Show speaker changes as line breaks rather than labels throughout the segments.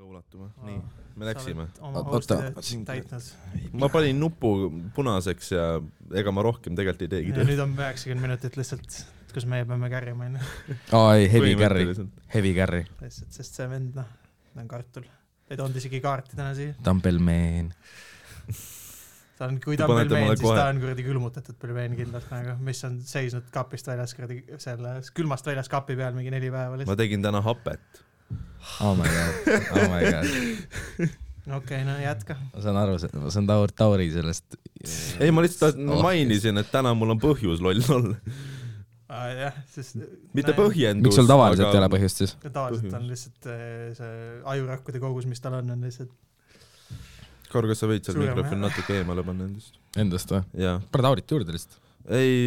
ootama , nii , me läksime .
oma
Oota,
kohustusi
siin-
täitnud .
ma panin nupu punaseks ja ega ma rohkem tegelikult ei teegi
ja . nüüd on üheksakümmend minutit lihtsalt , kus meie peame kärjima onju ,
aa ei , heavy carry , heavy carry ,
lihtsalt , sest see vend noh , ta on kartul . ei toonud isegi kaarti täna siia ,
Dumbleman .
ta on , kui
Te
ta on
panete mulle
pelmeen , siis
kohe-
ta on kuradi külmutatud pelmeen kindlalt nagu , mis on seisnud kapist väljas kuradi selles , külmast väljas kapi peal mingi neli päeva
ma
lihtsalt .
tegin täna hapet .
Oh my god , oh my god ,
okei okay, , no jätka .
ma saan aru , ma saan taur- , tauri sellest .
ei , ma lihtsalt
Oh.
tahtsin- mainisin , et täna mul on põhjus loll olla .
jah , sest .
mitte . põhjendus .
miks sul tavaliselt ei ole ? põhjust siis ?
tavaliselt
põhjus.
on lihtsalt eh, see ajurakkude kogus , mis tal on , on lihtsalt
Karl , kas sa võid seal
Suurem-
mikrofoni natuke eemale panna endast ?
Endast või ?
jaa .
pane taurit juurde lihtsalt .
ei ,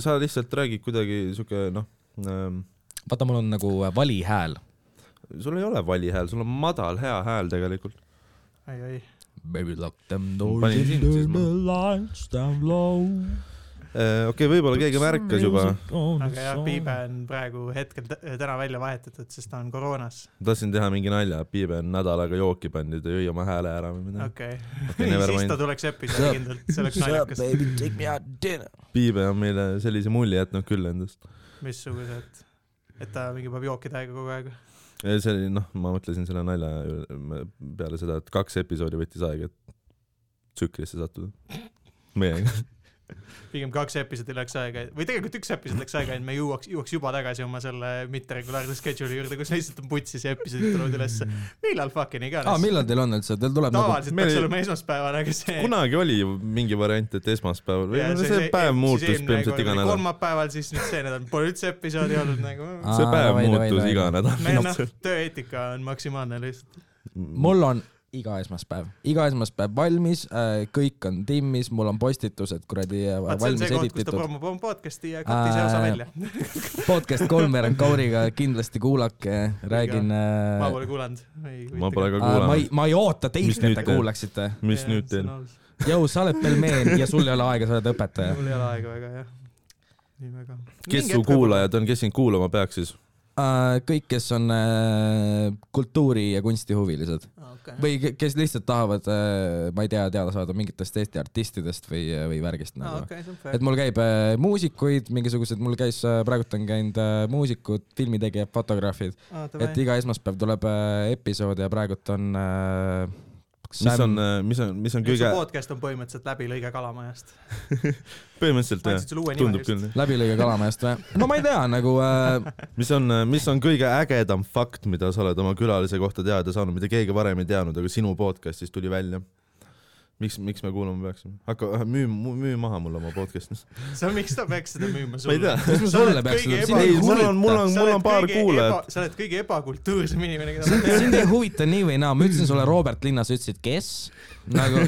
sa lihtsalt räägid kuidagi siuke noh ähm, ,
vaata , mul on nagu vali hääl .
sul ei ole vali hääl , sul on madal hea hääl tegelikult .
oi-oi .
Baby lock them
doors and turn the
lights down low .
Äh, okei okay, , võib-olla keegi märkas juba .
aga jah , Piibe on praegu hetkel tä- täna välja vahetatud , sest ta on koroonas .
tahtsin teha mingi nalja , et Piibe on nädalaga jooki pannud ja jõi oma hääle ära või midagi .
okei
Okei, never
siis
mind.
ta tuleks episoodi kindlalt , see oleks naljakas .
baby , take me out dinner .
Piibe on meile sellise mulje jätnud küll endast .
missugused , et ta mingi peab jooki täiega kogu aeg .
see oli noh , ma mõtlesin selle nalja üle- peale seda , et kaks episoodi võttis aega , et tsüklisse sattuda . meiega .
pigem kaks episoodi läks aega või tegelikult üks episood läks aega , et me jõuaks , jõuaks juba tagasi oma selle mitteregulaarse schedule'i juurde , kus lihtsalt on putsis ja episoodid tulevad
Mm.
ülesse . millal fucking
aa ,
iganes .
millal teil on üldse , teil tuleb nagu ,
tavaliselt
meil
peaks
ei-
olema esmaspäeval , aga see .
kunagi oli ju mingi variant , et esmaspäeval või see, see päev muutus põhimõtteliselt iga nädal .
kolmapäeval , siis nüüd see nädal pole üldse episoodi olnud nagu .
Aa,
see päev
davai, davai,
muutus
davai.
iga
meil
nädal
noh . , tööeetika on maksimaalne lihtsalt .
mul on iga esmaspäv , iga esmaspäv valmis , kõik on timmis , mul on postitused kuradi äh,
vaat see on
valmis
see koht , kus ta
edititud .
promob oma podcast'i ja katis see osa
Aa,
välja .
podcast kolmveerand Kauriga kindlasti kuulake , räägin . äh,
ma pole kuulanud .
ma pole ka
ma
kuulanud
ei ,, ma ei oota teid ,
Mis
et
nüüd äh,
te
teed?
kuulaksite .
mis nüüd teen ??
Jõu , sa oled pelmeen ja sul ei ole aega , sa oled õpetaja .
mul ei ole aega väga jah , nii väga .
kes su ? kuulajad on , kes sind kuulama peaks siis ?
kõik , kes on äh, kultuuri ja kunsti huvilised
või ?
või ke- kes lihtsalt tahavad , ma ei tea , teada saada mingitest Eesti artistidest või , või värgist
aa
nagu .
Ah, okei , see on
et
fair .
mul käib äh, muusikuid , mingisugused , mul käis , praegult on käinud äh, muusikud , filmitegijad , fotograafid ,
aa
et
Ah, davai ,
iga esmaspäev tuleb äh, episood ja praegult on äh,
mis on , äh, mis on , mis on
su
kõige ,
podcast on põhimõtteliselt läbi lõige kalamajast .
põhimõtteliselt
ma
jah ,
andsin sulle uue nime
tundub
just .
küll .
läbilõige Kalamajast või ? no ma ei tea , nagu äh,
mis on , mis on kõige ägedam fakt , mida sa oled oma külalise kohta teada saanud , mida keegi varem ei teadnud , aga sinu podcast'is tuli välja ? miks , miks me kuulama peaksime ? hakka , müü , müü maha mulle oma podcast'is .
see on , miks ta peaks seda
ma
müüma
ei
sulle
tea ..
mis ma sulle peaks
kõige
ütlema ,
eba-
sind
ei
ei ,
mul on , mul
huvita .
on , mul on paar kuulajat ..
sa oled kõige ebakultuursem inimene , keda ma tean .
sind ei huvita nii või naa , ma ütlesin sulle Robert Linnas , ütlesid kes , nagu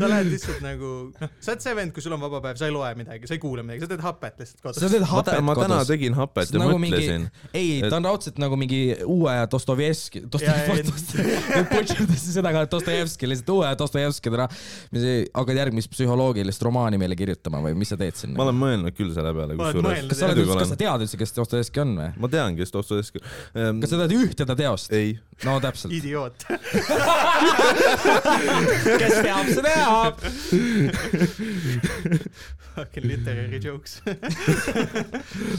sa lähed lihtsalt nagu , noh , sa oled see vend , kui sul on vaba päev , sa ei loe midagi , sa ei kuule midagi , sa teed hapet lihtsalt
sa
kodus .
teed
ma
hapet
ma täna
kodus .
tegin hapet
Sest
ja
nagu
mõtlesin .
ei , ta on raudselt nagu mingi uue Dostojevski ,
Jaa, ei.
Dostojevski , seda ka Dostojevski , lihtsalt uue Dostojevski täna . hakkad järgmist psühholoogilist romaani meile kirjutama või mis sa teed siin
ma ? olen mõelnud küll selle peale ,
Ma
kusjuures
olen mõelnud, .
kas sa oled
muidugi
üldse , kas
olen
sa . tead üldse , kes Dostojevski on või ?
ma tean , kes Dostojevski .
kas sa tead ühte ta teost ?
ei ,
no täpselt .
idioot .
kes teab , see teab .
Fucking literary jokes .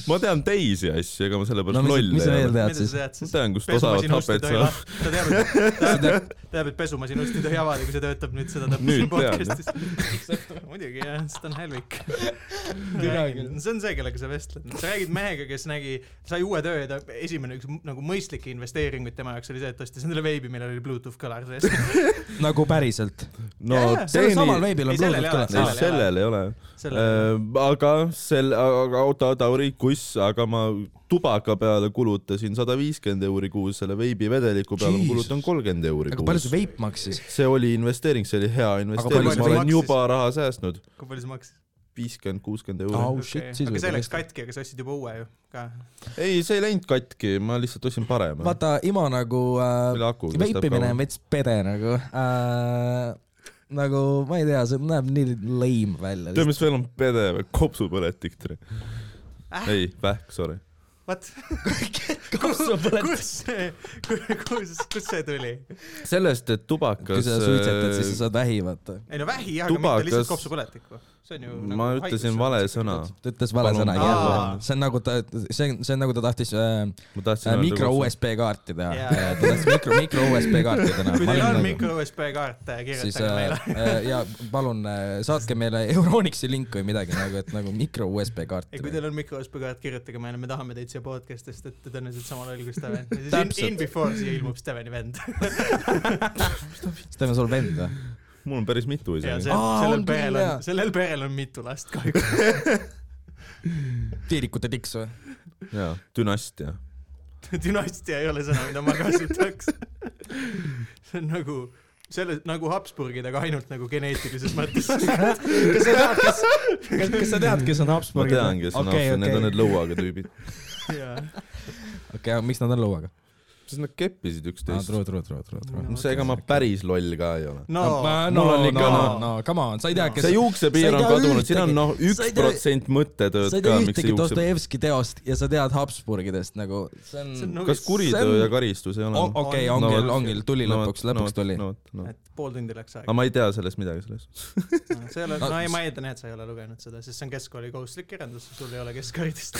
ma tean teisi asju , ega ma
no
sellepärast
mis ,
loll
mis sa
ei
veel
ole .
tead siis ?
tead
ma tean , kust osavad hapet saab .
ta teab , ta teab , teab , et pesumasinust ei tohi avada , kui see töötab nüüd seda täpselt
Nüüd
siin
tead, jah.
podcastis . muidugi jah , sest ta on hälvik .
Mina küll.
see on see , kellega sa vestled , sa räägid mehega , kes nägi , sai uue töö ja ta esimene üks m- nagu mõistlikke investeeringuid tema jaoks oli see , et ta ostis endale veibi , millel oli Bluetooth kõlar sees .
nagu päriselt .
no
Jaa, jaa,
sellel samal
teini ,
veebil
ei,
on
sellel ei ole,
ei
Bluetooth kõlas .
sellel-
sellel ei ole
selle ,
Äh, aga selle , aga oota , Tauri , kus , aga ma tubaka peale kulutasin sada viiskümmend euri kuus , selle veibivedeliku peale ma
Jesus.
kulutan kolmkümmend euri
aga palju
kuus
see . veip maksis ?
see oli investeering , see oli hea
palju
investeering ,
see
ma olen
maksis?
juba raha säästnud ,
kui palju see maksis ?
viiskümmend , kuuskümmend
Au.
euri .
Oh shit, siis
aga
võib-olla
see läks
tõesti.
katki , aga sa ostsid juba uue ju ka .
ei , see ei läinud katki , ma lihtsalt ostsin parema .
vaata , Imo nagu äh,
selle aku .
veipimine on veits pede nagu äh, . nagu ma ei tea , see näeb nii lame välja .
tead , mis veel on pede või ? kopsupõletik . ei , vähk , sorry .
what ,
kus sa põled ?
kus see , kus , kust see tuli ?
sellest , et
kui
tubakas
sa suitsetad ,
äh,
siis sa saad vähi , vaata .
ei no vähi jah , aga mitte
Tubakas-
lihtsalt kopsupõletikku . see on ju
Äh,
nagu
ma ütlesin vale . sõna ,
ta ütles vale
Palun
sõna ,
palun.
jälle
Aa. .
see on nagu ta , see on , see on nagu ta tahtis äh,
ma tahtsin
äh, mikro . USB kaarti teha
Jaa.
yeah. . ta tahtis mikro , mikro USB kaarti teha .
kui teil on mikro USB kaart ,
siis
kirjutage
äh,
meile .
äh, ja palun äh, saatke meile Euronixi link või midagi nagu , et nagu mikro USB
ei ,
kaarti
kui . teil on mikro USB kaart , kirjutage meile , me tahame teid siia podcast'ist , et tõenäoliselt samal ajal kui Steven . In,
Täpselt.
in before siia ilmub Steveni vend .
siis teeme sulle vend või ?
mul on päris mitu
ja
isegi .
see ,
Aa,
sellel
on küll,
perel
jaa.
on , sellel perel on mitu last kahjuks .
tiirikute tiks või ?
jaa , dünastia .
dünastia ei ole sõna , mida ma kasutaks . see on nagu selle nagu Habsburgid , aga ainult nagu geneetilises mõttes .
kas sa tead , kes , kas , kas sa tead , kes on
ma
Habsburgid ?
tean , kes on
okei ,
Haapsalu , need on
okei ,
need lõuaga tüübid .
okei , aga miks nad on lõuaga ?
sest nad keppisid üksteist .
true , true , true , true , true .
no seega ma päris loll ka ei ole .
no
no, mul on
no,
ikka-
no, no come on , sa ei tea ,
No.
kes
see juuksepiir
sa ei
on
tea
kadunud , siin on
ühtegi-
noh , üks
sa ei tea-
protsent mõttetööd
sa ei
ka
tea ,
miks
ühtegi
see juukseb .
Dostojevski teost ja sa tead Habsburgidest nagu , see on,
see on
on... .
nagu
kas
See
kuritöö
on-
ja karistus ei ole ?
okei ,
on-
on
no
küll ,
vot.
on küll , tuli
No vot,
lõpuks ,
no
lõpuks
vot,
tuli .
no vot, no vot.
et pool tundi läks aega
aga . ma ei tea sellest midagi sellest .
sa ei ole ,
No,
no ei ,
s-
ma eeldan jah , et sa ei ole lugenud seda , sest see on keskkooli kohustuslik kirjandus , sul ei ole keskharidust .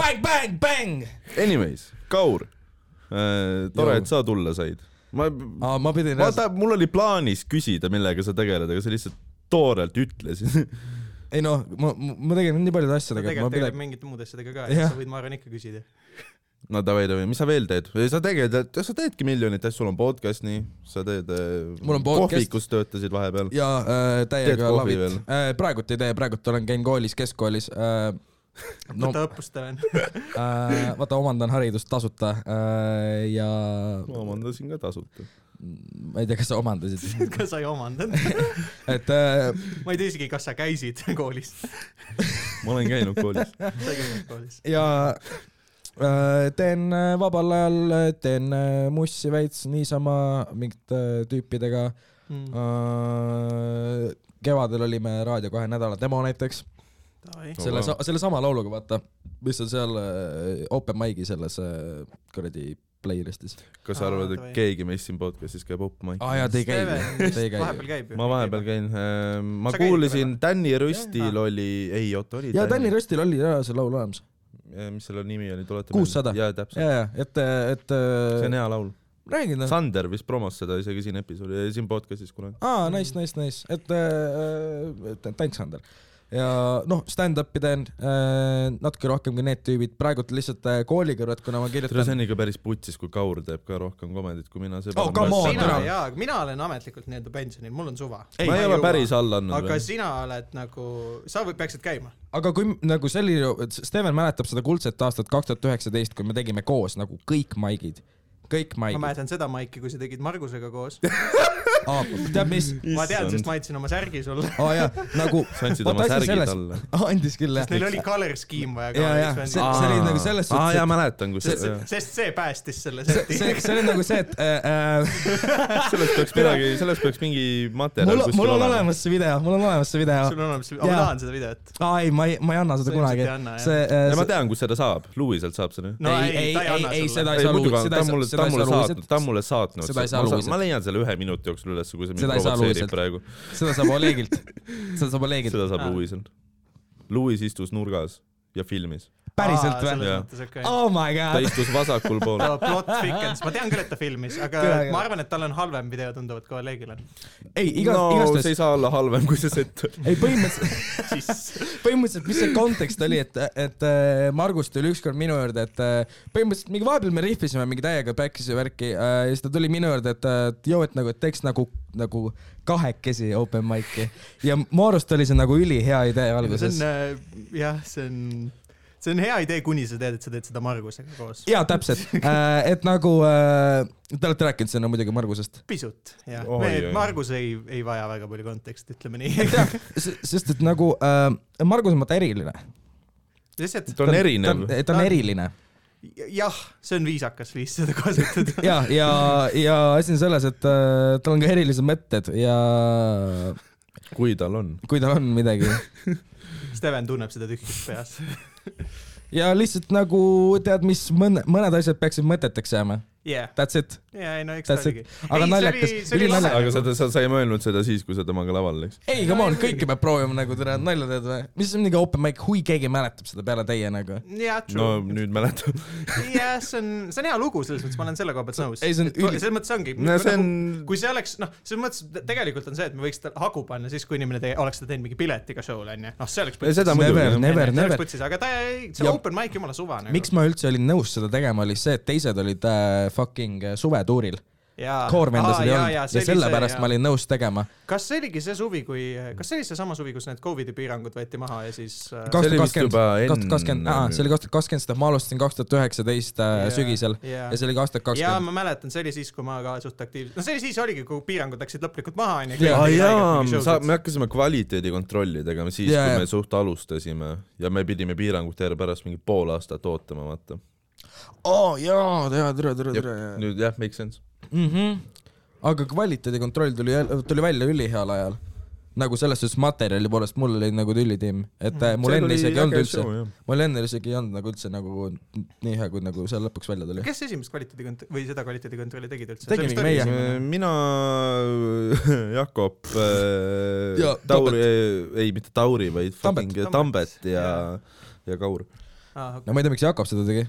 Bang , bang , bang
Anyways , Kaur ,
Joo.
Äh, tore , et sa tulla said . ma ,
ah, . ma pidin Vaata... ,
vaata , mul oli plaanis küsida , millega sa tegeled , aga sa lihtsalt toorelt ütlesid .
ei noh , ma , ma tegelen nii paljude
sa
asjadega , et ma
tegelikult tegeled
pidin ,
mingite muude asjadega ka ,
Jah.
sa võid , ma arvan , ikka küsida .
no davai , davai , mis sa veel teed ? sa tegeled , sa teedki miljonit asja , sul on podcast , nii , sa teed .
Mul on podcast.
kohvikus töötasid vahepeal .
jaa äh, ,
Teed
täiega
kohvi
lavid
veel?
äh, . praegult ei tee , praegult olen , käin koolis , keskkoolis äh, . no
võta õppust , Steven .
äh, vaata , omandan haridust tasuta äh, ja
ma omandasin ka tasuta .
ma ei tea , kas sa omandasid ,
kas sa ei omandanud ?
et äh,
ma ei tea isegi , kas sa käisid koolis .
ma olen käinud koolis .
sa ei käinud koolis .
ja äh, teen äh, vabal ajal , teen äh, mussi veits niisama mingite äh, tüüpidega .
Hmm.
kevadel olime Raadio kahe nädala demo näiteks ,
Oh,
selle
wow. ,
sellesama lauluga , vaata , mis on seal äh, open mic'i selles äh, kuradi playlist'is .
kas sa
Aa,
arvad ,
davai.
et keegi meist siin podcast'is käib open mic ?
aa jaa , te ei käi , te ei
vahepeal
käi .
käib ju .
ma vahepeal . käin , ma
Sa käid
kuulasin Tänni
Jah.
Rüstil oli , ei oota oli .
jaa , Tänni . Röstil oli jaa see laul olemas .
mis selle nimi oli , tuleta
600.
jaa , täpselt .
jaa , jaa , et , et
see on
äh,
hea laul .
räägin noh .
Sander vist promos seda isegi siin episoodi , siin podcast'is kunagi .
aa , nice , nice , nice , et äh, äh, thanks , Ander . ja noh , stand-up'i teen äh, natuke rohkem kui need tüübid , praegult lihtsalt äh, kooli kõrvalt , kuna ma
tere , see
kirjutan .
on ikka päris putsis , kui Kaur teeb ka rohkem komedit kui mina .
Oh, come on,
sina
tere.
jaa , aga mina olen ametlikult nii-öelda pensionil , mul on suva .
ma ei ole päris alla andnud
aga
veel .
sina oled nagu , sa või- peaksid käima .
aga kui m- nagu selline , Steven mäletab seda kuldset aastat kaks tuhat üheksateist , kui me tegime koos nagu kõik maigid , kõik
ma
maigid .
mäletan seda maiki , kui sa tegid Margusega koos .
aa , tead mis ?
ma tean , sest ma andsin oma särgi sulle .
aa jaa , nagu .
sa andsid oma särgi . talle .
andis küll jah
sest . neil oli color scheme vaja
ja , ja
ka .
see , see oli nagu selles
aa
suhtes ,
jaa , mäletan , kui
sest
see ,,
sest see päästis selle
et see ,
seti .
see , see oli nagu see , et äh, äh,
sellest peaks midagi , sellest peaks mingi materjal
mul , mul on . olemas see video , mul on olemas see video
sul . on olemas , ma
Jaa.
tahan seda videot .
aa ei , ma ei , ma ei anna
Sa
seda
ilmselt
kunagi
ei anna, . jah.
see ,
ja ma
see ,
tean , kus seda saab , Louiselt saab selle .
no ei , ei , ta ei anna
ei ,
sulle .
seda ei
ei
saa
muidugi ,
luua ,
ta
seda
on mulle , ta on mulle saatnud , ta on mulle saatnud .
Seda ei saa Louiselt.
ma leian selle ühe minuti jooksul üles , kui sa mind
Seda ei saa Louiselt.
provotseerid praegu .
seda saab Olegilt , seda saab Olegilt .
seda saab
Aa.
Louisel . Louis istus nurgas ja filmis .
päriselt või ?
Jaa.
või ?
Oh my
ta
god ,
istus vasakul pool .
plot thickens , ma tean küll , et ta filmis , aga
Jaa, jaa.
ma arvan , et tal on halvem video tunduvalt kolleegil on .
ei iga ,
no see
igastahes ,
ei saa olla halvem kui see set .
ei põhimõtteliselt ,
siis
põhimõtteliselt , mis see kontekst oli , et , et äh, Margus tuli ükskord minu juurde , et äh, põhimõtteliselt mingi vahepeal me rihvisime mingi täiega päkkise värki äh, ja siis ta tuli minu juurde , et äh, et joo , et nagu , et teeks nagu , nagu kahekesi open mic'i ja mu arust oli see nagu ülihea idee
see
alguses
on . äh, jah , see on , see on hea idee , kuni sa tead , et sa teed seda Margusega koos .
jaa , täpselt äh, , et nagu äh, , te olete rääkinud sinna muidugi Margusest .
pisut , jah
Oi, . oi.
Margus ei , ei vaja väga palju konteksti , ütleme nii .
sest et nagu äh, Margus on vaata eriline .
lihtsalt
ta on erinev .
ta on eriline
jah , see on viisakas viis seda kasutada .
ja , ja , ja asi on selles , et äh, tal on ka erilised mõtted ja
kui tal on .
kui tal on midagi ,
Steven tunneb seda tühjust peas .
ja lihtsalt nagu tead , mis mõne , mõned asjad peaksid mõteteks jääma .
jah ,
That's it .
ja ei no eks ta
That's
oligi
it .. aga
Ei, see
naljakas
oli- , see oli
ülinaljakas .
aga sa , sa , sa ei mõelnud seda siis , kui sa temaga lavale läksid ?
ei , come on , kõike peab proovima nagu tere , nalja teed või ? mis on mingi open mic , kui keegi mäletab seda peale teie nagu .
jah ,
no
true .
nüüd mäletan .
jah , see on , see on hea lugu , selles mõttes ma olen selle koha pealt nõus .
ei, see on üli-
selles mõttes ongi .
no see
nagu-
on ,
kui see oleks , noh , selles mõttes et tegelikult on see , et me võiks ta hagu panna siis , kui inimene tege, oleks ta teinud mingi piletiga show'le onju , noh , see oleks
seda
Never ,
muidugi .
never , never .
putsis , aga ta ei , see
Ja-
on open mic , jumala suva nagu .
miks ma üldse olin nõus seda tegema , oli see , et teised olid äh, fucking äh, suvetuuril . Core vendasid ei olnud ja sellepärast ma . olin nõus tegema .
kas see oligi see suvi , kui , kas see oli seesama suvi , kus need Covidi piirangud võeti maha ja siis äh,
Ka-
kaks
See oli vist
tuhat kakskümmend ,
juba
kaks tuhat kakskümmend ,
enne-
see oli kaks tuhat kakskümmend , sest ma alustasin kaks tuhat üheksateist äh,
Jaa,
sügisel
jaa.
ja see oli kaks tuhat
ja
kakskümmend .
ma mäletan , see oli siis , kui ma ka suht aktiivselt , no see oli siis oligi , kui piirangud läksid lõplikult maha onju .
Jaa,
aa jaa , sa , me hakkasime kvaliteedikontrolli tegema siis ,
Jaa,
kui
jaa.
me suht alustasime ja me pidime piirangute järgi pärast mingi pool aastat ootama , vaata .
oo jaa , tere , tere , tere , tere .
nüüd jah , make sense .
Mhm. aga kvaliteedikontroll tuli , tuli välja üliheal ajal . nagu selles suhtes materjali poolest , mul oli nagu tüllitiim , et äh, mul enne isegi ei olnud üldse . mul enne isegi ei olnud nagu üldse nagu nii hea , kui nagu seal lõpuks välja tuli .
kes esimest kvaliteedikont- või seda kvaliteedikontrolli tegid üldse ?
Tegime meie.
mina , Jakob
Ja
äh, , Tauri , ei mitte Tauri , vaid fucking
Tambet.
Tambet ja , ja Kaur .
Ah,
no ma ei tea , miks Jakob seda tegi .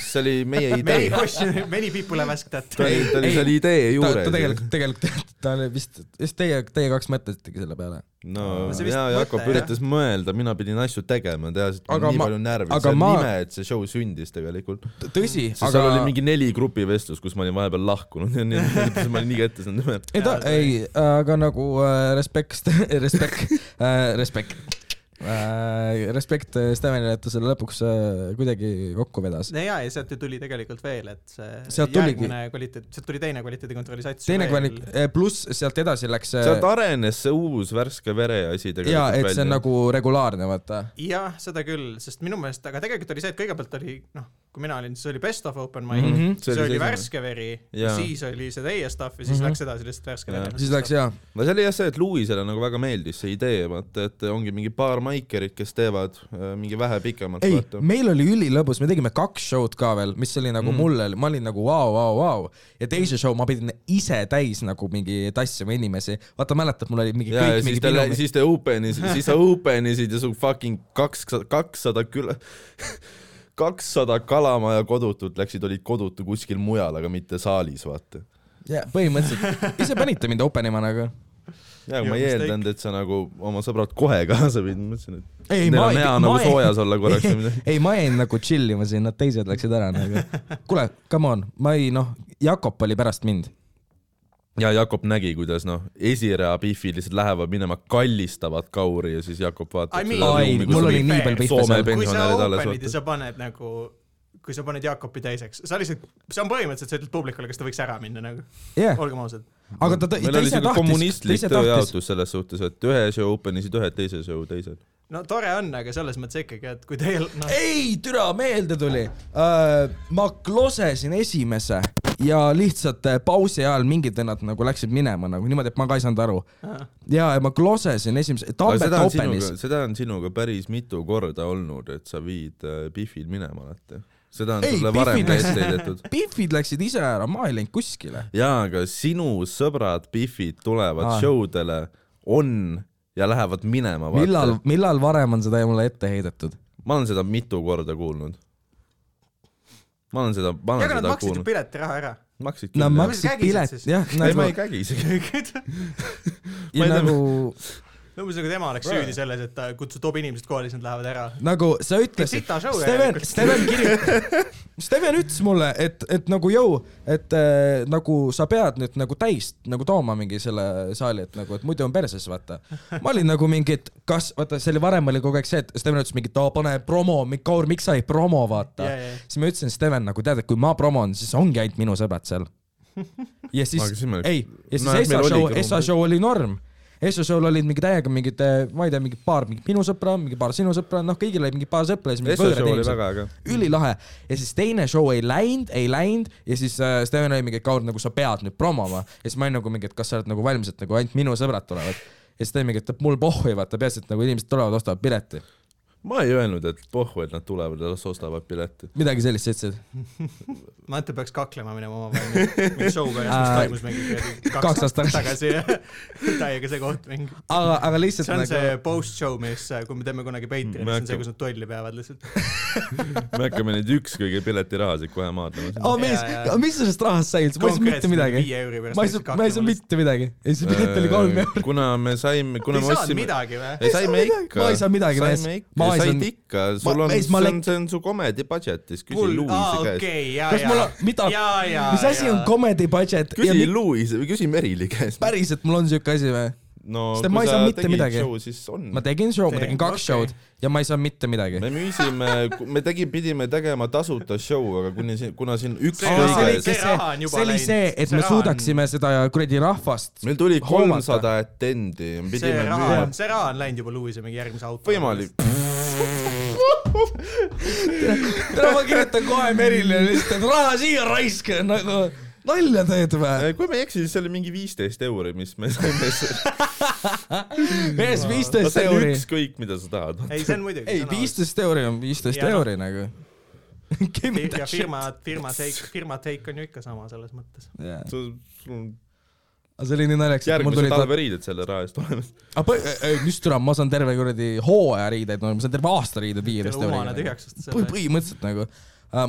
see oli meie
many
idee .
question , many people have asked that
ta . oli , ta oli
Ei,
seal idee
ta , ta
juures .
tegelikult , tegelikult ta oli vist , just teie , teie kaks mõtlesitegi selle peale .
no
See vist
ja
mõte,
Jakob
jah.
üritas mõelda , mina pidin asju tegema , teades , et mul
Aga
nii
ma-
palju närvi ,
aga
see on
ma-
ime , et see show sündis tegelikult .
tõsi ,
sest
aga
seal oli mingi neli grupivestlust , kus ma olin vahepeal lahkunud ja nii , ma olin nii kätte saanud .
ei ta , ei , aga nagu äh, respekt , respekt äh, , respekt äh, . Respekt äh, Stevenile , et ta selle lõpuks äh, kuidagi kokku vedas .
no jaa , ja sealt ju tuli tegelikult veel , et see
Sealt tuligi.
järgmine kvaliteet , sealt tuli teine kvaliteedikontrolli sats .
teine kvalik- , pluss sealt edasi läks äh,
sealt arenes see uus värske vere asi tegelikult
jaa , et see on nagu regulaarne , vaata .
jah , seda küll , sest minu meelest , aga tegelikult oli see , et kõigepealt oli noh , kui mina olin , siis oli best of open mic mm ,
Mhm.
-hmm. see,
See
see
oli
oli
see
värske veri ,
Jaa.
siis oli see teie stuff ja siis mm -hmm.
Mhm.
läks edasi lihtsalt värske
Jaa.
veri .
siis läks . jaa ,
no see oli jah see , et Louisele nagu väga meeldis see idee , vaata , et ongi mingi paar maikerit , kes teevad äh, mingi vähe pikemalt ,
ei
vaata .,
meil oli ülilõbus , me tegime kaks show'd ka veel , mis oli nagu mm. mulle , ma olin nagu vau , vau , vau . ja teise show ma pidin ise täis nagu mingi tassima inimesi . vaata , mäletad , mul oli mingi
ja , ja
kõik
siis
mingi
te ,
pinu .
siis te open'is , siis sa open'isid ja sul fucking kakssada , kakssada küla , kakssada kalamaja kodutut läksid , olid kodutu kuskil mujal , aga mitte saalis , vaata .
jaa , põhimõtteliselt . ise panite mind open ima nagu .
ja ma
Your
ei
mistake.
eeldanud , et sa nagu oma sõbrad kohe kaasa pidid , mõtlesin , et
ei ,
neil
ma
on
ei
hea , nagu
ei ,
soojas olla korraks või midagi .
ei , ma jäin nagu chill ima siin , nad teised läksid ära nagu . kuule , come on , ma ei noh , Jakob oli pärast mind .
ja Jakob nägi , kuidas noh , esirea Biffi lihtsalt lähevad minema , kallistavad Kauri ja siis Jakob vaatab
I mean-
seda
ai ,
ruumi, kus
mul oli
oli-
nii palju pihta
Soome
seal .
pe-
kui sa
pensionärid alles,
open'id ja
vaata.
sa paned nagu , kui sa paned Jaakopi täiseks , sa lihtsalt , see on põhimõtteliselt , sa ütled publikule , kas ta võiks ära minna nagu ,
jah ,
olgem ausad .
aga ta , ta
meil oli
ise
siuke
tahtis , ta
kommunistlik
ise tahtis .
tööjaotus selles suhtes , et ühe show openisid ühed , teise show teised .
no tore on , aga selles mõttes ikkagi , et kui teil noh ,
ei , türa , meelde tuli uh, . ma klosesin esimese ja lihtsalt äh, pausi ajal mingid vennad nagu läksid minema nagu niimoodi , et ma ka ei saanud aru . ja , ja ma klosesin esimese , Tambet
seda on
Openis
sinuga ,. seda on sinuga päris mitu korda olnud , et sa viid äh, Biffil minema alati . seda on
Ei,
sulle varem
Biffid
ka
läksid-
ette heidetud .
Biffid läksid ise ära , ma ei läinud kuskile .
jaa , aga sinu sõbrad Biffid tulevad
Aa.
show dele , on ja lähevad minema .
millal , millal varem on seda mulle ette heidetud ?
ma olen seda mitu korda kuulnud . ma olen seda , ma olen
aga nad
seda
maksid ju
kuulnud .
piletiraha ära .
maksid
Nad
küll , jah .
mis sa
maksid
kägisid
pilet
siis? ,
jah ,
ei , ma
nagu
ei , kägi isegi . ma
ja
ei tea-
nagu ,
umbes nagu tema oleks süüdi selles , et ta kutsub , toob inimesed kohale , siis nad lähevad ära .
nagu sa ütlesid ,
sita show
Steven , Steven kirjutas , Steven ütles mulle , et , et nagu jõu , et äh, nagu sa pead nüüd nagu täis nagu tooma mingi selle saali , et nagu , et muidu on perses , vaata . ma olin nagu mingi , et kas , vaata , see oli varem oli kogu aeg see , et Steven ütles mingi , et oo , pane promo , Kaur , miks sa ei promo , vaata
Jaa, jaa.
siis ma ütlesin , Steven , nagu tead , et kui ma promon , siis ongi ainult minu sõbrad seal . ja
Aga
siis
siis me- ,
ei , ja siis
Nojah,
no,
meil
Essa
oligi ruum.
show , Essa show oli norm . Essa show'l olid mingi täiega mingid , ma ei tea , mingi paar mingit minu sõpra , mingi paar sinu sõpra , noh , kõigil oli mingi paar sõpra ja siis mingi
Esso
võõrad
show oli
inimesed .
väga äge .
ülilahe ja siis teine show ei läinud , ei läinud ja siis äh, Steven oli mingi , et Kaur , nagu sa pead nüüd promoma . ja siis ma olin nagu mingi , et kas sa oled nagu valmis , et nagu ainult minu sõbrad tulevad . ja siis ta oli mingi , et mul pohhu ei vaata , peaasi , et nagu inimesed tulevad , ostavad pileti .
ma ei öelnud , et pohhu , et nad tulevad ja las ostavad pileti .
midagi sellist sa ütlesid .
Mante peaks kaklema minema omavahel mingi show'ga , mis
Aa.
toimus mingi kuradi
Kaks aastat
tagasi . täiega see koht mingi .
aga , aga lihtsalt
see on
nagu
see post-show , mis , kui me teeme kunagi Patreonis , see on see , kus nad duelli peavad lihtsalt .
me hakkame neid ükskõige piletirahasid kohe maadlema .
oh, , mis
Jaa, jaa. ,
mis sellest rahast sai üldse , ma ei saanud mitte midagi .
viie euri pärast .
ma ei saanud , ma ei saanud . mitte midagi . ei , see pilet oli kolm eurot .
Äh, kuna me saime , kuna
ei
me
saanud
ostsime ,
midagi või ?
ei saime ikka .
ma ei saanud midagi , mees
saime . ikka
ma , ei
said
saanud ,
ikka , sul on ,
mees, ma
see on
läks- ,
see on su comedy budget'is , küsi Louise
aa ,
käest .
okei , jaa ,
kas mul
jaa
on , mida ,
jaa , jaa .
mis asi on comedy budget ja
küsi
mi-
Louise või küsi Merili käest .
päriselt mul on siuke asi või ?
no
Sest et ma
kui
ei
sa
saanud mitte
tegid
midagi.
show , siis on .
ma tegin show , ma
Tee-
tegin kaks
okei.
show'd ja ma ei saanud mitte midagi .
me müüsime , me tegin , pidime tegema tasuta show , aga kuni siin , kuna siin
See raha-
see oli
ükskõige
see
see
raha on , juba
see oli
läinud.
see , et
See
me
raha on-
suudaksime seda kuradi rahvast
meil tuli
Hoomata.
kolmsada atendi ,
see
pidime
raha
müüma
on , see raha on läinud juba Louise mingi järgmise auto .
võimalik .
täna ma kirjutan kohe Merile lihtsalt , et raha siia raisk , nagu nalja teed või ?
Äh, kui ma ei eksi , siis see oli mingi viisteist euri , mis me saime .
mees ,
no
viisteist
see on
euri .
ükskõik , mida sa tahad .
ei , see on muidugi .
ei , viisteist euri on viisteist
Ja noh.
euri nagu .
ja firma , firma take , firma take on ju ikka sama selles mõttes .
järgmise
aga see oli nii naljakas , et mul tuli ta-
talve riided selle raha eest olemas .
aga äh, põ- ei, ei, mis türa , ma saan terve kuradi hooaja riideid , ma saan terve aasta riideid viieteist
selle humana
euriga .
tühjaks osta
Põhi- . põhimõtteliselt nagu .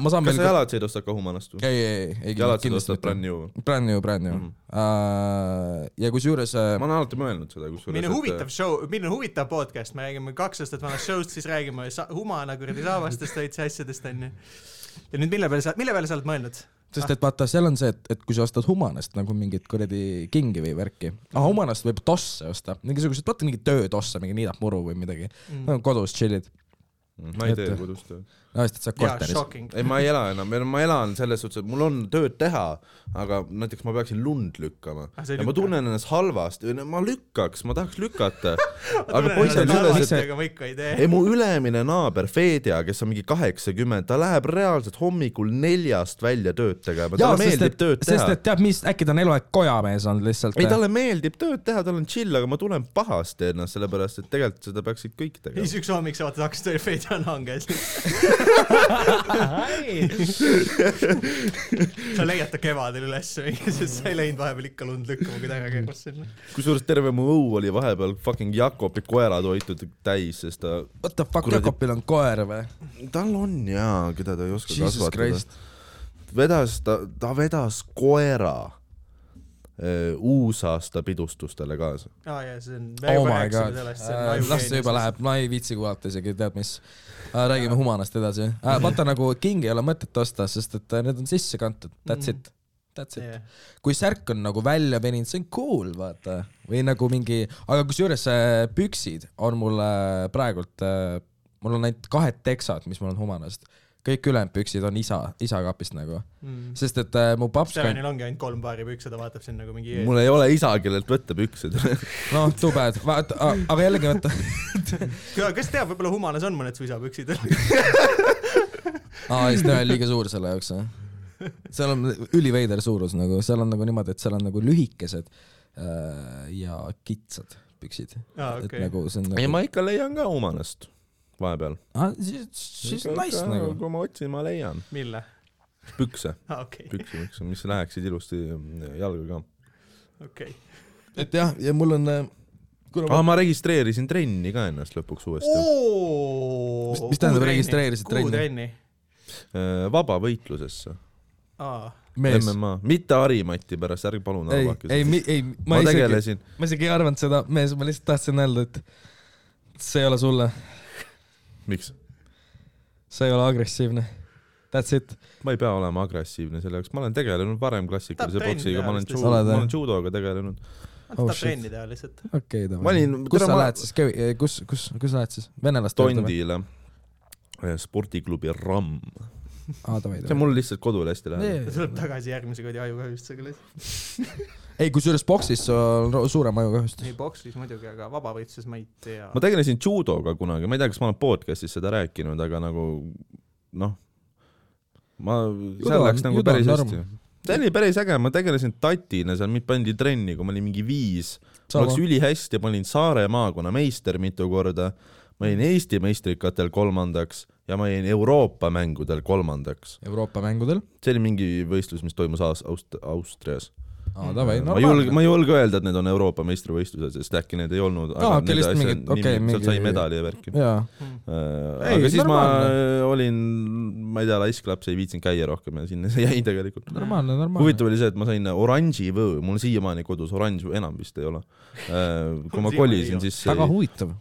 ma saan
kas
veel
sa . jalad said osta Kahumanast või ?
ei , ei , ei .
jalad said osta Brand New või ?
brand new , brand new
Mhm.
mm. . Uh, ja kusjuures
ma olen alati mõelnud seda , kusjuures .
milline huvitav . show , milline huvitav podcast , me räägime kaks aastat vanast show'st , siis räägime sa- humana kuradi saabastest veits ja asjadest onju . ja nüüd mille peale sa , mille peale sa oled mõelnud ?
Ah.
sest et vaata , seal on see , et , et kui sa ostad Humanast nagu mingit kuradi kingi või värki , ah Humanast võib tosse osta , mingisugused , vaata mingit töötosse , mingi niidab muru või midagi
Mm.
no, , kodus tšillid ,
mm, ma ei tee
Ette.
kodus tööd .
no sest , et sa oled
jaa ,
korteris .
shocking .
ei , ma ei ela enam , ma elan selles suhtes , et mul on tööd teha , aga näiteks ma peaksin lund lükkama
Ah, sa ei
ja ma
lükka.
tunnen ennast halvasti , ma lükkaks , ma tahaks lükata , aga
poiss
poiss on
on
üles , et
üles , et ma ikka ei tee .
ei mu ülemine naaber Fedja , kes on mingi kaheksakümmend , ta läheb reaalselt hommikul neljast välja tööd tegema ,
jaa ,
talle
sest
meeldib
et
tööd , teha
sest . et tead mis , äkki ta on eluaeg kojamees olnud lihtsalt . eh?
ei , talle meeldib tööd teha , tal on chill , aga ma tunnen pahasti ennast , noh, sellepärast et tegelikult seda peaksid kõik
ja siis
tegema .
üks hommik sa vaatad aknast välja , Fedja on hange ees . sa leiad ta kevadel ülesse , sest sa ei läinud vahepeal ikka lund lükkama , kui ta ära kerras sinna .
kusjuures terve mu õu oli vahepeal fucking Jakobi koeratoitu täis , sest ta ,
What the fuck ,
kuradi-
Jakobil on koer või ?
tal on jaa , keda ta ei oska
Jesus
kasvatada .
Christ .
vedas ta , ta vedas koera eh, uusaasta pidustustele kaasa .
aa jaa , see on , me
oh
juba
my
rääkisime
god
sellest , see on
Äh, las see juba . läheb , ma ei viitsi kuulata isegi , tead mis . räägime humanast edasi . vaata nagu king ei ole mõtet osta , sest et äh, need on sisse kantud , that's
Mhm.
it , that's it . kui särk on nagu välja veninud , see on cool , vaata . või nagu mingi , aga kusjuures äh, püksid on mul äh, praegult , mul on ainult kahed teksad , mis mul on humanast . kõik ülejäänud püksid on isa , isa kapist nagu ,
Mm.
sest et äh, mu paps ,
Stevenil ongi ainult kolm paari pükse , ta vaatab sind nagu mingi .
mul ei ole isa , kellelt võtta pükse
noh , too bad , vaata , aga jällegi vaata ,
kes teab , võib-olla Humanas on mõned suisapüksid .
aa , siis tema on liiga suur selle jaoks , jah . seal on üliveider suurus nagu , seal on nagu niimoodi , et seal on nagu lühikesed äh, ja kitsad püksid .
aa ,
et
okei .
nagu see on
ei ,
nagu ,
ma ikka leian ka humanast vahepeal .
ah, siis , siis nice nagu .
kui ma otsin , ma leian .
mille ?
pükse ,
aa , okei ,
pükse , pükse , mis läheksid ilusti jalga ka .
okei .
et jah , ja mul on äh, kuna
aa ,
ma...
ma registreerisin trenni ka ennast lõpuks uuesti .
Mis- mis tähendab registreerisid trenni?
kuutrenni .
Äh, vabavõitlusesse ,
aa ,
mees ,
MMA , mitte Harimati pärast , ärge palun
ei ,
arvake
ei
seda .,
ei ,
ma
ma isegi ,
tegelesin ,
ma isegi ei arvanud seda , mees , ma lihtsalt tahtsin öelda , et see ei ole sulle ,
miks ?
sa ei ole agressiivne . That's it .
ma ei pea olema agressiivne selle jaoks , ma olen tegelenud varem klassikalise
Tahab trenni
boksiga ,
teha
ma olen judo ,
lihtsalt.
Oled,
ma
jah?
olen judoga tegelenud .
ta
Oh,
tahab
shit.
trenni teha lihtsalt .
okei , davai .
Ma olin-
kus
tere,
sa
ma-
lähed siis , kus , kus , kus sa lähed siis ? venelast ?
Tondile eh, spordiklubi Ramm ,
aa , Ah, davai ,
see on
davai .
mul lihtsalt kodule hästi lähedal .
ta tuleb tagasi järgmise kuradi ajukahjustusega lihtsalt .
ei , kusjuures boksis sul on ro- suurem ajukahjustus .
ei , boksis muidugi , aga vabavõitluses ma ei tea .
ma tegelesin judoga kunagi , ma ei tea , kas ma olen podcast'is seda rääkinud , aga nagu noh , ma , seal
on-
läks nagu
judo
päris
on
hästi . see oli päris äge , ma tegelesin tatina seal , mind pandi trenni , kui ma olin mingi viis , mul läks ülihästi , ma olin Saare maakonna meister mitu korda , ma jäin Eesti meistrikatel kolmandaks ja ma jäin Euroopa mängudel kolmandaks .
Euroopa mängudel .
see oli mingi võistlus , mis toimus Aas- , Aust- , Austrias .
aa , davai ,
Mm. ma ei julge ,
normaalne .
ma ei julge öelda , et need on Euroopa meistrivõistlused , sest äkki need ei olnud .
Aa, okei, lihtsalt mingid- okei, mingi-
sealt sai medali ja värki .
jaa , Ei,
aga siis
normaalne.
ma olin , ma ei tea , laisk laps , ei viitsinud käia rohkem ja sinna see jäi tegelikult .
normaalne , normaalne .
huvitav oli see , et ma sain oranži võõr , mul siiamaani kodus oranž enam vist ei ole . kui ma
Siiamaani ei
kolisin ,
ole.
siis
väga
sai
huvitav .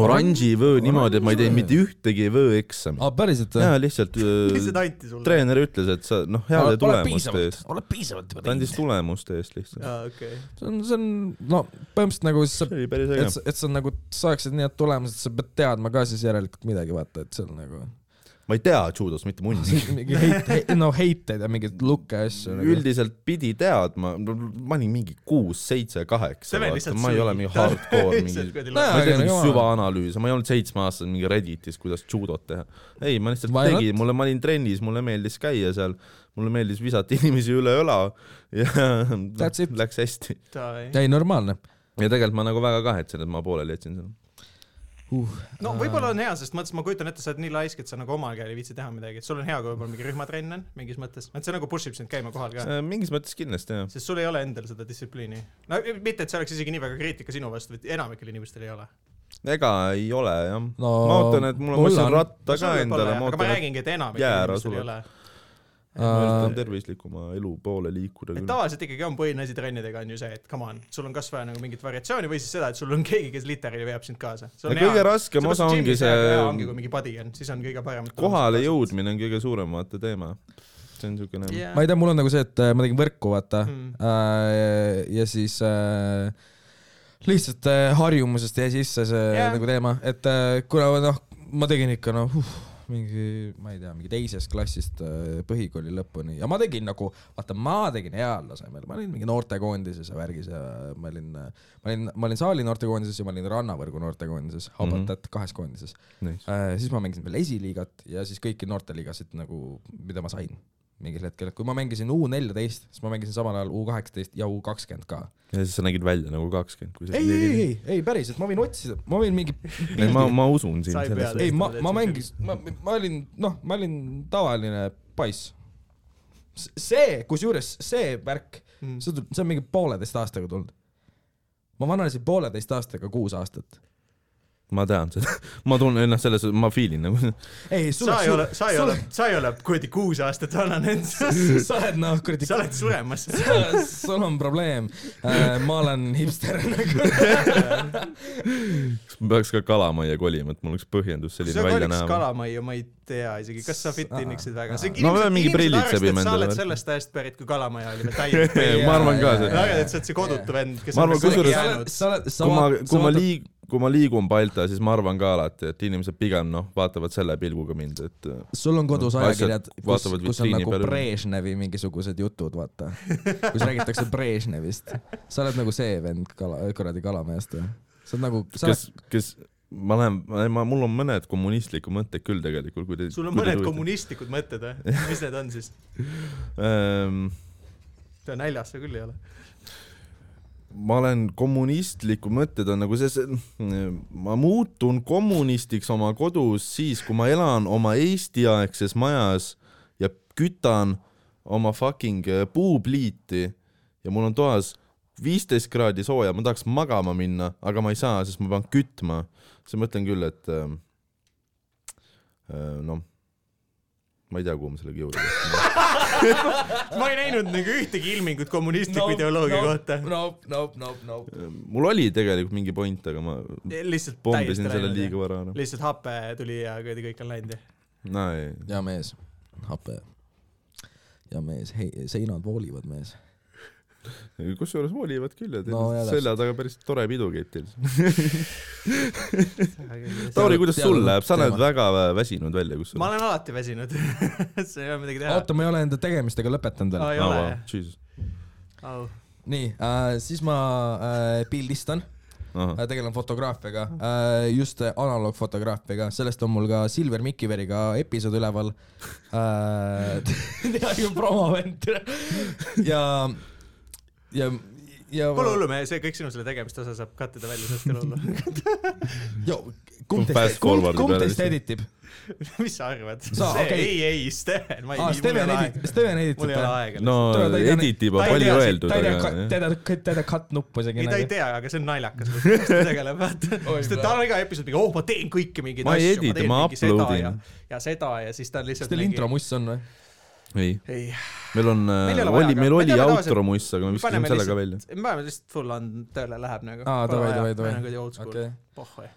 oranži vöö niimoodi , et ma ei teinud mitte
Oranži
ühtegi vööeksamit .
aa , päriselt või ?
jaa , lihtsalt öö,
lihtsalt anti sulle ?
treener ütles , et sa noh , heade tulemuste eest ,
oled piisavalt juba
ta andis tulemuste eest lihtsalt .
aa , okei .
see on , see on , no põhimõtteliselt nagu siis sa ,
see oli päris
et
äge .
sa , et sa nagu saaksid nii head tulemused , sa pead teadma ka siis järelikult midagi , vaata , et see on nagu
ma ei tea judost mitte mundi .
mingi heit- he, , no heiteid ja mingeid lukke ja asju nagu .
üldiselt pidi teadma , ma olin mingi kuus , seitse , kaheksa ,
Steven lihtsalt
ma ei ole mingi hardcore mingi ma ei
Aga
teinud
jumal.
süvaanalüüse , ma ei olnud seitsmeaastane mingi Redditis , kuidas judot teha . ei , ma lihtsalt
Why not?
tegin , mulle , ma olin trennis , mulle meeldis käia seal , mulle meeldis visata inimesi üle õla ja
That's it.
läks hästi .
lihtsalt .
ei , normaalne
ja tegelikult ma nagu väga kahetsen , et ma pooleli jätsin selle .
uh, .
no võib-olla on hea , sest mõttes ma kujutan ette , sa oled nii laisk , et sa nagu omal käel ei viitsi teha midagi , et sul on hea , kui võib-olla mingi rühmatrenn on mingis mõttes , et see nagu push ib sind käima kohal ka .
Äh, mingis mõttes kindlasti jah .
sest sul ei ole endal seda distsipliini . no mitte , et see oleks isegi nii väga kriitika sinu vastu , vaid enamikel inimestel ei ole .
ega ei ole jah no, .
no
ma ootan , et mul on , ma ostsin ratta ka endale , ma
aga ma
ootan , et
räägingi , et enamikel
jää ära
inimestel ei
sulab.
ole .
ma üritan
äh, .
tervislikuma elu poole liikuda
et
küll .
tavaliselt ikkagi on põhiline asi trennidega on ju see , et come on , sul on kas vaja nagu mingit variatsiooni või siis seda , et sul on keegi , kes literaali veab sind kaasa .
kõige raskem osa ongi
ongi ,
see
kui mingi padi on , siis on kõige parem .
kohale . jõudmine on kõige suurem vaata teema . see on siukene yeah.
ma ei tea , mul on nagu see , et äh, ma tegin võrku , vaata
Mm.
äh, . ja siis äh, lihtsalt äh, harjumusest jäi sisse see
Jaa.
yeah. nagu teema , et äh, kuna noh , ma tegin ikka noh uh, , mingi , ma ei tea , mingi teisest klassist äh, põhikooli lõpuni ja ma tegin nagu , vaata , ma tegin heal tasemel , ma olin mingi noortekoondises ja värgis ja ma olin , ma olin , ma olin saali noortekoondises ja ma olin rannavõrgu noortekoondises , Habatat mm -hmm. kahes koondises .
nice. .
Äh, siis ma mängisin veel esiliigat ja siis kõiki noorteliigasid nagu , mida ma sain mingil hetkel , kui ma mängisin U14 , siis ma mängisin samal ajal U18 ja U20 ka .
ja siis sa nägid välja nagu kakskümmend , kui sa
ei , ei , ei , ei päriselt , ma võin otsida , ma võin mingi ,
ei , ma , ma usun sind
Sai
selles
peale. .
ei ma , ma mängisin , ma , ma olin , noh , ma olin tavaline paiss . see , kusjuures see värk ,
Mm.
see on , see on mingi pooleteist aastaga tulnud . ma vananesin pooleteist aastaga kuus aastat .
ma tean seda , ma tunnen ennast selles , ma feel in nagu .
ei , sul
sa ei ole , sa ei ole , sa ei ole kuradi kuus aastat vana nüüd ,
sa oled noh , kuradi
sa oled suremas .
sul on probleem . ma olen hipster nagu .
kas ma peaks ka kalamajja kolima , et mul oleks põhjendus
sa
selline
oled
välja
üks
näha ?
kalamajja , ma ei tea isegi , kas sa fit in'iksid väga .
No me mingi prillid sebime
sa
endale
oled
värki.
sellest ajast pärit , kui kalamaja oli veel täielik .
ma arvan ka seda .
väga , et sa oled see kodutu vend , kes
Ma arvan,
on kuidagi
kusjuures-
jäänud .
sa oled , sa
kui ma
oled ,,
kui ma liig- , kui ma liigun Balta , siis ma arvan ka alati , et inimesed pigem noh , vaatavad selle pilguga mind , et
sul on kodus
Asjad
ajakirjad , kus
vaatavad ,
kus on
vitriini
nagu
peal.
Brežnevi mingisugused jutud , vaata . kus räägitakse Brežnevist . sa oled nagu see vend kala , kuradi kalamajast või ? sa oled nagu , sa oled
kes , kes , ma lähen , ma , mul on mõned kommunistlikud mõtted küll tegelikult , kui te .
sul on mõned . kommunistlikud mõtted või ? mis need on siis ?
Ehm,
ta näljas see küll ei ole .
ma olen kommunistlikud mõtted on nagu see, see , ma muutun kommunistiks oma kodus siis , kui ma elan oma Eesti-aegses majas ja kütan oma fucking äh, puupliiti ja mul on toas viisteist kraadi sooja , ma tahaks magama minna , aga ma ei saa , sest ma pean kütma . siis ma mõtlen küll , et ähm, äh, noh , ma ei tea , kuhu ma sellega jõuan .
ma ei näinud nagu ühtegi ilmingut kommunistliku
Nope,
ideoloogia
nope,
kohta .
nope , nope , nope , nope .
Äh, mul oli tegelikult mingi point , aga ma
lihtsalt
pommisin selle
läinud,
liiga
jah.
vara ära .
lihtsalt hape tuli ja kuradi kõik on läinud ja .
no ei
hea mees , hape . hea mees , hei , seinad voolivad , mees .
kusjuures voolivad küll ja teil
No
no,
jaa,
selja taga päris tore pidu käib teil . Tauri , kuidas sul
teada-
läheb , sa näed
teema.
väga väsinud välja , kus
ma olen alati väsinud . see ei ole midagi teha .
oota , ma ei ole enda tegemistega lõpetanud veel
Aa, . ei ole, jah.
jah .
au .
nii äh, , siis ma äh, pildistan
Noh.
äh, , tegelen fotograafiaga äh, , just äh, analoogfotograafiaga , sellest on mul ka Silver Mikiveriga episood üleval äh, . promovent ja , ja ,
Pole hullu , me see kõik sinu selle tegemiste osa saab kattida välja , sellest ei ole hullu .
kumb
Fast
teist , kumb
forward'i
kumb
peale
teist
lihtsalt.
editib ?
mis sa arvad ? see
Sa- okei.
ei , ei , Steven , ma ei
aa ,,
mul ei
Steven
ole
editib ,
aega ,
Steven editib
mul ei ole
või ?
aega .
no
Ta- ta ei tea-
edit juba
ta ei
palju
tea-
öeldud ,
ta ei tea ,
aga
ta
jah.
ei tea , ta ei tea cut nuppu isegi
ei , ta ei
nagu .
tea , aga see on naljakas , kuidas ta tegeleb , vaata .
Oi,
sest et tal on iga episood mingi , oh , ma teen kõiki mingeid
Ma ei
asju ,
edita,
ma teen
ma
mingi seda
uploadin.
ja , ja seda ja siis ta on
kas
lihtsalt
teil
mingi-
intro muss on või ?
ei ,
ei ,
meil on ,
Meil ei ole vaja,
oli ,
aga
meil
me
oli
teame tavaliselt-
outro muist , aga me viskasime
paneme
selle ka
lihtsalt-
välja .
me paneme lihtsalt full on , tööle läheb nagu .
Aa, davai, davai, davai.
nagu old school
okei
okay. , pohhoi .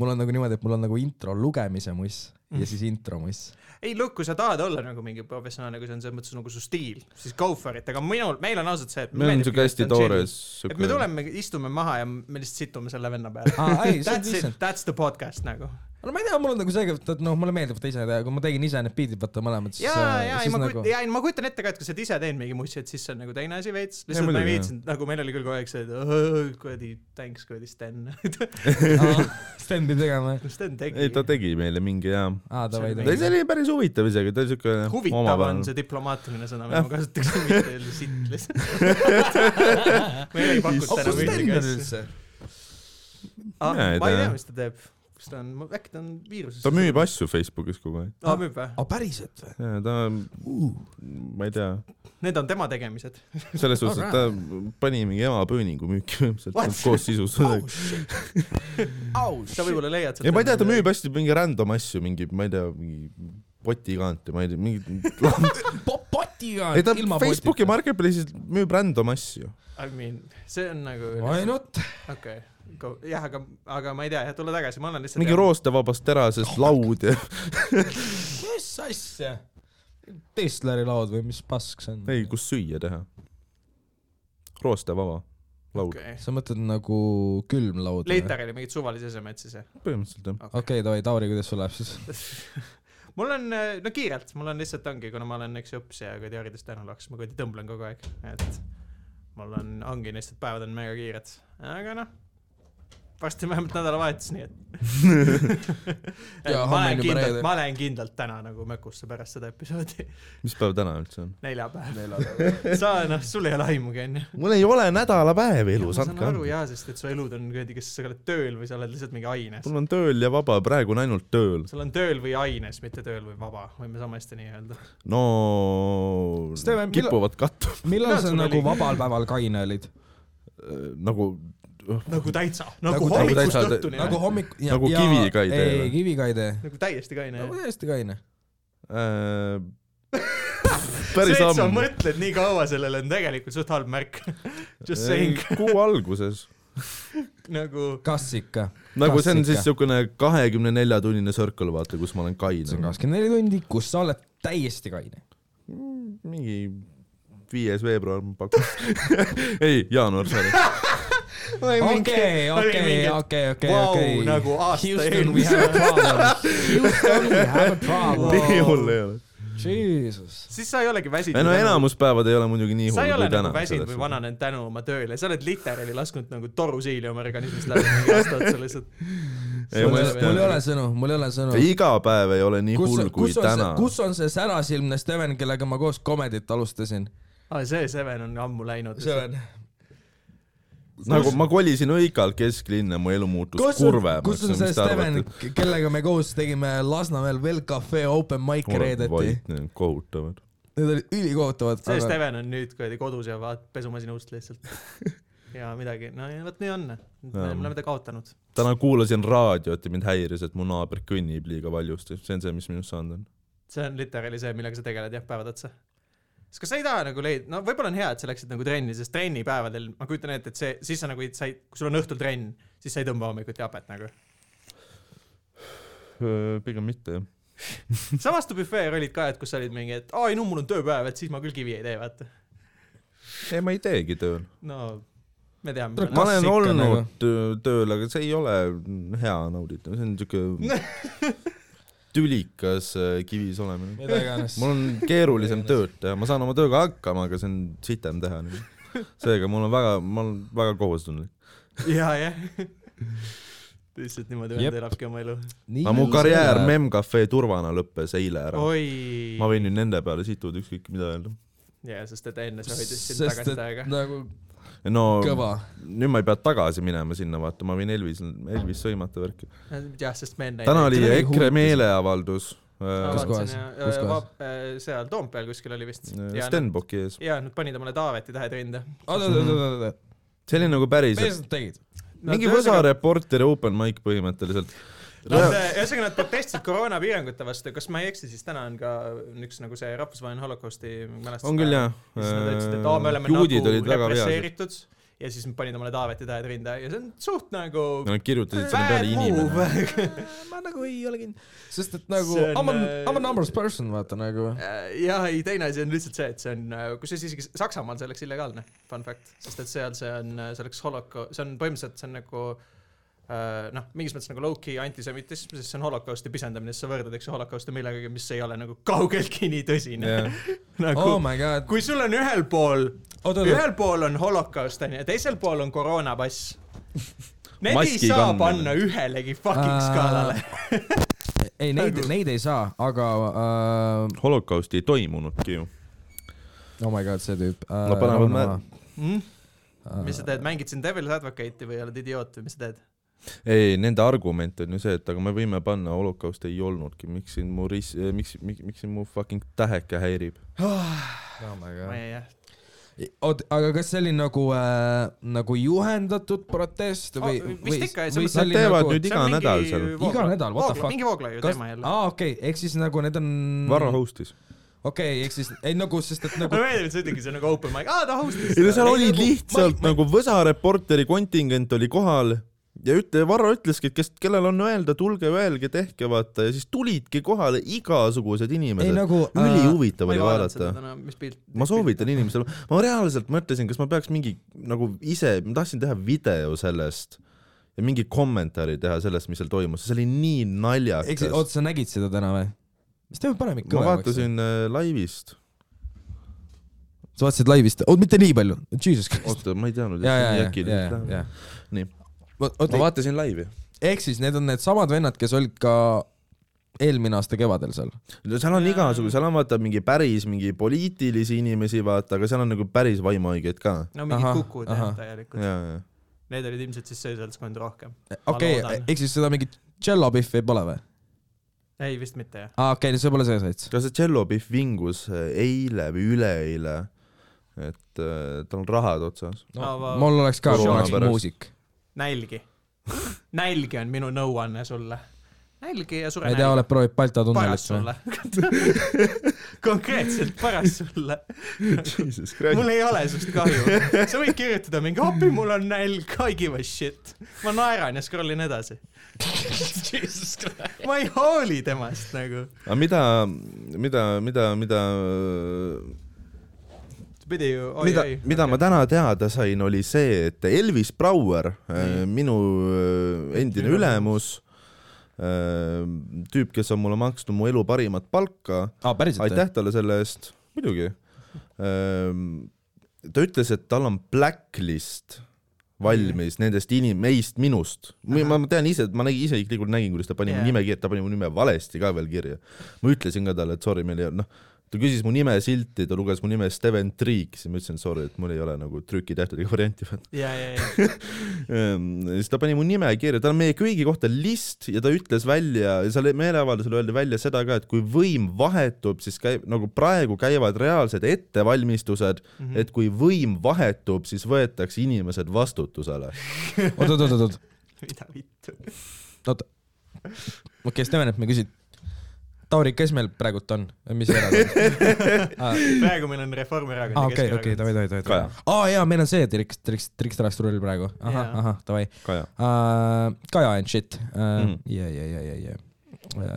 mul on nagu niimoodi , et mul on nagu intro lugemise muss ja
Mm.
siis intro muss .
ei , Luku , sa tahad olla nagu mingi professionaalne , kui see on selles mõttes nagu su stiil , siis go for it , aga minul , meil on ausalt see , et
meil on siuke hästi . toores .
et me tuleme , istume maha ja me lihtsalt situme selle venna peale .
Ah,
aa , ei , Ah, see on
That's it
lihtsalt ,,
that's the podcast nagu .
no ma ei tea , mul on nagu see , et noh , mulle meeldib seda ise teha , kui ma tegin ise need beat'id , vaata mõlemad , siis
ja , ja , ei
siis
ma
nagu
kujutan , ja ei ma kujutan ette ka , et kui sa oled ise teinud mingi mussi , et siis see on nagu teine asi veits . lihtsalt ma
muidugi,
ei
jah.
viitsinud , nagu meil oli küll kogu aeg see , et "Oh, kuradi thanks kuradi Sten .
aa, Sten pidi tegema ,
Sten
ei , ta
tegi .
tegi meile mingi jaa .
aa davai ,
See
ei ,
davai .
see oli päris huvitav isegi , ta oli siuke .
huvitav on see . diplomaatiline sõna , mida ma kasutaks , mitte öelda sitt lihtsalt . meil ei pakuta
kus
enam
Sten
ühtegi
on
asja .
üldse ?
ah, . ma
Mina ei
ei tea
tea. ,
mis ta teeb . kas ta on , äkki ta on viiruses ?
ta müüb . Ah. asju Facebookis kogu aeg .
aa , müüb või ?
aa , päriselt või ?
jaa , ta , ma ei tea ,
Need on tema tegemised .
selles suhtes , et ta pani mingi ema pööningu müüki
What?
põhimõtteliselt koos sisustusega .
sa võib-olla leiad
ei , Oh, ma ei tea , ta . müüb hästi mingi random asju , mingi , ma ei tea , mingi potikaante , ma ei tea , mingi .
potiga
ei , ta Facebooki . marketplace'is müüb random asju .
I mean , see on nagu ,
Why not ?
okei , jah , aga , aga ma ei tea , jah , tule tagasi , ma olen lihtsalt .
mingi . roostevabast terasest laud ja .
mis asja ? Tesleri laud või mis pask see on ?
ei , kus süüa teha . roostevaba laud okay. ,
okei ,
sa mõtled nagu külmlaud ?
Leiterali mingid suvalised esemed siis jah ?
põhimõtteliselt jah .
okei , davai , Tauri , kuidas sul läheb siis ?
mul on , no kiirelt , mul on lihtsalt ongi , kuna ma olen üks õppis ja kuradi haridust tänu laks , ma kuradi tõmblen kogu aeg , et mul on , ongi lihtsalt päevad on mega kiired , aga noh , varsti on vähemalt nädalavahetus , nii et
Ja
Et ma
homme on
lähen
juba
kindlalt
reede. ,
ma lähen kindlalt täna nagu mökusse pärast seda episoodi ,
mis päev täna üldse on ?
neljapäev . sa noh , sul ei ole aimugi onju .
mul ei ole nädalapäev
ma
elus ,
saan
andke
aru
andeks .
jaa , sest et su elud on kuradi , kas sa oled tööl või sa oled lihtsalt mingi aines .
mul on tööl ja vaba , praegu on ainult tööl .
sul on tööl või aines , mitte tööl või vaba , võime sama hästi nii öelda .
no
Steven, millal-
kipuvad kattuma
millal
No,
sa
sul
nagu
oli-
vabal päeval kaine olid ?
nagu ,
nagu täitsa ,
Nagu
nagu
täitsa-
hommikust
täitsa-
õhtuni .
nagu hommik .
Nagu kivi ka ei tee
ei
või? ,
kivi ka ei tee .
nagu täiesti kaine
nagu
jah .
täiesti kaine .
äh, .
see ,
päris
et sa
ammu .
mõtled nii kaua sellele , on tegelikult suht halb märk . Just saying ,
kuu alguses .
nagu
kas ikka ?
nagu
Kas
see on
ikka?
siis siukene kahekümne nelja tunnine circle , vaata , kus ma olen
see on
kaine .
kakskümmend neli tundi , kus sa oled täiesti kaine .
mingi viies veebruar ma pakun . ei , jaanuar , sorry .
okei ,
oli mingi,
okei ,
et
okei , okei ,
vau,
okei .
nagu aasta
Houston , we
eelmise-
have a problem . Houston , we have a
nii
problem .
hull ei ole .
Jesus .
siis sa ei olegi väsinud .
ei no enamus päevad ei ole muidugi nii
sa ei
hull
ole
kui
nagu
täna .
väsinud või vananenud tänu oma tööle , sa oled literaali lasknud nagu torusiili oma organismist läbi mingi aasta otsa lihtsalt .
Ei,
mul
ma
ei
just-
mul ei ole sõnu , mul ei ole sõnu .
iga päev ei ole nii
kus
hull , kui
kus on see
täna ,.
kus on see särasilmne Steven , kellega ma koos komedit alustasin ?
aa , see Seven on ammu läinud .
Steven .
nagu ma kolisin õigalt kesklinna , mu elu muutus
kus on ,
kurvemaks .
kus on see Steven , kellega me koos tegime Lasnamäel Well Cafe Open Mic'i reedeti ?
kohutavad .
Need olid ülikohutavad .
see Steven on nüüd kuradi kodus ja vaat- pesumasina ust lihtsalt ja midagi , no ja vot nii on , me
Jaa.
oleme ta kaotanud .
täna kuulasin raadiot ja mind häiris , et mu naaber kõnnib liiga valjusti , see on see , mis minust saanud on .
see on literaali see , millega sa tegeled jah , päevad otsa . sest kas sa ei taha nagu leida , no võib-olla on hea , et sa läksid nagu trenni , sest trenni päevadel ma kujutan ette , et see , siis sa nagu ei , sa ei , kui sul on õhtul trenn , siis sa ei tõmba hommikuti hapet nagu .
pigem mitte jah .
samas tuli büfee rollid ka , et kus sa olid mingi , et aa ei no mul on tööpäev , et siis ma küll kivi ei tee , vaata .
ei , ma ei teegi tööl .
no me teame
Tule- .
ma olen
ikka nagu?
olnud töö- tööl , aga see ei ole hea nauditav , see on siuke tülikas äh, kivis olemine .
mida iganes .
mul on keerulisem tööd teha , ma saan oma tööga hakkama , aga see on sitem teha . seega mul on väga , ma olen väga kohustunlik .
ja , jah lihtsalt niimoodi
Jep.
vend elabki oma elu .
aga mu karjäär . Memcafe turvana lõppes eile ära .
oi .
ma võin nüüd nende peale situda , ükskõik mida öelda .
jaa , sest et enne sa hoidsid sind
sest
tagasi
et
aega .
nagu
no
kõva .
nüüd ma ei pea tagasi minema sinna vaata , ma võin Elvis , Elvis sõimata värki .
jah , sest me enne .
täna oli
see oli
EKRE
huvikas.
meeleavaldus
Kus
äh,
kohas? Kus kohas?
äh, seal Toompeal kuskil oli vist .
Stenbocki ees .
ja nad panid omale Taaveti tähed rinda .
oota , oota , oota , oota ,
see oli nagu päriselt ,
mis nad tegid ?
mingi Võsa reporteri open mic põhimõtteliselt .
Nad , ühesõnaga nad protestisid koroonapiirangute vastu , kas ma ei eksi , siis täna on ka üks nagu see rahvusvaheline holokausti mälestus .
on küll jah .
siis äh, nad ütlesid , et aa , me oleme
juudid
nagu
olid väga vihased .
represseeritud ja siis nad panid omale Taaveti tähed rinda ja see on suht nagu
Nad kirjutasid sinna peale inimene .
Ah,
ma nagu ei ole kindel . sest et nagu
See on,
I m a , I m
äh,
a numbers person , vaata nagu .
ja ei , teine asi on lihtsalt see , et see on , kusjuures isegi Saksamaal see oleks illegaalne , fun fact , sest et seal see on , see oleks holoko- , see on põhimõtteliselt , see on nagu äh, noh , mingis mõttes nagu low-key antisemitism , sest see on holokausti pisendamine , sest sa võrdled , eks ju , holokausti millegagi , mis ei ole nagu kaugeltki nii tõsine
Jah.
nagu
Oh
oh
my god .
kui sul on ühel pool ,
oota , oota ,
ühel pool on holokaust onju ja teisel pool on koroonapass . Need ei
Maski
saa
kandmine.
panna ühelegi fucking
Aa.
skaalale . Nagu-
ei neid , neid ei saa , aga uh,
holokausti ei toimunudki ju .
oh my god , see tüüp uh,
Nad panevad mä- .
Hmm? mis sa teed , mängid siin Devil's Advocate'i või oled idioot või mis sa teed ?
ei , nende argument on ju see , et aga me võime panna holokaust ei olnudki , miks siin mu ris- , miks , miks , miks siin mu fucking täheke häirib .
oh my god
ma . ei , jah .
oot , aga kas see oli nagu äh, , nagu juhendatud protest või
Oh, ? vist
või,
ikka, selles
või
mõttes-
see
Nad
oli
teevad
nagu
nüüd iga nädal seal .
Iga nädal, what the fuck?
mingi Vooglaiu
kas ,
teema jälle .
aa okei okay, , ehk siis nagu need on .
Varro .
Mm.
host'is .
okei , ehk siis , ei nagu , sest et nagu
mulle meeldib , et sa ütledki , see on nagu open mic , aa ta host'is
ei no seal
Ei,
oli
nagu-
lihtsalt
ma- ma-
nagu Võsa reporteri kontingent oli kohal ja ütle , Varro ütleski , et kes , kellel on öelda , tulge öelge , tehke vaata ja siis tulidki kohale igasugused
ei
inimesed .
nagu
ülihuvitav
ma ei
oli
vaadanud seda
vaadata .
täna , mis pilt .
ma soovitan inimestele , ma reaalselt mõtlesin , kas ma peaks mingi nagu ise , ma tahtsin teha video sellest ja mingi kommentaari teha sellest , mis seal toimus , see oli nii
ehk siis ,
naljakas .
oota , sa nägid seda täna või ? siis teeme paneme ikka
ma . vaatasin äh, laivist ,
sa vaatasid laivist , oot mitte nii palju , jesus christ .
oota , ma ei teadnud ,
ja ,
et nii
ja , ja , ja , ja ,
äkiliselt
ja
läheb .. Nii.
oota
ma , vaatasin laivi .
ehk siis need on needsamad vennad , kes olid ka eelmine aasta kevadel seal .
no seal on
Jaa.
igasugu , seal on vaata mingi päris mingi poliitilisi inimesi , vaata , aga seal on nagu päris vaimuhaigeid ka .
no mingid
Ahah,
kukud jah
ahah.
täielikult ,
ja , ja .
need olid ilmselt siis see seltskond rohkem .
okei
loodan. ,
ehk siis seda mingit tšellopihvi pole või ?
ei vist mitte jah .
aa okei okay, , see pole see sats .
kas see tšellopihv vingus äh, eile või üleeile ? et äh, tal on rahad otsas .
No, Aa, va-
mul oleks ka , kui
Koroona
ma oleks
pärast.
muusik .
nälgi . nälgi on minu nõuanne sulle . nälgi ja
ma
sure
ei tea , oled
nälga .
proovinud Balta
paras
tunnelit või ?
sulle . konkreetselt paras sulle .
Jesus
mul . ei ole sinust kahju . sa võid kirjutada mingi appi , mul on nälg , I give a shit . ma naeran ja scroll in edasi . ma ei hooli temast nagu .
aga mida , mida , mida , mida ,
pidi ju , oi ,
mida
oi ,.
mida ma täna teada sain , oli see , et Elvis Brouer , minu äh, endine ülemus , tüüp , kes on mulle maksnud mu elu parimat palka
aa , päriselt või ?
aitäh talle selle eest , muidugi . ta ütles , et tal on blacklist valmis nendest inim- , meist , minust . ma , ma tean ise , et ma nägin , isiklikult nägin , kuidas ta pani mu
Jaa.
nime kirja , ta pani mu nime valesti ka veel kirja . ma ütlesin ka talle , et sorry , meil ei ole , noh , ta küsis mu nime silti , ta luges mu nime Steven Triik , siis ma ütlesin sorry , et mul ei ole nagu trükitähtedega varianti vaata .
ja , ja , ja ,
Ehm, siis ta pani mu nime kirja , tal on meie kõigi kohta list ja ta ütles välja , seal meeleavaldusel öeldi välja seda ka , et kui võim vahetub , siis käib nagu praegu käivad reaalsed ettevalmistused mm ,
Mhm.
-hmm. et kui võim vahetub , siis võetakse inimesed vastutusele .
oot , oot , oot , oot ,
mida vittu .
oot . okei , Steven , et ma küsin . Tauri , kes meil praegult on ? mis erakond ?
praegu meil on Reformierakond
aa , Ah. okei , okei , davai , davai , davai ,
Kaja.
davai . aa jaa , meil on see triks , triks , triks trastrull praegu . ahah
Jaa. ,
ahah , davai .
Kaja ,
Kaja and shit . Ah,
Mhm.
ja , ja , ja , ja , ja .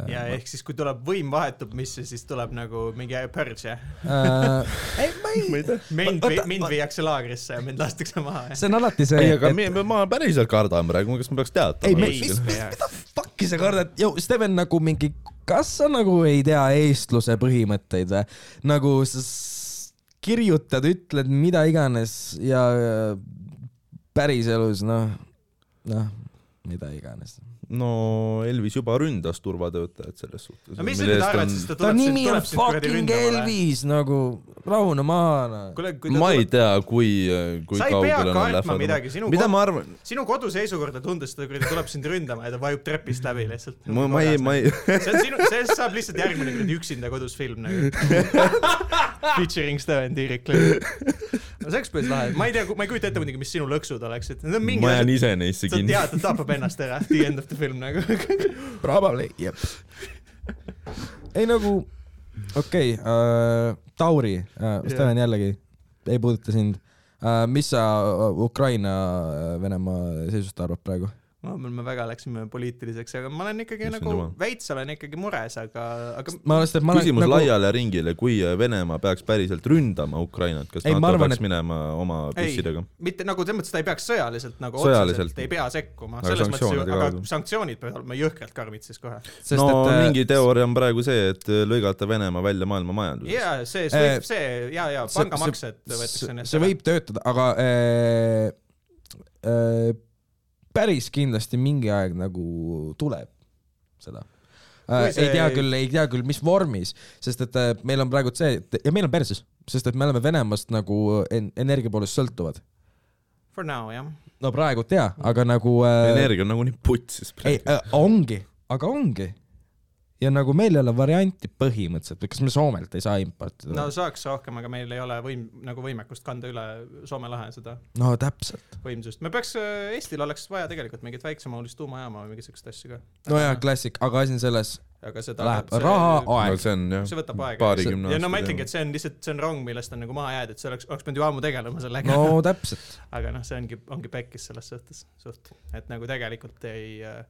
ja
Ah,
ehk siis , kui tuleb võim vahetub , mis see siis tuleb nagu mingi pörse .
ah, ei , ma ei ,
mind ,
Oota,
mind viiakse laagrisse ja mind lastakse maha .
see on alati see .
ei aga me , ma päriselt kardan praegu , kas ma peaks
ei ,
teatama ?
mis , mis , mida fuck'i sa kardad , Steven nagu mingi , kas sa nagu ei tea eestluse põhimõtteid või ? nagu sa s- kirjutad , ütled mida iganes ja äh, päriselus noh , noh , mida iganes .
no Elvis juba ründas turvatöötajat selles suhtes .
no mis sa nüüd arvad , siis ta
ta
tuleb sind ,
nimi on
tuleb sind kuradi
fucking
ründama või ?
Elvis nagu , rahune maha .
kuule , kui ta
ma ei
tuleb ,
tea , kui , kui
Sa ei pea
kaugele nad
kartma
lähevad .
midagi, sinu
mida
ko-
ma arvan ,
sinu koduseisukorda tundes ta kuradi tuleb sind ründama ja ta vajub trepist läbi lihtsalt .
ma , ma ei , ma ei ,
see on sinu , sellest saab lihtsalt järgmine kuradi üksinda kodus film nagu . Featuring Steven Tiirik . no see oleks päris lahe , ma ei tea , ma ei kujuta ette muidugi , mis sinu lõksud oleksid , need on mingid
ma jään
asjad ,
ise neisse
sa
kinni .
tead , ta tapab ennast ära , the end of the film nagu .
Probably , jep . ei nagu , okei okay, äh, , Tauri äh, , Steven jällegi ei puuduta sind äh, . mis sa äh, Ukraina-Venemaa seisust arvad praegu ?
vahepeal me väga läksime poliitiliseks , aga ma olen ikkagi
Issand
nagu
jumal. ,
veits olen ikkagi mures , aga , aga
ma arvan , et ma olen
küsimus
nagu ,
laiale ringile , kui Venemaa peaks päriselt ründama Ukrainat , kas
Ei,
NATO
ma arvan,
peaks
et-
minema oma
Ei.
püssidega ?
mitte nagu selles mõttes , ta ei peaks sõjaliselt nagu
Sõjaliselt.
otseselt ei pea sekkuma ,
Aga
selles mõttes ju ,
sanktsioonide
aga
kaudu.
sanktsioonid peavad olema jõhkralt karmid siis kohe .
sest
no
et
et,
äh,
mingi teooria on praegu see , et lõigata Venemaa välja maailma majandusest .
ja see ,
Eh,
see ja , ja
see-
pangamaksed võetakse
see,
neist
see võib töötada , aga äh, äh, päris kindlasti mingi aeg nagu tuleb seda .
Kui
Äh, see...
see-
ei tea küll , ei tea küll , mis vormis , sest et äh, meil on praegu see et- ja meil on perses , sest et me oleme Venemaast nagu en energia poolest sõltuvad .
For now jah .
no praegu tea , aga nagu äh,
energia on nagunii putsis
ei
praegu .
äh, , ongi , aga ongi . ja nagu meil ei ole varianti põhimõtteliselt , kas me Soomelt ei saa importida
no
no, ?
saaks rohkem , aga meil ei ole võim- , nagu võimekust kanda üle Soome lahe seda
no täpselt .
võimsust . me peaks , Eestil oleks vaja tegelikult mingit väiksemahulist tuumajaama või mingit siukest asja ka .
no jaa ,. klassik , aga asi on selles ,
aga seda
läheb raha ,
no
aeg .
see on jah
see , võtab aega .
paarikümne
ja no ma ütlengi , et see on lihtsalt , see on rong , millest on nagu maha jäädud , see oleks , oleks pidanud ju ammu tegelema sellega
no täpselt .
aga noh , see ongi , ongi pekkis selles suhtes suht , et nagu tegelikult ei äh, ,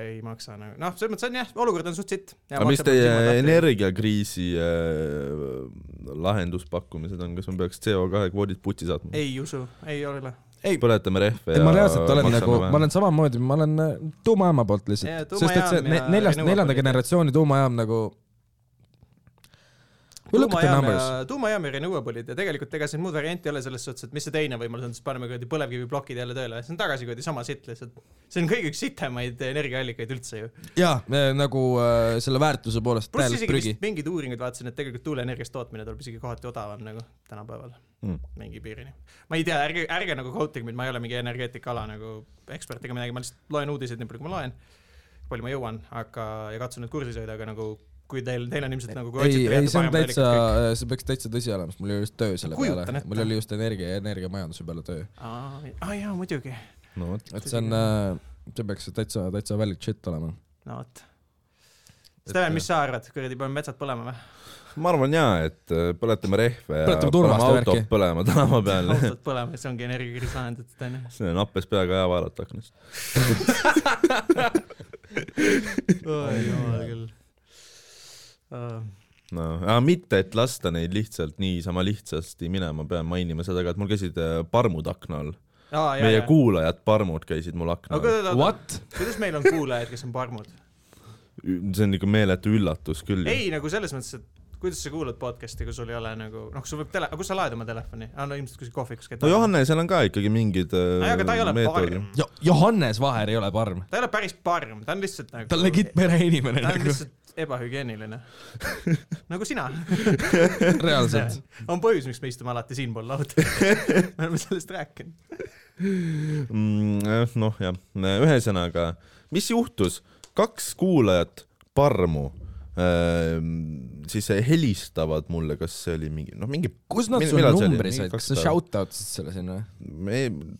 ei maksa nagu , noh , selles mõttes on jah , olukord on suht sitt .
aga mis teie ? energiakriisi äh, lahenduspakkumised on , kas me peaks CO2 kvoodid putsi saatma ?
ei usu , ei ole .
põletame rehve
ei
ja
ma reaalselt olen
maksame
nagu ,
vähem.
ma olen samamoodi , ma olen äh, tuumajaama poolt
Jaa,
lihtsalt , sest et
tuumajaam
see ne-
ja
neljas ,
Renova
neljanda
poliitika.
generatsiooni tuumajaam nagu . We look at the
tuumajaam ja
numbers ,,
tuumajaam ja renewable'id ja tegelikult ega siin muud varianti ei ole selles suhtes , et mis see teine võimalus on , siis paneme kuradi põlevkiviplokid jälle tööle , see on tagasi kuradi sama sitt lihtsalt . see on kõige üks sitemaid energiaallikaid üldse ju .
jaa , nagu äh, selle väärtuse poolest
pluss
täielik
isegi
prügi .
vist mingeid uuringuid vaatasin , et tegelikult tuuleenergiast tootmine tuleb isegi kohati odavam nagu tänapäeval
Mm.
mm. mingi piirini . ma ei tea , ärge , ärge nagu quote ige mind , ma ei ole mingi energeetikaala nagu ekspert ega midagi , ma lihtsalt loen uudiseid nii palju , kui ma loen . palju ma jõuan , aga , ja katsun nüüd kursis hoida , aga nagu kui teil , teil on ilmselt nagu .
ei , ei see on täitsa , see peaks täitsa tõsi olema , sest mul oli just töö selle
Kujutan
peale
ette. ,
mul oli just energia , energiamajanduse peale töö .
aa ah, jaa , muidugi ,
no vot ,
et see on , see peaks täitsa , täitsa valid shit olema .
no vot . Steven ,
äh,
mis sa arvad , kuradi , paneme metsad põlema või ?
ma arvan jaa , et äh, põletame rehve ja
Põletame turvast ja
autot
värki.
põlema tänava peal
autod põlema , see ongi energiakriis lahendatud , onju .
see nappes peaga ja vaadata aknast .
oi jumal küll uh, .
no , aga mitte , et lasta neid lihtsalt niisama lihtsasti minema , pean mainima seda ka , et mul käisid äh, parmud akna all .
Ah,
meie ja. kuulajad parmud käisid mul akna all .
aga oota ,
What ?
kuidas meil on kuulajad , kes on parmud ?
see on ikka meeletu üllatus küll .
ei , nagu selles mõttes , et kuidas sa kuulad podcast'i , kui sul ei ole nagu , noh , sul võib tele- , aga kus sa laed oma telefoni ? aa , no ilmselt kuskil kohvikus käid .
no . Johannesel on ka ikkagi mingid äh,
nojah , aga ta ei ole parm .
Johannes Vaher ei ole parm .
ta ei ole päris parm , ta on lihtsalt nagu .
ta on legit pereinimene
ta on
nagu ,
lihtsalt ebahügieeniline . nagu sina .
reaalselt .
on põhjus , miks me istume alati siinpool lauda . me oleme sellest rääkinud .
mm, . noh jah , ühesõnaga , mis juhtus , kaks kuulajat parmu ähm, siis helistavad mulle , kas see oli mingi , noh mingi ,
kus nad
Mil-
sul
millal see oli?
numbri
Mingi
said ,
kaks
kas sa
päeva.
shout-out'isid selle sinna ?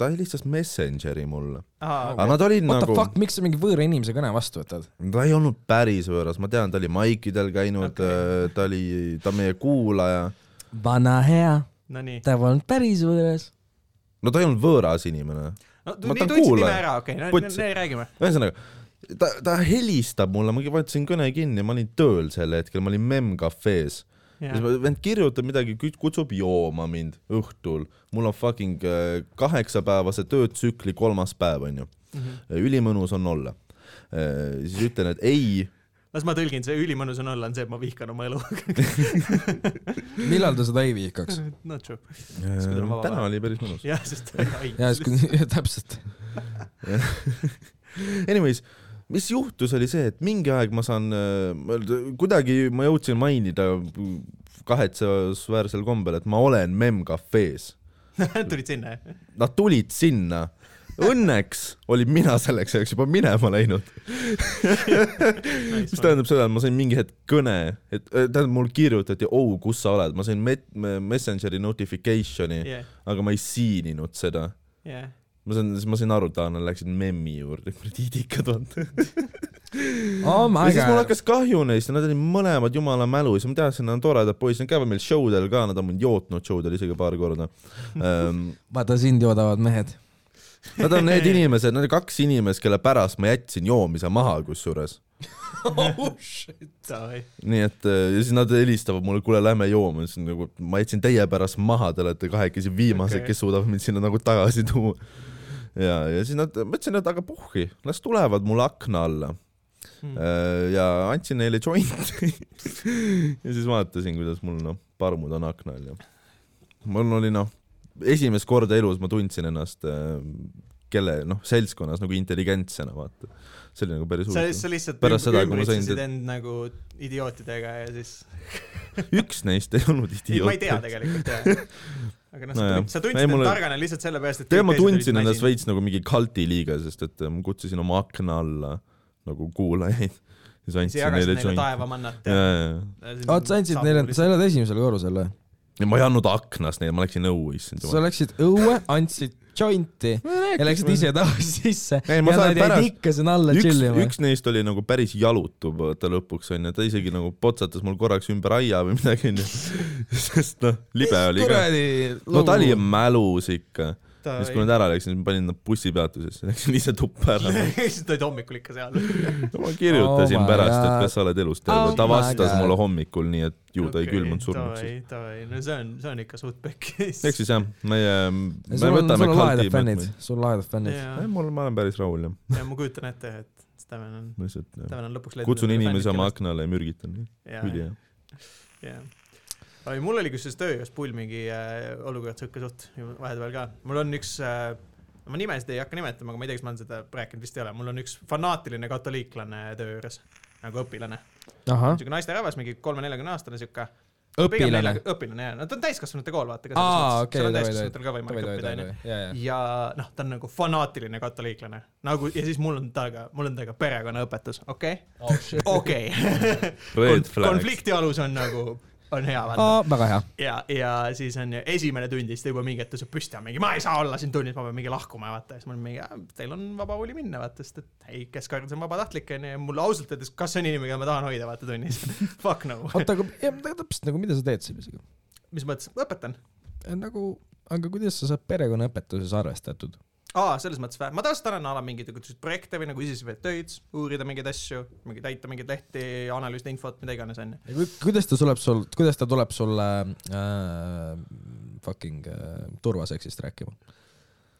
ta helistas Messengeri mulle .
aa ,
aga nad olid
What the
nagu ,
fuck , miks sa mingi võõra inimese kõne vastu võtad ?
ta ei olnud päris võõras , ma tean , ta oli maikidel käinud
Okei.
okay. , ta oli , ta on meie kuulaja .
vana hea ,
nonii .
ta polnud päris võõras .
no ta ei olnud võõras inimene . Ma
no nii
tahan
tundsid nime
kuulaja.
ära , okei , no
Putsi.
nii räägime .
ühesõnaga , ta , ta helistab mulle , ma võtsin kõne kinni , ma olin tööl sel hetkel , ma olin Mem Cafe's ja siis ma- vend kirjutab midagi , kutsub jooma mind õhtul , mul on fucking äh, kaheksapäevase töötsükli kolmas päev onju ,
Mhm.
ülimõnus on olla . siis ütlen , et ei ,
las ma tõlgin , see ülimõnus on olla , on see , et ma vihkan oma elu .
millal ta seda ei vihkaks ?
Not true . kui tal on
Äh,
vaba
täna
päev.
oli päris mõnus .
jah , sest .
ja siis , kui , täpselt .
Anyways , mis juhtus , oli see , et mingi aeg ma saan , kuidagi ma jõudsin mainida kahetsusväärsel kombel , et ma olen Mem Cafe's .
tulid sinna , jah ?
Nad tulid sinna . Õnneks olin mina selleks ajaks juba minema läinud , mis tähendab seda , et ma sain mingi hetk kõne , et äh, tähendab , mul kirjutati , oh , kus sa oled , ma sain met- , Messengeri notification'i ,
jah ,
aga ma ei siininud seda .
jah .
ma sain , siis ma sain aru , et aa , nad läksid memmi juurde , kuradi idikad on .
oh my
ja siis mul
god .
hakkas kahju neist ja nad olid mõlemad jumala mälus ja ma teadsin , nad on toredad poisid , nad käivad meil show del ka , nad on mind jootnud show del isegi paar korda um, .
vaata sind joodavad mehed .
Nad on need inimesed , need on kaks inimest , kelle pärast ma jätsin joomise maha kusjuures . Oh,
Davai .
nii et äh, ja siis nad helistavad mulle , kuule , lähme joome , siis nagu ma jätsin teie pärast maha , te olete kahekesi viimased
Okei.
okay. , kes suudavad mind sinna nagu tagasi tuua . ja , ja siis nad , ma ütlesin , et aga puhki , las tulevad mulle akna alla
Hmm.
hmm. . ja andsin neile jointi . ja siis vaatasin , kuidas mul noh , parmud on akna all ja mul oli noh , esimest korda elus ma tundsin ennast äh, kelle noh , seltskonnas nagu intelligentsena , vaata . see oli nagu päris
sa ,
huvitav .
sa lihtsalt
Pärast seda, kui ma sain
ümbritsesid
tead-
end nagu idiootidega ja siis ,
üks neist ei olnud
ei
idioot .
ma ei tea tegelikult jah . aga noh , sa
Nojah.
tundsid , sa tundsid
Ei,
end
mul-
targana lihtsalt sellepärast , et
tead , ma tundsin ennast veits nagu mingi kaldi liiga , sest et äh, ma kutsusin oma akna alla nagu kuulajaid . siis
siis
andsin
jagasid
neile
neile
jointi .
taevamannat
ja , ja , ja .
oot , sa andsid neile , sa elad esimesel korrusel või ?
ja ma ei andnud aknast neile , ma läksin õue , issand
sa
jumal .
läksid õue , andsid jointi ja läksid ise tagasi sisse .
Ei,
ja
ma saan
nad jäid
pärast-
ikka sinna alla
üks ,
tšillima .
üks neist oli nagu päris jalutu vaata lõpuks onju , ta isegi nagu potsatas mul korraks ümber aia või midagi onju . sest noh , libe oli ka . no ta oli mälus ikka . siis kui nad ära läksid , siis ma panin nad bussipeatusesse , läksin ise tuppa ära .
siis ta olid hommikul ikka seal .
ma kirjutasin oh
Oh my
pärast , et
God.
kas sa oled elus
Oh
terve , ta
my
vastas
God.
mulle hommikul , nii et ju ta ei külmunud surnuks .
davai , davai , no see on , see on ikka suht pekkis .
ehk siis jah , meie , me
sul on ,
võtame
sul on lahedad fännid
meetmeid .,
sul on lahedad fännid .
ei ,
ja ,
mul , ma olen päris rahul jah ,
ja ma kujutan ette , et Steven on ,
lihtsalt jah.
Steven on lõpuks
kutsun inimesi oma akna alla ja mürgitan ,
akna .
ülihea .
jah . ei , mul oli kusjuures töö juures pull mingi äh, olukord siuke suht vahepeal ka , mul on üks äh, , ma nimesid ei hakka nimetama , aga ma ei tea , kas ma olen seda rääkinud , vist ei ole , mul on üks fanaatiline katoliiklane töö juures nagu õpilane ,
ahah ,
siuke naisterahvas , mingi kolme-neljakümne aastane siuke .
Ah? õpilane .
õpilane jah , no ta on täiskasvanute kool , vaata .
Aa, okei,
seal on
davai,
täiskasvanutel ka võimalik õppida , onju .
onju .
ja noh , ta on nagu fanaatiline katoliiklane , nagu ja siis mul on taga , mul on taga perekonnaõpetus , okei ,
Oh,
okei .
Red flags .
konflikti alus on nagu , on hea vaata .
väga hea .
ja , ja siis on ju esimene tund ja siis ta juba mingi hetk tõuseb püsti ja mingi , ma ei saa olla siin tunnis , ma pean mingi lahkuma ja vaata , siis ma olin mingi , teil on vaba voli minna vaata , sest et ei , keskkord on vabatahtlik onju ja mul ausalt öeldes , kas see on inimene , keda ma tahan hoida vaata tunnis ? Fuck no .
oota , aga ja, aga täpselt nagu , mida sa teed sellisega ?
mis mõttes , õpetan .
nagu , aga kuidas sa saad perekonnaõpetuses arvestatud ?
aa , selles mõttes vä , ma tavaliselt annan ala mingeid niisuguseid projekte või nagu iseseisvaid töid , uurida mingeid asju , mingi täita mingeid lehti , analüüsida infot , mida iganes onju .
kuidas ta tuleb sul , kuidas ta tuleb sulle äh, fucking äh, turvaseksist rääkima ?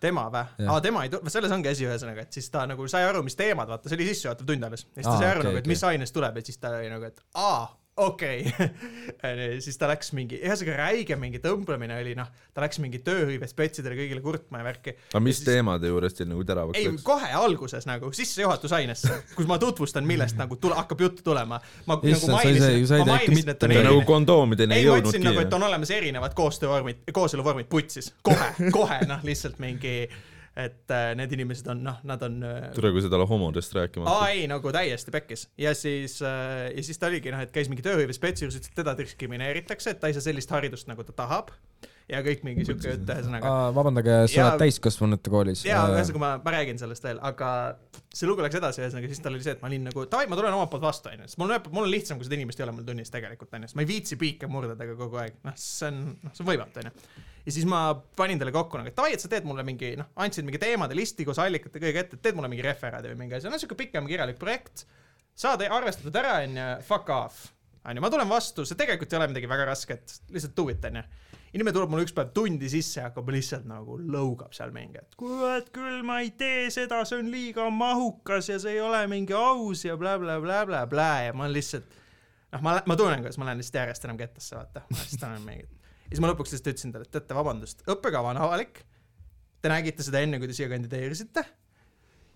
tema vä
Jah. ?
aa , tema ei tule , selles ongi asi , ühesõnaga , et siis ta nagu sai aru , mis teemad , vaata , see oli sissejuhatav tund alles . ja siis ta
Aa,
sai aru
okei,
nagu , et
okei.
mis aines tuleb ja siis ta oli nagu , et aa , okei okay. . siis ta läks mingi , ühesõnaga räige mingi tõmblemine oli noh , ta läks mingi tööhõivespetsidele kõigile kurtma ja värki .
aga mis
Ja siis-
teemade juures teil nagu teravaks
ei ,
läks ?
kohe alguses nagu sissejuhatusainesse , kus ma tutvustan , millest nagu tule, hakkab juttu tulema . ma
Issand,
nagu
sa ei- sa ei-
mainisin ,
sa ei
ma
tea ikka
mainisin , et
mitte
on
Te
midagi.
nagu
erinev
kondoomiteni
ei ,
ei
ma ütlesin nagu , et
jõudnudki .
on olemas erinevad koostöövormid , kooseluvormid putsis , kohe , kohe noh , lihtsalt mingi , et äh, need inimesed on noh , nad on äh,
tule , kui sa talle homodest rääkima
aa
hakkad .
ei , nagu täiesti pekkis ja siis äh, , ja siis ta oligi noh , et käis mingi tööhõivespets juures , ütles , et teda diskrimineeritakse , et ta ei saa sellist haridust , nagu ta tahab ja kõik mingi siuke , et ühesõnaga .
vabandage , sa
Jaa.
oled täiskasvanute koolis . Äh,
ja ühesõnaga ma , ma räägin sellest veel , aga see lugu läks edasi , ühesõnaga siis tal oli see , et ma olin nagu davai , ma tulen omalt poolt vastu onju , sest mul on ühelt poolt , mul on lihtsam , kui seda inimest ei ole mul tunnis tegelikult onju , sest ma ei viitsi piike murdadega kogu aeg , noh , see on , noh , see on võimatu onju . ja siis ma panin talle kokku nagu , et davai , et sa teed mulle mingi noh , andsid mingi teemade listi koos allikate kõigega ette , et teed mulle mingi referaadi või mingi asja , no siuke pikem kirjalik projekt , saad arvestatud ära onju , fuck off onju , ma tulen vastu , see tegelikult ei ole midagi väga rasket , lihtsalt do it onju . inimene tuleb mulle üks päev tundi sisse ja hakkab lihtsalt nagu lõugab seal mingi , et kurat küll ma ei tee seda , see on liiga mahukas ja see ei ole mingi aus ja blä-blä-blä-blä-blä ja ma olen lihtsalt . noh , ma , ma tunnen , kuidas ma lähen lihtsalt järjest enam kettasse , vaata , ma lihtsalt olen mingi . ja siis ma lõpuks lihtsalt ütlesin talle , et teate , vabandust , õppekava on avalik . Te nägite seda enne , kui te siia kandideerisite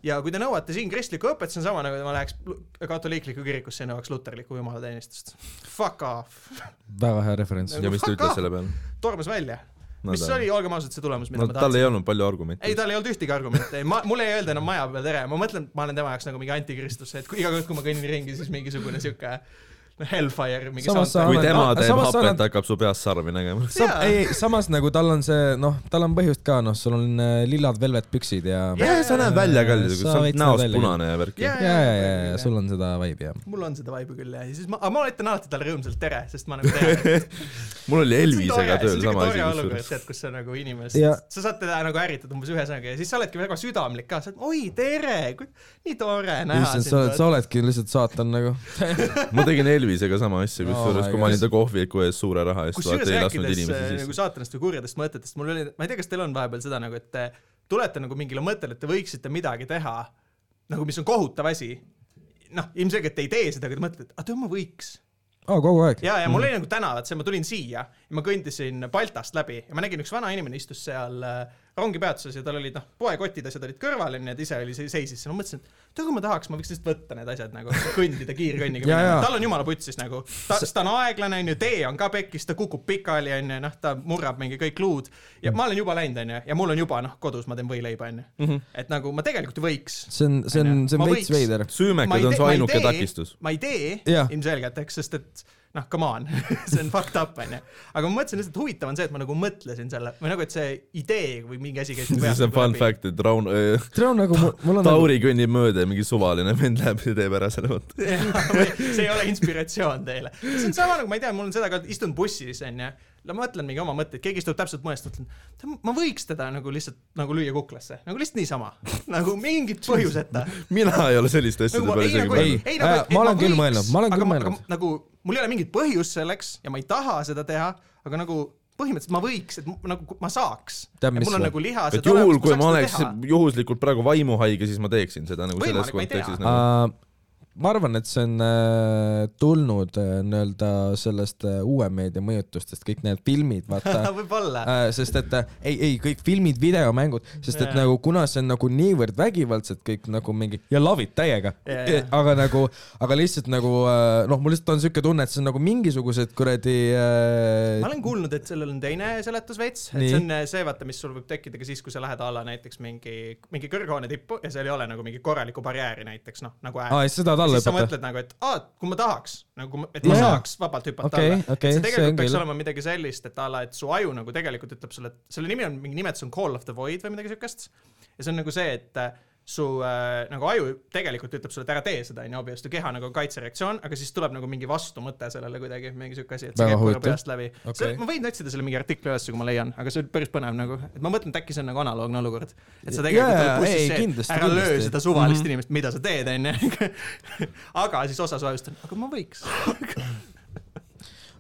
ja kui te nõuate siin kristlikku õpet , see on sama nagu ma läheks lu- katoliiklikku kirikusse ja nõuaks luterlikku jumalateenistust . Fuck off ,
väga hea referents .
ja mis ta
Fuck
ütles
off!
selle peale ?
tormas välja . mis see oli , olgem ausad , see tulemus ,
no
mida no, ma
tal
tahtsin .
ei olnud palju argumente
ei ,. tal ei olnud ühtegi argumenti , ma , mulle ei öelda enam maja peal tere , ma mõtlen , ma olen tema jaoks nagu mingi antikristus , et kui iga kord , kui ma kõnnin ringi , siis mingisugune siuke noh , Hellfire , mingi
Samas
soundtrack.
kui
Aga-
tema
aga
teeb
samas sa
hapet
oled- ,
hakkab su peas sarvi nägema .
Sa- ,
Jaa.
ei , samas nagu tal on see , noh , tal on põhjust ka , noh , sul on äh, lillad velvet püksid ja
Jaa,
jah , sa näed välja ka ,
Sa
sa
veits
oled näost
näed välja.
punane ja värk .
Jaa,
ja , ja , ja , ja sul on seda vibe'i jah .
mul on seda vibe'i küll jah , ja siis ma , aga ma ütlen alati talle rõõmsalt tere , sest ma nagu tean ,
mul oli
See on tore-
Elvisega
see on
tööl
siuke
sama
tore
asi
olukord ,
kusjuures .
tead , kus sa nagu inimest
Ja- ,
sa saad teda nagu ärritada umbes ühe sõnaga ja siis sa oledki väga südamlik ka , sa oled oi tere , nii tore näha
issand , sa oled , sa oledki lihtsalt saatan nagu .
ma tegin Elvisega sama asja , kusjuures
Oh my
kui ma olin
God.
ta kohviku ees suure raha eest ,
kusjuures
vaata ei lasknud
rääkides äh,
inimesi
nagu
sisse .
saatanast või kurjadest mõtetest , mul oli , ma ei tea , kas teil on vahepeal seda nagu , et äh, tulete nagu mingile mõttele , et te võiksite midagi teha , nagu mis on kohutav asi . noh , ilmselgelt te ei tee seda , aga te mõtlete , et aga tead, ma võiks
aa , kogu aeg . Mm.
ja , ja mul oli nagu tänavat , see , ma tulin siia ja ma kõndisin Baltast läbi ja ma nägin , üks vanainimene istus seal äh, rongipeatuses ja tal olid noh , poekotid , asjad olid kõrval onju , ta ise oli , seisis seal , ma mõtlesin , et tead , kui ma tahaks , ma võiks lihtsalt võtta need asjad nagu , kõndida kiirkõnniga
Ja,
minema.
ja.
tal on jumala putsis nagu , ta , ta on aeglane onju , tee on ka pekkis , ta kukub pikali onju , noh , ta murrab mingi kõik luud ja ma olen juba läinud onju ja mul on juba noh , kodus ma teen võileiba onju , et nagu ma tegelikult ju võiks
see on , see on , see
Ma
on veits
võiks.
veider .
Ma ei
süümekad on
tee-
su
ma ei
ainuke
tee-
takistus .
ma ei tee
Jah.
ilmselgelt , eks , sest et noh , come on , see on fucked up , onju . aga ma mõtlesin lihtsalt , huvitav on see , et ma nagu mõtlesin selle või nagu , et see idee või mingi asi käis nagu mu
see on fun . fact , et Raun ,
see on nagu , mul on nagu ,
Tauri kõnnib mööda ja mingi suvaline vend läheb ja teeb ära selle vot .
see ei ole inspiratsioon teile . see on sama nagu , ma ei tea , mul on seda ka , istun bussis , onju . no ma mõtlen mingi oma mõtteid , keegi istub täpselt mõnes , mõtlen , ma võiks teda nagu lihtsalt nagu lüüa kuklasse , nagu lihtsalt niisama , nagu mingit põhjuseta .
mina ei ole selliste asjade
nagu
peale
ei ,
isegi mõelnud
nagu ei ei
mõelnud. , Äh,
nagu ,
ma olen küll mõelnud, ma olen küll mõelnud.
nagu mul ei ole mingit põhjust selleks ja ma ei taha seda teha , aga nagu põhimõtteliselt ma võiks , et mu- nagu ma saaks .
Tead, mis
mul on
või?
nagu lihased
et juhul , kui ma oleks
olemas, saaks seda teha.
juhuslikult praegu vaimuhaige , siis ma teeksin seda nagu selles
Võimalik, ma ei tea.
kontekstis nagu .
ma arvan , et see on äh, tulnud äh, nii-öelda sellest äh, uue meedia mõjutustest , kõik need filmid , vaata
võib-olla ,
Äh, sest et äh, ei , ei kõik filmid , videomängud , sest et
Jaa.
nagu kuna see on nagu niivõrd vägivaldselt kõik nagu mingi ja love it täiega
Jaa, jaa.
aga nagu , aga lihtsalt nagu äh, noh , mul lihtsalt on siuke tunne , et see on nagu mingisugused kuradi
ma
äh,
olen kuulnud , et sellel on teine seletus veits , et
Nii.
see on äh, see , vaata , mis sul võib tekkida ka siis , kui sa lähed alla näiteks mingi , mingi kõrghoone tippu ja seal ei ole nagu mingi korralikku barjääri näiteks noh , nagu
aa , seda talle
siis sa
õpeta .
mõtled nagu , et aa , kui ma tahaks , nagu ma- et ma
Jaa.
saaks vabalt hüpata
Okei,
alla
okei,
et see
see on
tegelikult peaks
küll.
olema midagi sellist , et a la , et su aju nagu tegelikult ütleb sulle , et selle nimi on mingi nimetus on Call of the Void või midagi siukest . ja see on nagu see , et äh, su äh, nagu aju tegelikult ütleb sulle , et ära tee seda , onju , obvious , keha nagu kaitsereaktsioon , aga siis tuleb nagu mingi vastumõte sellele kuidagi , mingi siuke asi , et see
Väga
käib korra
huvitav.
peast läbi
Okei.
okay. . ma võin otsida selle mingi artikli ülesse , kui ma leian , aga see on päris põnev nagu , et ma mõtlen , et äkki see on nagu analoogne olukord . et sa tegelikult oled
Jaa, jaa, ei,
bussis see ,
kindlasti,
et ära löö
kindlasti. Mhm.
seda suvalist mm -hmm. inimest , mida sa teed , onju . aga siis osa su ajust on , aga ma võiks .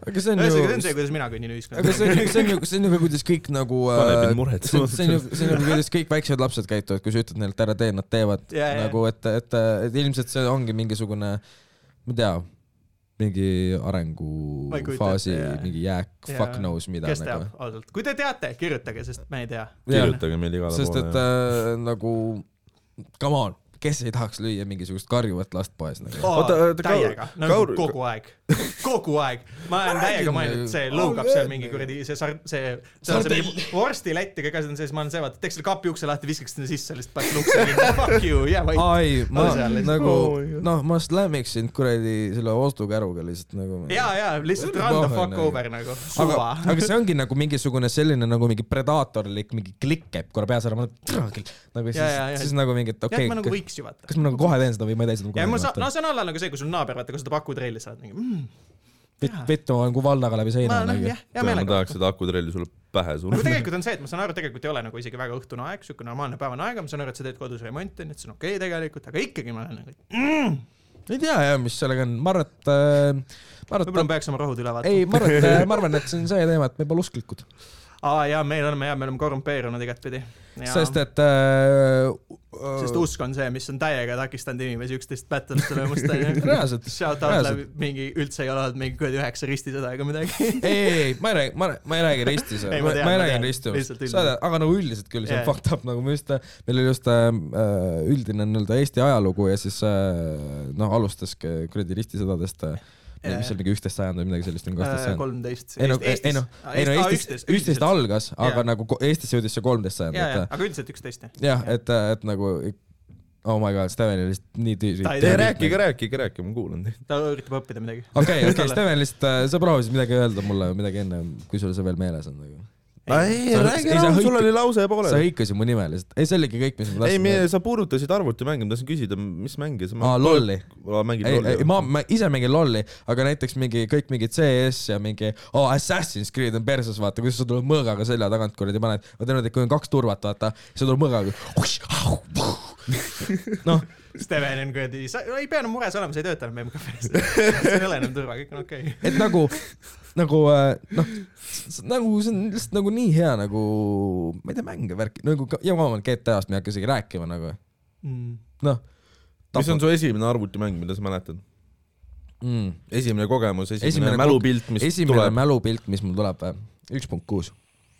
aga see on
ühesõnaga , see on see ,
ju ,
kuidas mina kõnnin ühiskonda .
aga see on ju , see on ju , see on ju ka , kuidas kõik nagu
paneb
äh,
mind
see
muretsema
on , see on ju , see on ju , kuidas kõik väiksed lapsed käituvad , kui sa ütled neile , et ära tee , nad teevad
Jaa, jaa.
nagu , et , et , et ilmselt see ongi mingisugune , ma ei tea , mingi
Ma ei kujuta
arengufaasi
ette, jaa.
mingi jääk , fuck knows mida
kes teab
nagu .,
ausalt , kui te teate , kirjutage , sest me ei tea .
Jaa.
kirjutage meile igale
sest et
poole .
äh, nagu come on , kes ei tahaks lüüa mingisugust karjuvat last poes nagu .
Oota, oota, Kaur-
täiega , nagu
Kaur-
kogu aeg , kogu aeg . ma olen täiega mõelnud , see lõugab seal mingi kuradi see sar- , see , see on see mingi vorstilättiga ka , see on see , siis ma olen see , vaata , teeks selle kapi ukse lahti , viskaks sinna sisse lihtsalt , paneks lukse kinni , fuck you , jää vait .
ai , ma
Ole seal lihtsalt.
nagu
Oh my God. ,
noh , ma slammiks sind kuradi selle ostukäruga lihtsalt nagu .
ja , ja lihtsalt
Tundub
run the
vahel
fuck
nagu.
over nagu ,
aga
suva .,
aga see ongi nagu mingisugune selline nagu mingi predaatorlik mingi klikk käib korra peas ära , ma mõtlen , küll . nagu
Ja, ja, ja.
siis , siis nagu mingi , et
jah ,
okei
ma nagu
okay, ,
võiks ju vaata .
kas ma nagu kohe teen seda või ma ei tee seda
ja mul saab ,
kunagi
no . see on alla nagu see , kui sul naaber , vaata , kui sa pakud reili saad , mingi mm, jaa.
vittu , ma olen kui Valdaga läbi seina
ma noh ,
nagu .
jah , hea
ma
meelega .
tahaks seda akutrelli sulle pähe
nagu
suruda .
tegelikult on see , et ma saan aru , tegelikult ei ole nagu isegi väga õhtune aeg , siuke normaalne päevane aeg , ma saan aru , et sa teed kodus remonti , nii et see on okei okay tegelikult , aga ikkagi ma olen nagu , et
ei tea jah , mis sellega on , ma arvan , et äh, ,
võib-olla
ma arvan ,
ma peaks oma rohud üle
et
vaatama .
ei , ma arvan , et ma arvan , et see on see teema , et me pole usklikud ,
aa jaa , meil oleme jaa , me oleme korrumpeerunud igatpidi .
sest et äh,
sest usk on see , mis on täiega takistanud inimesi üksteist battle tulemust onju .
reaalselt ,
Shout out
Reaalselt.
läbi mingi , üldse ei ole olnud mingi kuradi üheksa ristisõda ega midagi .
ei , ei , ei , ma ei räägi , ma , ma ei räägi ristis , ma
Ei, ma tean,
ma ei
ma
räägi
tean.
ristimist
Lihtsalt , üldiselt.
saad , aga nagu üldiselt küll , see on
Jaa.
fucked up nagu me just , meil oli just äh, äh, üldine nii-öelda Eesti ajalugu ja siis äh, noh , alustaski kuradi ristisõdadest , äh,
Jaa, Äh,
mis
jaa.
oli mingi üksteist sajand või midagi sellist , nagu kaksteist sajand .
kolmteist .
ei no , ei noh , ei no Eestis , üksteist algas , aga
Jaa.
nagu ko- Eestisse jõudis see kolmteist sajand ,
ja , ja ,
et
aga üldiselt üksteist jah .
jah , et , et nagu oh my god , Steven oli lihtsalt nii tüüri .
Ta ei
Te
tea.
rääkige , rääkige , rääkige , ma kuulan teid .
ta üritab õppida midagi .
okei , okei , Steven lihtsalt , sa proovisid midagi öelda mulle või midagi enne , kui sul see veel meeles on nagu .
ei
Sa- ,
räägi
ei, sa
rahu , sul
hõik-
oli lause
sa
pooleli .
hõikasid mu nime lihtsalt , ei see oligi kõik , mis ma
ei ,
tahtsin
me , sa puudutasid arvutimänge , ma tahtsin küsida , mis mänge sa
aa , lolli .
mängid
ei , ei ,
lolli ?
ma , ma ise mängin lolli , aga näiteks mingi kõik mingi CS ja mingi oh, Assassin's Creed on perses , vaata , kuidas sa tuled mõõgaga selja tagant kuradi paned . ma tean , et kui on kaks turvat , vaata , siis sa tuled mõõgaga . noh ,
Steven on kuradi , sa ei pea enam mures olema , sa ei tööta enam MKF-is . see ei ole enam turva , kõik on okei okay. .
et nagu , nagu äh, noh , nagu see on lihtsalt nagu nii hea nagu , ma ei tea , mänge värki , nagu ka- ja ma arvan , GTA-st ma ei hakka isegi rääkima nagu ,
Mm.
noh .
mis on su esimene arvutimäng , mida sa mäletad ?
mm. ?
esimene kogemus , esimene,
Esimene
esimene
ko-
mälupilt , mis
esimene tuleb.
tuleb .
mälupilt , mis mul tuleb , üks punkt kuus ,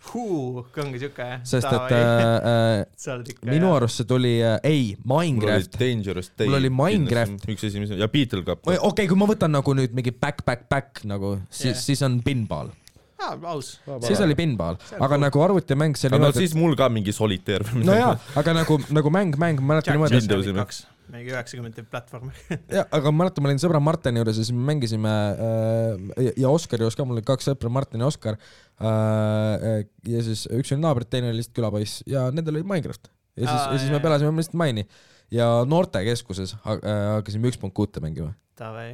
Huu , kange siuke jah .
sest et äh, äh,
sa oled ikka
minu arust see tuli äh, , ei ,
mul oli
Minecraft .
Dangerous Day .
Mul oli Minecraft. .
üks esimesi ja Beetle Cup .
okei okay, , kui ma võtan nagu nüüd mingi back , back , back nagu , siis
Jah.
yeah. , siis on pinball ,
jah . aa , Ah, aus .
siis oli pinball , aga nagu arvutimäng , see oli
aga no
niimoodi ,
siis mul ka mingi solitaire või
no jaa
midagi .,
aga nagu , nagu mäng , mäng , ma mäletan niimoodi , et
Windowsi või?
kaks , mingi üheksakümnendate platvorm .
jah , aga ma mäletan , ma olin sõbra Martini juures ja siis me mängisime äh, ja Oskari juures ka , mul oli kaks sõpra , Martin ja Oskar äh, . ja siis üks oli naabrit , teine oli lihtsalt külapoiss ja nendel oli Minecraft . ja siis ,
Aa,
ja siis me
jajah.
pelasime lihtsalt Mine'i ja noortekeskuses ha- äh, hakkasime üks punkt kuute mängima
Davai .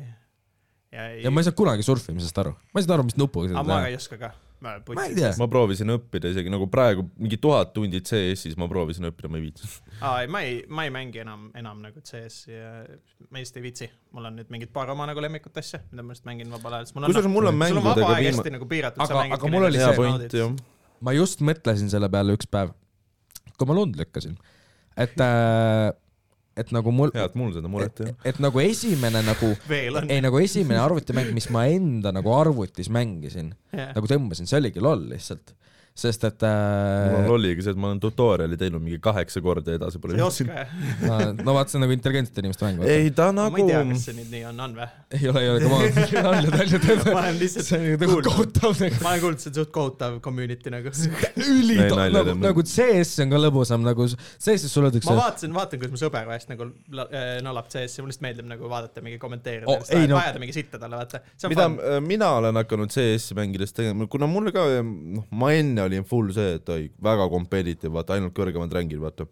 ja ma ei saanud kunagi surfimisest aru , ma ei saanud aru , mis nupuga
aga
seda
ma ka
teha .
ei oska ka . ma
ma ei tea ,
ma proovisin õppida isegi nagu praegu mingi tuhat tundi CS-is ma proovisin õppida , ma ei viitsinud .
aa , ei , ma ei , ma ei mängi enam , enam nagu CS ja ma lihtsalt ei viitsi . mul on nüüd mingid paar oma nagu lemmikut asja , mida ma lihtsalt mängin vabal ajal , sest mul on noh,
kusjuures mul on
sul on vaba
mängudega
aeg
viimane
hästi nagu piiratud ,
Aga-
sa mängid
aga mul oli
hea
see-
point , jah .
ma just mõtlesin selle peale üks päev , kui ma lund lükkasin , et äh, , et nagu mul ,
hea , et mul seda muret
et,
ei ole .
et nagu esimene nagu
veel on .
ei nagu esimene arvutimäng , mis ma enda nagu arvutis mängisin , nagu tõmbasin , see oligi LOL lihtsalt , sest et
mul on
äh,
lolliga see , et ma olen tutorial'i teinud mingi kaheksa korda ja edasi pole
ei . oska jah .
no vaat see on nagu intelligentsete inimeste mäng , ei,
ei ta
ma ei
nagu ,
tea , kas see nüüd nii on , on või ?
ei ole , ei ole , come on , nalja , nalja
ma
teeme .
olen lihtsalt ,
see on nagu
kuulnud.
kohutav nagu ,
ma olen kuulnud , see on suht kohutav community nagu .
Ei,
ülitav ,
nalja
nagu ,
teeme.
nagu CS on ka lõbusam nagu , CS-is sul öeldakse
ma , vaatasin , vaatan , kuidas mu sõber vahest nagu la- äh, nalab CS-i , mulle lihtsalt meeldib nagu vaadata , mingi kommenteerida
Oh,
oh, ,
ei, no-
ajada mingi sitta talle , vaata . see on
mida
fun .
äh, mina olen hakanud CS-i mängides tegema , kuna mul ka , noh , ma enne olin full see , et oi , väga competitive , vaata ainult kõrgemad rängid , vaata .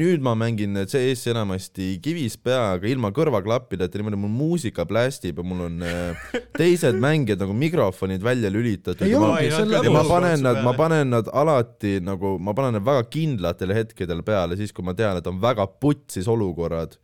nüüd ma mängin CS-i enamasti kivis peaga , ilma kõrvaklappideta , niimoodi mul muusika plästib ja mul on äh, teised mängijad nagu mikrofonid välja lülitatud .
Ei
ja ma,
olegi, see on
ja ma
lõbus.
panen nad , ma panen nad alati nagu , ma panen nad väga kindlatel hetkedel peale , siis kui ma tean , et on väga putsis olukorrad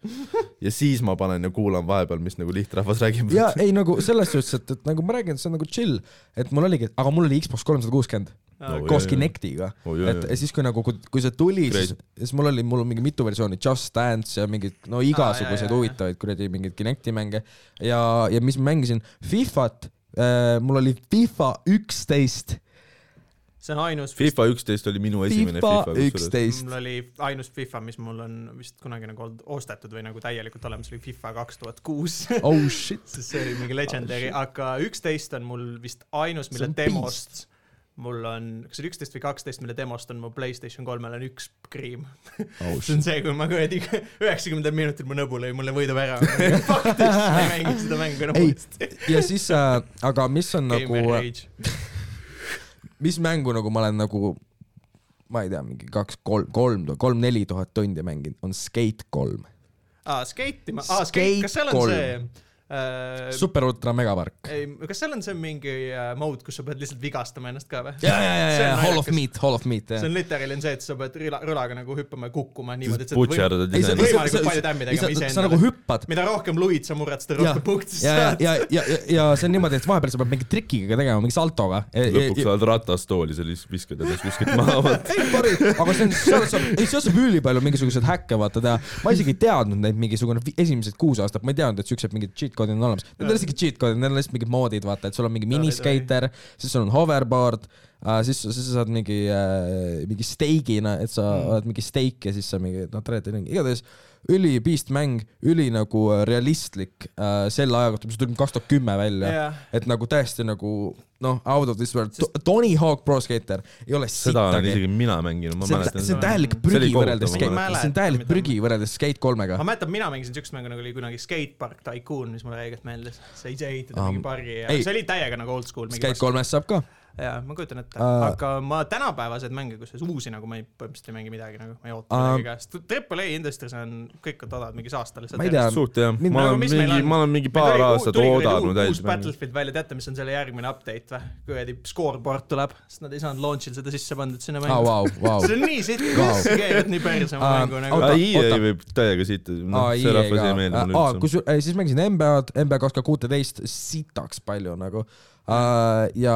ja siis ma panen ja kuulan vahepeal , mis nagu lihtrahvas räägib .
ja ei nagu selles suhtes , et , et nagu ma räägin , see on nagu chill , et mul oligi , aga mul oli Xbox kolmsada kuuskümmend
Oi, oi,
koos
oi.
Kinectiga
Oi,
oh, ,
oi,
et
oi.
siis kui nagu , kui see tuli , siis , siis mul oli , mul on mingi mitu versiooni , Just Dance ja mingid no igasuguseid
jaa,
ah,
jaa,
huvitavaid kuradi mingeid Kinecti mänge ja , ja mis ma mängisin , Fifat äh, , mul oli FIFA üksteist ,
see on ainus ,
FIFA üksteist oli minu esimene
FIFA
FIFA üksteist .
üksteist
mul . oli ainus FIFA , mis mul on vist kunagi nagu olnud ostetud või nagu täielikult olemas , oli FIFA kaks tuhat kuus .
oh shit ,
sest see oli mingi legendary , aga üksteist on mul vist ainus ,
Ah, See
mille
on
demost mul on , kas see oli üksteist või kaksteist , mille demost on mu Playstation kolmel on üks kriim .
oh
see on
shit ,
see , kui ma kuradi üheksakümnendal minutil mu nõbu lõi mulle võidu ära . Fuck this , ma ei mängi seda mängu enam
Ei,
uuesti .
ja siis äh, , aga mis on
Gamer
nagu ,
rage .
mis mängu nagu ma olen nagu ma ei tea , mingi kaks-kolm , kolm , kolm-neli tuhat tundi mänginud , on Skate kolm .
aa , Ah, skate'ima , aa ,
Skate
skate , kas seal on
kolm.
see äh, .
super ultra megapark .
ei , kas seal on see mingi äh, mode , kus sa pead lihtsalt vigastama ennast ka või ?
ja , ja , ja ,
See on
ja Hall of
naljakas.
Meat , Hall of Meat , jah
see . on literaal on see , et sa pead rõla , rõlaga nagu hüppama ja kukkuma niimoodi , et sa võim-
butšerdad
ei , sa ,
iseennast .
võimalikult palju tämmi tegema
sa ,
iseendale.
sa nagu hüppad .
mida rohkem luid sa murrad , seda
ja
rohkem , punkte sa
ja , ja ,
saad .
ja , ja , ja, ja see on niimoodi , et vahepeal sa pead mingi trikiga ka tegema , mingi saltoga .
lõpuks oled ratastooli , sa lihtsalt viskad ennast kuskilt maha .
aga see on , seal saab , seal saab ülipalju mingisuguseid häkke vaata teha . ma isegi ei teadnud neid mingisugune vi- esimesed kuus aastat , ma ei teadnud , et siuksed mingid cheat code'id on olemas . Need ei ole isegi cheat code'id , need on lihtsalt mingid moodid , vaata , et sul on mingi miniskater , siis sul on hoverboard , siis , siis sa saad mingi , mingi steigina , et sa mm. oled mingi steik ja siis sa mingi , noh , treenid mingi , igatahes üli beast mäng , üli nagu realistlik äh, selle aja kohta , mis tuli kaks tuhat kümme välja
Jah.
et nagu täiesti nagu noh , out of this world Sest... , Tony Hawk Pro Skater ei ole
seda olen
sittagi
isegi mina mänginud , ma
see on ,
mäletan
see on
seda .
täielik
See
prügi
oli
võrreldes
kohutav,
Skate ,
ma mäletan.
see on täielik prügi võrreldes Skate kolmega
ma . mäletan , mina mängisin siukest mängu nagu oli kunagi Skatepark Tycoon , mis mulle õigelt meeldis . sa ise ehitad
Ah,
um, mingi pargi ja
ei.
see oli täiega nagu oldschool .
Skate kolmest saab ka .
jaa , ma kujutan ette uh,
Ah. ,
aga ma tänapäevaseid mänge , kusjuures uusi nagu ma ei , põhimõtteliselt ei mängi midagi nagu , ma ei oota
Ah.
midagi käest . Triple A industry's on , kõik on odavad , mingi saasta lihtsalt .
Ma ei tea.
suht jah ,
Mind- nagu
ma
Aga
olen
mis meil
mingi ,
on?
ma olen mingi paar aastat oodanud
uus
täis .
Battlefield välja , teate , mis on selle järgmine update või ? kuradi scoreboard tuleb , sest nad ei saanud launch'il seda sisse pandud sinna
aa ,
mängu .
Ah, vau , vau .
see on nii sitt ,
Vau.
kes käivad nii perse oma
Ah,
mängu nagu
oota, .
ai
oota. ,
võib täiega siit ,
Ah,
noh , see rahvas ei meeldi mulle
aa ,
üldse .
Ah, kus , siis mängisin NBA-d , NBA kaks tuhat kuuteist , sitaks palju nagu . ja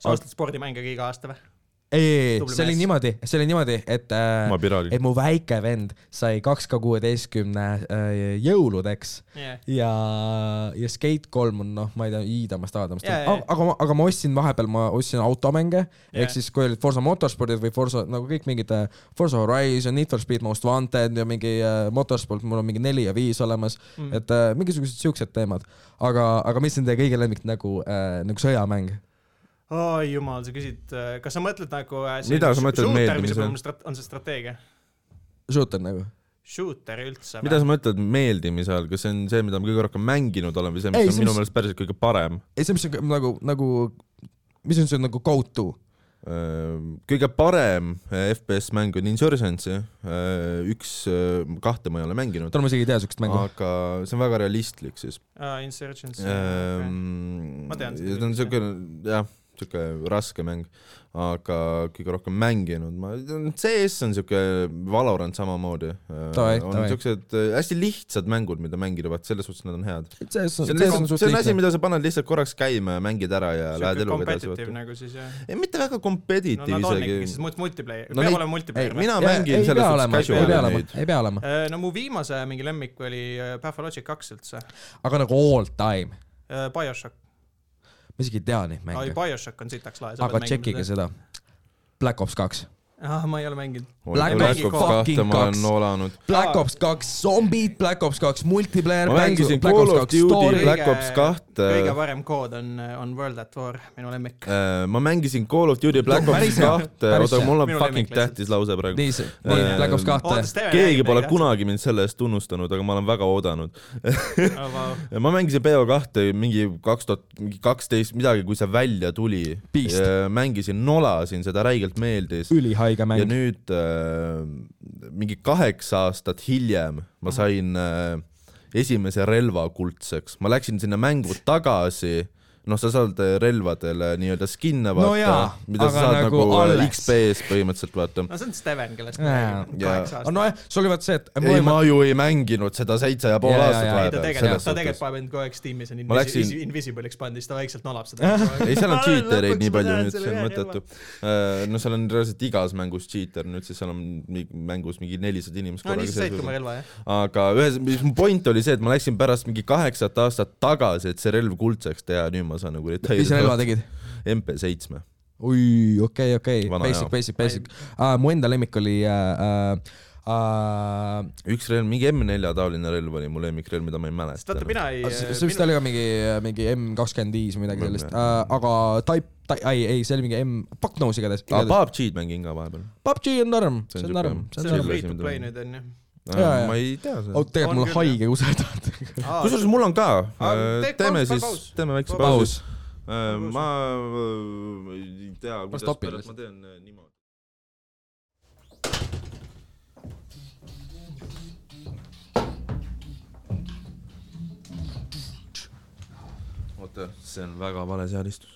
sa ostad spordimänge ka iga aasta või ?
ei ,
tubli
see oli
mees.
niimoodi , see oli niimoodi , et äh,
ma piraadin
et . mu väike vend sai kaks K kuueteistkümne äh, jõuludeks
jah ,
ja , ja Skate kolm on noh , ma ei tea , iidamast aadamast
Jaa, jaa, jaa.
yeah, , aga ma , aga ma ostsin vahepeal , ma ostsin automänge yeah. ,
Jaa.
ehk siis kui olid Forsa Motorspordid või Forsa nagu kõik mingid äh, Forsa Horizon , Need for Speed Most Wanted ja mingi äh, Motorsport , mul on mingi neli ja viis olemas mm. , et äh, mingisugused siuksed teemad . aga , aga mis on teie kõige lemmik nagu äh, , nagu sõjamäng ?
oi jumal , sa küsid , kas sa mõtled nagu äh, see
Mida sa
sh-
mõtled
shooter,
meeldimise
mis
all?
on strat- on see strateegia ?
Shooter nagu ?
Shooter üldse
mida
või ?
sa mõtled meeldimise all , kas see on see , mida me kõige rohkem mänginud oleme , see ,
Ei,
mis on
see,
minu
mis-
meelest päriselt kõige parem ?
ei , see , mis on nagu , nagu , mis on see nagu go to ?
kõige parem e, FPS mäng on Insurgency , üks , kahte ma ei ole mänginud ,
täna ma isegi ei tea siukest mängu .
aga see on väga realistlik siis .
Insurgency .
Ehm,
Ma
ma
tean seda
seda . ta on
küll,
siuke , jah , siuke raske mäng , aga kõige rohkem mänginud ma , CS on siuke Valorant samamoodi .
Davai,
on
davai.
siuksed äh, hästi lihtsad mängud , mida mängida , vaat selles suhtes nad on head .
see on ,
see
see on
on ,
suht
see on asi ,
lihtne .
mida sa paned lihtsalt korraks käima ja mängid ära ja lähed
sihuke
eluga edasi .
competitive nagu siis jah .
ei , mitte väga
no
competitive
nad on ikkagi siis
isegi .
mult- multiplayer ,
No
peab
neid-
olema
ei ,
multiplayer .
mina mängin selles suhtes
ei pea
casual'i
olema
neid .,
ei pea olema ,
no mu viimase mingi lemmik oli äh, Pathologic kaks üldse .
aga nagu all time ,
BioShock ,
ma isegi ei tea neid
ai
mänge ,
BioShock on sitaks lahe .
aga
eh?
tšekkige . seda . Black Ops kaks ,
ah , ma ei ole mänginud .
Black
Black
Ops
Ops kahte
fucking
ma
kaks.
olen noolanud .
Black
Aa.
Ops kaks zombid , Black Ops kaks multiplayer ,
ma
Black
mängisin
Black
Call
Ops
of
kaks
Duty
story ,
Black Ops kahte
kõige parem kood on , on World at War , minu lemmik .
Äh, ma mängisin Call of Duty Black
No, päris
Ops
hea.
kahte ,
Päris
oota
hea.
mul on
Minu
fucking
lemmik lihtsalt.
tähtis lause praegu .
nii see , nii
Äh,
Black Ops kahte ,
keegi pole . kunagi mind selle eest tunnustanud , aga ma olen väga oodanud .
Oh,
ma mängisin BO2 mingi kaks tuhat , mingi kaksteist midagi , kui see välja tuli Äh,
Beast. .
mängisin , nolasin seda , räigelt meeldis .
ülihaige
ja
mäng ,
nüüd äh, mingi kaheksa aastat hiljem ma sain äh, esimese relva kuldseks , ma läksin sinna mängu tagasi , noh , sa saad äh, relvadele nii-öelda skin'e
No
vaata
jaa,
mida
aga
sa saad
nagu
nagu, nagu
alles.
XP-s põhimõtteliselt vaata .
no see on Steven , kellest me
Jaa.
räägime ,
Jaa.
kaheksa aastat .
Ah, nojah , sul oli vaata see , et
ei , ma
mõlemad ,
ju ei mänginud seda seitse ja pool
Jaa, jaa,
aastat
jaa.
ei ta
vahepeal ,
tegelikult ,
selles
ta tegelikult
suhtes .
paneb end kogu aeg Steamis on
Ma läksin-
invis- invisible expand'is , ta vaikselt nolab seda .
ei ,
Ah,
seal on cheater'eid nii palju nüüd , see on mõttetu . no seal on reaalselt igas mängus cheater , nüüd siis seal on mi- mängus mingi nelisada inimest
no nii sa said
sees.
ka oma relva jah .
aga ühes , mis mu point oli see , et ma läksin pärast mingi kaheksat aastat tagasi , et see relv kuldseks teha , nüüd ma saan nagu
mis sa relva tegid ?
MP7 .
oi , okei , okei ,
Vana
basic
hea. ,
basic , basic uh, . mu enda lemmik oli uh, uh,
üks relv , mingi M4 taoline relv oli mu lemmikrelv , mida ma ei mäleta .
sest vaata , mina ei .
see see vist oli ka mingi , mingi M kakskümmend viis või midagi
Ma ei
sellist , aga Type , ei , ei , see oli mingi M , fuck knows igatahes .
aa , PUBG-d mängin ka vahepeal .
PUBG on norm ,
See on
see on
siuke-
norm , see
see on
on
chill.
norm .
free to play nüüd onju .
Jaa, jaa.
Äh, ma ei tea seda
oot ,
Oh,
tegelikult
On
mul on
küll,
haige usaldajad .
kusjuures mul on ka äh,
Aa, . teeb
teeme
paus-
siis
paus. ,
teeme väikse
Paus.
pausi .
paus . Nagu
ma äh, ei tea , kuidas
stopin
pärast
lihtsalt.
ma teen äh, niimoodi . oota , see on väga vale seadistus .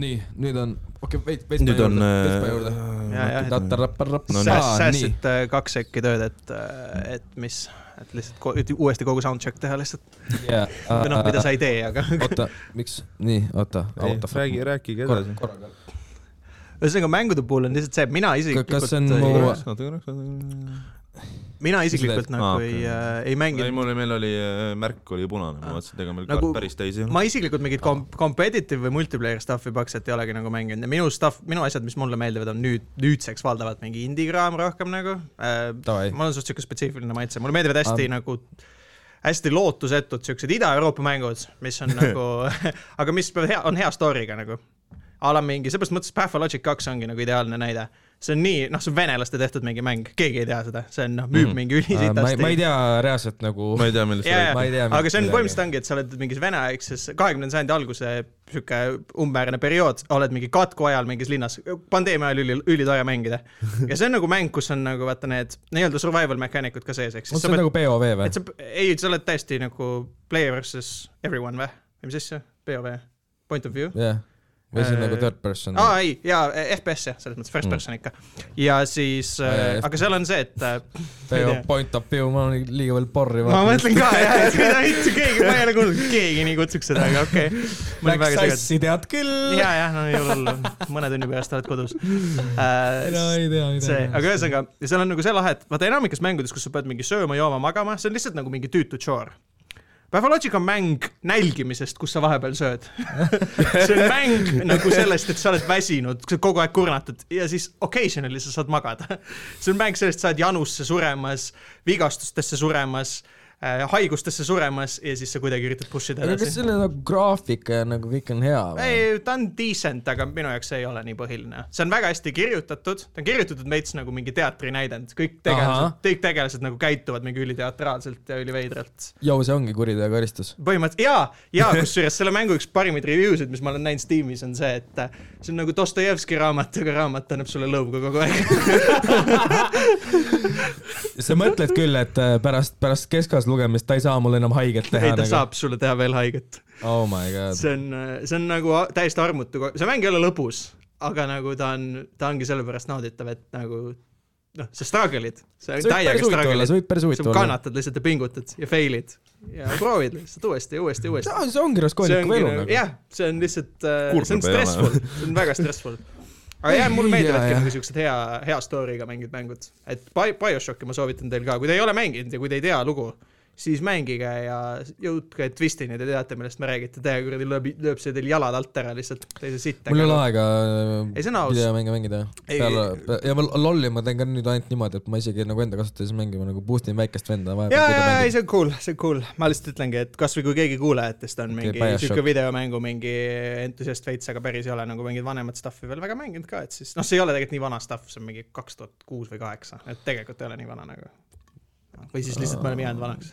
nii , nüüd on , okei okay, , veits , veits
nüüd
päeva
on .
juurde , veits päeva juurde .
Jaa, jah.
tatarapparap-
No
no, .
nii.
Sääs- , nii ,
säästsid äh, kaks sekki tööd , et , et mis , et lihtsalt ko- et uuesti kogu soundcheck teha lihtsalt .
jaa .
või noh , mida sa ei tee , aga
oota , miks , nii , oota , oota .
räägi , rääkige edasi .
korraga .
ühesõnaga mängude puhul on lihtsalt see , et mina isiklikult .
kas see on mu-
mina isiklikult
Aa,
nagu ah, ei
okei.
äh, , ei
ei ,
mänginud ,
mul oli , meil oli äh, märk oli punane , ma vaatasin , et ega meil
Nagu-
kaart päris täis ei olnud .
ma isiklikult mingit kom- , competitive või multiplayer stuff'i praktiliselt ei olegi nagu mänginud ja minu stuff , minu asjad , mis mulle meeldivad , on nüüd , nüüdseks valdavalt mingi indie-kraam rohkem nagu äh, .
Davai.
mul on suht siuke spetsiifiline maitse , mulle meeldivad hästi
Ah.
ah. nagu , hästi lootusetud siuksed Ida-Euroopa mängud , mis on nagu , aga mis peavad hea , on hea story'ga nagu . a la mingi , selles mõttes Pathologic kaks ongi nagu ideaalne näide . see on nii , noh , see on venelaste tehtud mingi mäng , keegi ei tea seda , see on noh , müüb
Mhm.
mm. mingi
Äh, ma ei , ma ei
ülisitasti .
tea reaalselt nagu .
ma ei tea , millest
Jaa,
yeah.
jaa.
ma ei tea .
aga see on põhimõtteliselt ongi , et sa oled mingis veneaegses , kahekümnenda sajandi alguse sihuke umbmäärane periood , oled mingi katku ajal mingis linnas , pandeemia ajal üli , ülitore mängida . ja see on nagu mäng , kus on nagu vaata need nii-öelda survival mechanic ud ka sees , ehk
on
siis sa
see
pead ,
nagu POV või
et ? sa , ei , sa oled täiesti nagu player versus everyone või , või mis asja , POV , point of view .
jah , või see on
Äh,
nagu third person .
aa ei , jaa , FPS jah , selles mõttes first
Mm.
person ikka . ja siis
Hmm. Aa, jaa, ,
aga seal on see , et äh, ei tea.
Point of view , ma olen liiga veel porri .
ma mõtlen ka jah , et mida mitte keegi , ma ei ole kuulnud , et keegi nii kutsuks seda , aga okei okay. . ma olin
Läks
väga segadus .
sassi , tead küll .
ja , ja no ei ole hullu , mõne tunni pärast oled kodus
no
äh, .
ei tea
see , aga
midagi .
ühesõnaga , seal on nagu see lahe , et vaata enamikes mängudes , kus sa pead mingi sööma , jooma , magama , see on lihtsalt nagu mingi tüütu tšoor . Pathologic on mäng nälgimisest , kus sa vahepeal sööd . see on mäng nagu sellest , et sa oled väsinud , sa oled kogu aeg kurnatud ja siis occasionally sa saad magada . see on mäng sellest , sa oled janusse suremas , vigastustesse suremas äh, , haigustesse suremas ja siis sa kuidagi üritad push ida
aga kas
edasi .
selle nagu graafika ja nagu kõik on hea või ?
ei , ta on decent , aga minu jaoks see ei ole nii põhiline . see on väga hästi kirjutatud , ta on kirjutatud veits nagu mingi teatrinäidend , kõik tegelased
Ahah. ,
kõik tegelased nagu käituvad mingi üliteatraalselt ja üliveidralt .
Jou , see ongi kuriteokaristus .
põhimõtteliselt jaa , jaa , kusjuures selle mängu üks parimaid review sid , mis ma olen näinud Steamis , on see , et äh, see on nagu Dostojevski raamat , aga raamat annab sulle lõuga kogu aeg .
sa mõtled küll , et äh, pärast , pärast keskajas lugemist ta ei saa mul enam haiget teha ? nagu.
ei , ta . saab sulle teha veel haiget .
Oh my god .
see on , see on nagu a- täiesti armutu , see mäng ei ole lõbus , aga nagu ta on , ta ongi sellepärast nauditav , et nagu noh , sa struggle'id , sa
see võib
täiega
päris huvitav olla ,
struggle'id
see . võib päris
sa
huvitav olla .
kannatad lihtsalt ja pingutad ja fail'id ja proovid lihtsalt uuesti ja uuesti ja uuesti .
see on , see ongi raskoolik elu nagu .
jah , see on lihtsalt
Kurb
äh, , see
ei
on
ole.
stressful , see on väga stressful . aga jah , mulle
Jaa,
meeldivadki
jah.
nagu siuksed hea , hea story'ga mängid mängud , et Bi- BioShocki ma soovitan teil ka , kui te ei ole mänginud ja kui te ei tea lugu , siis mängige ja jõudke twistini , te teate , millest me räägite , te kuradi lööb , lööb see teil jalad alt ära lihtsalt , teise sitta .
mul ei ole aega
Ei, see on aus.
videomänge mängida .
Ei-
peale , ja ma lolli ma teen ka nüüd ainult niimoodi , et ma isegi nagu enda kasutajas mängin , ma nagu boost in väikest venda
ja , ja , ei ,
vahepeal .
see on cool , see on cool , ma lihtsalt ütlengi , et kasvõi kui keegi kuulajatest on mingi
BioShock.
sihuke videomängu mingi entusiast veits , aga päris ei ole nagu mingit vanemat stuff'i veel väga mänginud ka , et siis noh , see ei ole tegelikult nii vana stuff , see on mingi kaks tuhat kuus või kaheksa , et tegelikult ei ole nii vana nagu . või siis lihtsalt me oleme jäänud vanaks ,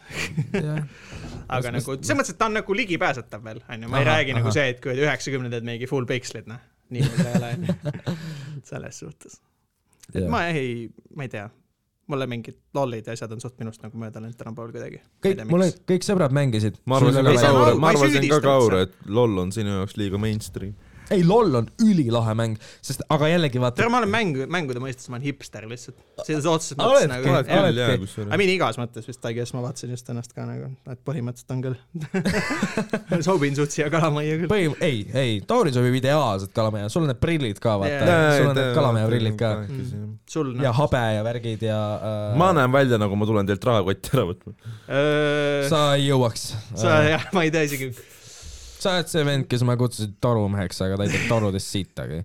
aga nagu selles mõttes , et ta on nagu ligipääsetav veel , onju , ma ei
Ahah,
räägi nagu
ahah.
see , et kui üheksakümnendad mingi full pikslid , noh , nii hull ta ei ole , onju , selles suhtes . et ma ei , ma ei tea mulle mingid lollid ja asjad on suht minust nagu mööda läinud tänapäeval kuidagi .
kõik , mul olid , kõik sõbrad mängisid .
ma arvan , see on ka
väga-
kaur
ma , ei
ma arvan , see on ka
süüdista
kaur ,
üldse.
et LOL on sinu jaoks liiga mainstream .
ei , LOL on ülilahe mäng , sest aga jällegi vaata
tere ,. ma olen mäng , mängude mõistes , ma olen hipster lihtsalt . selles otseses mõttes
oledki ,
nagu .
oled küll
oledki.
jaa ,
I
kusjuures .
mean igas mõttes vist , I guess ma vaatasin just ennast ka nagu , et põhimõtteliselt on küll . sobin suht siia kalamajja küll .
põhim- , ei , ei , Tauri sobib ideaalselt kalamaja , sul on need prillid ka vaata
Jaa,
yeah. , sul on
äh,
need kalamaja prillid ka
sul
ja
noh .
habe ja värgid ja äh,
ma näen välja nagu ma tulen teilt rahakotti ära võtma .
sa ,
sa äh. ei jõuaks .
sa jah , ma ei tea isegi .
sa oled see vend , kes ma kutsusin torumeheks , aga ta ei tee torudest siitagi .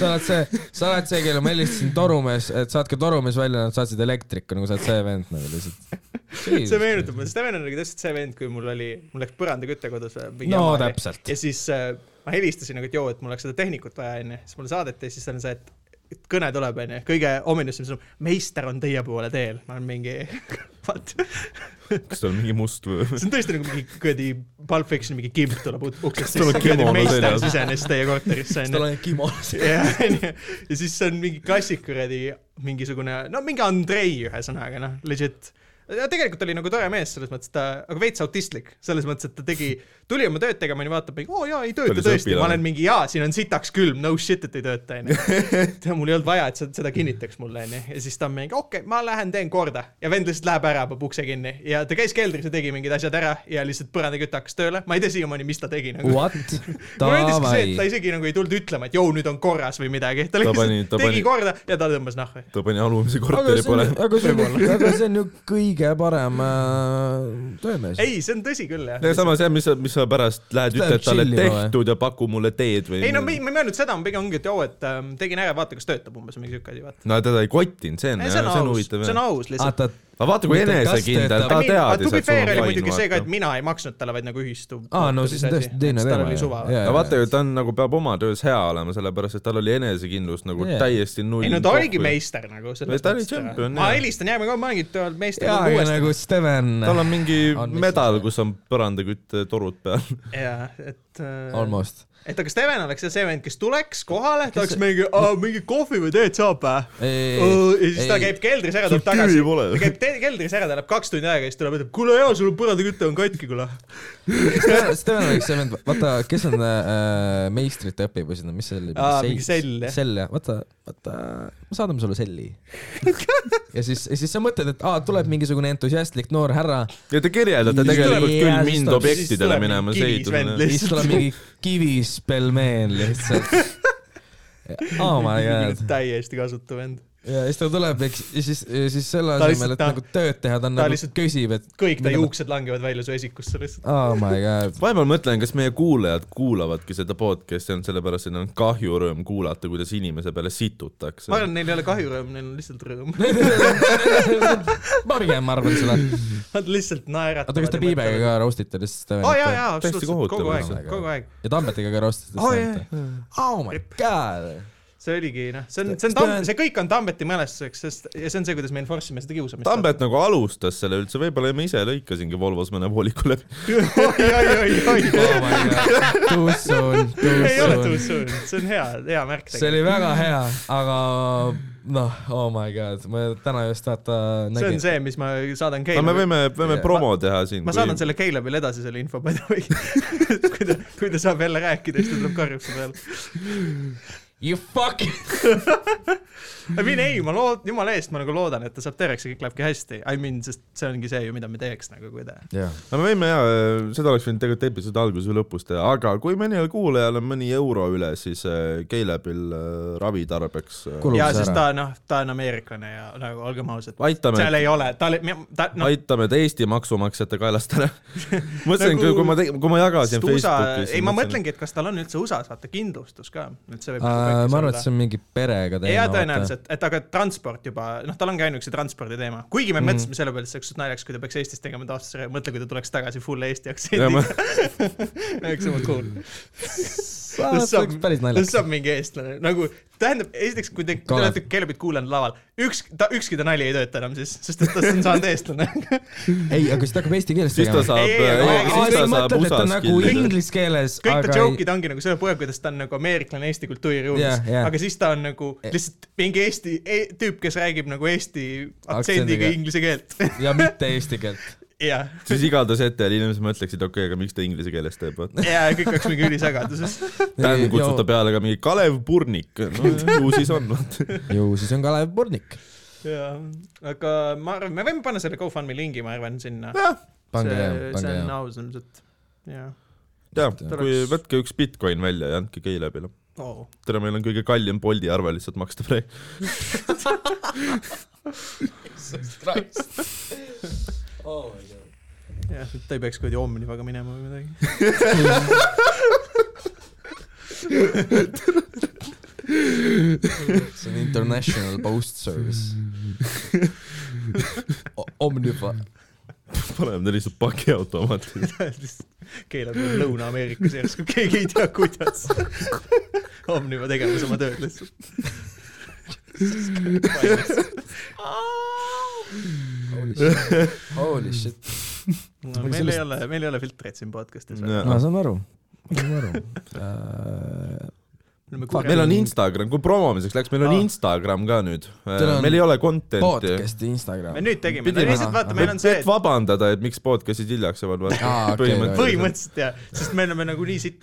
sa oled see , sa oled see , kellele ma helistasin torumees , et saatke torumees välja , nad saatsid elektriku , nagu sa oled see vend nagu lihtsalt .
see meenutab mulle , Steven on nagu täpselt see vend , kui mul oli , mul läks põrandaküte kodus . äh,
no . täpselt .
ja siis äh, ma helistasin nagu , et joo , et mul oleks seda tehnikut vaja onju , siis mulle saadeti , siis on see , et et kõne tuleb onju , kõige ominusem sõnum , meister on teie poole teel , ma olen mingi , what ?
kas seal on mingi must või ?
see on tõesti nagu mingi kuradi Pulp Fiction mingi kimp tuleb ut- uksest
Tuleb
sisse , kuradi
kimono
meister
seljas.
sisenes teie korterisse
tal
onju .
on kimo .
ja , ja siis see on mingi klassik kuradi mingisugune , no mingi Andrei ühesõnaga noh , legit tegelikult oli nagu tore mees selles mõttes , ta , aga veits autistlik , selles mõttes , et ta tegi , tuli oma tööd tegema , onju , vaatab , oo jaa , ei
Ta
tööta
oli see
tõesti , ma
õpilane.
olen mingi jaa , siin on sitaks külm , no shit , et ei tööta , onju . tea , mul ei olnud vaja , et sa seda kinnitaks mulle , onju , ja siis ta on mingi , okei okay, , ma lähen teen korda ja vend lihtsalt läheb ära , paneb ukse kinni ja ta käis keldris ja tegi mingid asjad ära ja lihtsalt põrandaküte hakkas tööle , ma ei tea siiamaani , mis ta tegi nagu .
What ?
mulle meeldis ka see , et ta
davai .
isegi nagu ei tulnud ütlema , et jõu , nüüd on korras või midagi , ta lihtsalt
pani- ta
tegi
pani-
korda ja ta tõmbas nahku .
ta pani alumise
aga
korteri
see on ,
põlema .
aga see on , aga see on ju kõige parem äh, töömees .
ei , see on tõsi küll jah .
ja samas jah , mis sa , mis sa pärast lähed ,
Läheb
ütled talle
chillima või?
tehtud ja paku mulle teed või ?
ei no ma ei , ma ei mõelnud seda , ma pigem ongi , et joo , et ähm, tegin ära , vaata , kas töötab umbes või mingi siuke asi , vaata .
no teda ei kottinud , see on ,
see
see
on
on
aus ,
huvitav
see on
jah .
aus lihtsalt .
vaata ,
aga vaata , kui
Mõtle, kas
enesekindel
töötab-
ta
to
teadis ,
be
et sul
fair oli
on Ah,
muidugi see ka , et
fain .
mina ei maksnud talle , vaid nagu ühistu .
Aa, no siis on tõesti teine teema, jah. Jaa,
aga
jaa.
vaata , ta on nagu , peab oma töös hea olema , sellepärast et tal oli enesekindlus nagu
Jaa.
yeah. täiesti null .
ei no ta oligi . meister nagu selles
ta oli
mõttes, et-
tšempion,
ma
jah.
helistan järgmine kord , ma olengi tööl meister
jaa , aga nagu Steven
tal on mingi
On meister.
medal , kus on põrandaküttetorud peal .
ja et ,
almost .
et aga Steven oleks see- see vend , kes tuleks kohale , ta oleks mingi , mingi kohvi või teed saab vä ? ja siis ta käib keldris ära , tuleb
Sul tüvi
tagasi ,
pole.
ta käib te- keldris ära , ta läheb kaks tundi aega ja siis tuleb ja ütleb , kuule jaa , sul põrandaküte on katki , kuule .
Steven Steven oleks see vend , vaata , kes on äh, meistrite õpipoisid , no mis see oli
Aa, mingi sell, jah.
sell jah , vaata , vaata , me saadame sulle selli . ja siis , ja siis sa mõtled , et aa , tuleb mingisugune entusiastlik noor härra ,
ja te kirjeldate
Siis
tegelikult
tuleb- jaa,
küll
siis
mind
tuleb-
siis
objektidele
tuleb
minema
mingi kivis vend
seiduma .
lihtsalt.
siis tuleb mingi kivispelmeen lihtsalt . Oh my god .
täiesti kasutu vend .
ja siis ta tuleb , eks , ja siis , ja siis selle
Ta
asemel ,
lihtsalt-
et nagu tööd teha , ta on
ta
nagu
lihtsalt-
kösib , et
kõik ta
Mida ma-
juuksed langevad välja su esikusse lihtsalt .
oh my god .
vahepeal mõtlen , kas meie kuulajad kuulavadki seda podcast'i ainult sellepärast , et neil on kahju rõõm kuulata , kuidas inimese peale situtakse
ma . arvan , neil ei ole kahjurõõm , neil on lihtsalt rõõm .
ma pigem arvan seda .
Nad lihtsalt naeratavad .
oota , kas te Piibega ka roast ite lihtsalt ?
aa Oh, jaa , jaa ,
Täiesti
absoluutselt ,
kohutav
kogu aeg
lihtsalt. ,
kogu aeg .
ja Tammetiga ka roast ite
Aa, jaa,
seda ? oh my god .
see oligi noh , see on , see on
Kas ta
Tam-
on- ,
see kõik on Tambeti mälestuseks , sest ja see on see , kuidas me enforce ime seda kiusamist .
Tambet nagu alustas selle üldse , võib-olla ma ise lõikasingi Volvos mõne vooliku läbi .
oi , oi , oi , oi .
oh my god , too soon , too
ei ole too
soon .
soon , see on hea , hea märk
see oli väga hea , aga noh , oh my god , ma täna just vaata
see on
nägin .
see , mis ma saadan
aga me
Keilabile .
võime , võime
Ma-
promo teha siin .
ma saadan selle Keilabile edasi selle info , by the way . kui ta , kui ta saab jälle rääkida , siis ta tuleb karjub su peale .
You fucking .
I mean ei , ma lood- , jumala eest , ma nagu loodan , et ta saab terveks ja kõik lähebki hästi . I mean , sest see ongi see ju , mida me teeks nagu , kui ta .
jah ,
aga me võime jaa , seda oleks võinud tegelikult episoodi alguses või lõpus teha , aga kui mõnel kuulajal on mõni euro üle , siis äh, Keilebil äh, ravi tarbeks äh,
Kulub.
ja
see
siis
ära.
ta noh , ta on ameeriklane ja nagu olgem ausad ,
aitame
seal , ei ole , tal , ta noh ,
aitame ta Eesti maksumaksjate kaelast ära . mõtlesin
Nagu-
nagu... , kui ma tegin , kui ma jagasin
USA ,
Facebookis .
ei ma . mõtlengi , et kas tal on üldse USA-s vaata kindlustus ka , et see võib
Äh,
nagu
ma arvan , et see on mingi perega teema .
ja tõenäoliselt , et aga transport juba , noh , tal ongi ainuüksi transpordi teema , kuigi me
Mhm.
mõtlesime selle peale , et see oleks just naljakas , kui ta peaks Eestis tegema taastuse , mõtle , kui ta tuleks tagasi full Eesti
Ja
aktsendiga
ma- .
oleks juba cool .
see oleks päris naljakas
see . saab mingi eestlane , nagu tähendab , esiteks , kui te, te
Kalev.
olete keelapildi kuulanud laval , üks , ta , ükski ta nali ei tööta enam siis , sest et tast on saanud eestlane .
ei , aga siis ta hakkab eesti keeles
siis ta
tegema .
saab ,
Ei, ei, aga-
siis ta saab USA-s
nagu
kindlasti .
inglise keeles ,
kõik ta
aga ei ,
joke'id ongi nagu selle põhjal , kuidas ta on nagu ameeriklane Eesti kultuuriruumis
Jah,
yeah, ,
jah.
yeah. aga siis ta on nagu
Eh.
lihtsalt mingi Eesti e tüüp , kes räägib nagu Eesti
Aktsendiga.
aktsendiga inglise keelt .
ja mitte eesti keelt .
jah ,
siis igatahes ette ja inimesed mõtleksid , okei okay, , aga miks ta inglise keeles teeb , vaata .
ja kõik oleks mingi ülisagaduses .
Dan kutsub ta peale ka mingi Kalev Purnik , no ju siis on , vaata .
ju siis on Kalev Purnik .
jaa , aga ma arvan , me võime panna selle GoFundMe lingi , ma arvan , sinna .
pange
see
jah , , pange
see on
jah .
aus ilmselt , jaa .
jaa ,
Ta
kui
oleks-
võtke üks Bitcoin välja ja andke Keilabile .
Oh.
tere , meil on kõige kallim Bolti arve lihtsalt maksta praegu .
jah , et ta ei peaks kuidagi Omnivaga minema või midagi .
see on International Post Service . Omniva .
paneme ta lihtsalt pakiautomaati .
keelab ju Lõuna-Ameerikas järsku , keegi ei tea , kuidas . Omniva tegemas oma tööd lihtsalt .
Holy shit .
No, meil ei ole , meil ei ole filtreid siin podcast'is .
Jaa.
Äh, ma saan aru . ma saan aru .
meil on Instagram , kui promomiseks läks , meil on
Aa.
Instagram ka nüüd .
Teil on
meil ei ole content'i .
podcast'i Instagram
me . nüüd tegime ,
Pidime-
lihtsalt vaata , meil on see ,
et vabandada , et miks podcast'id hiljaks jäävad , vaata
Aa, okei,
põhimõtteliselt .
põhimõtteliselt jah , sest me oleme nagunii siit ,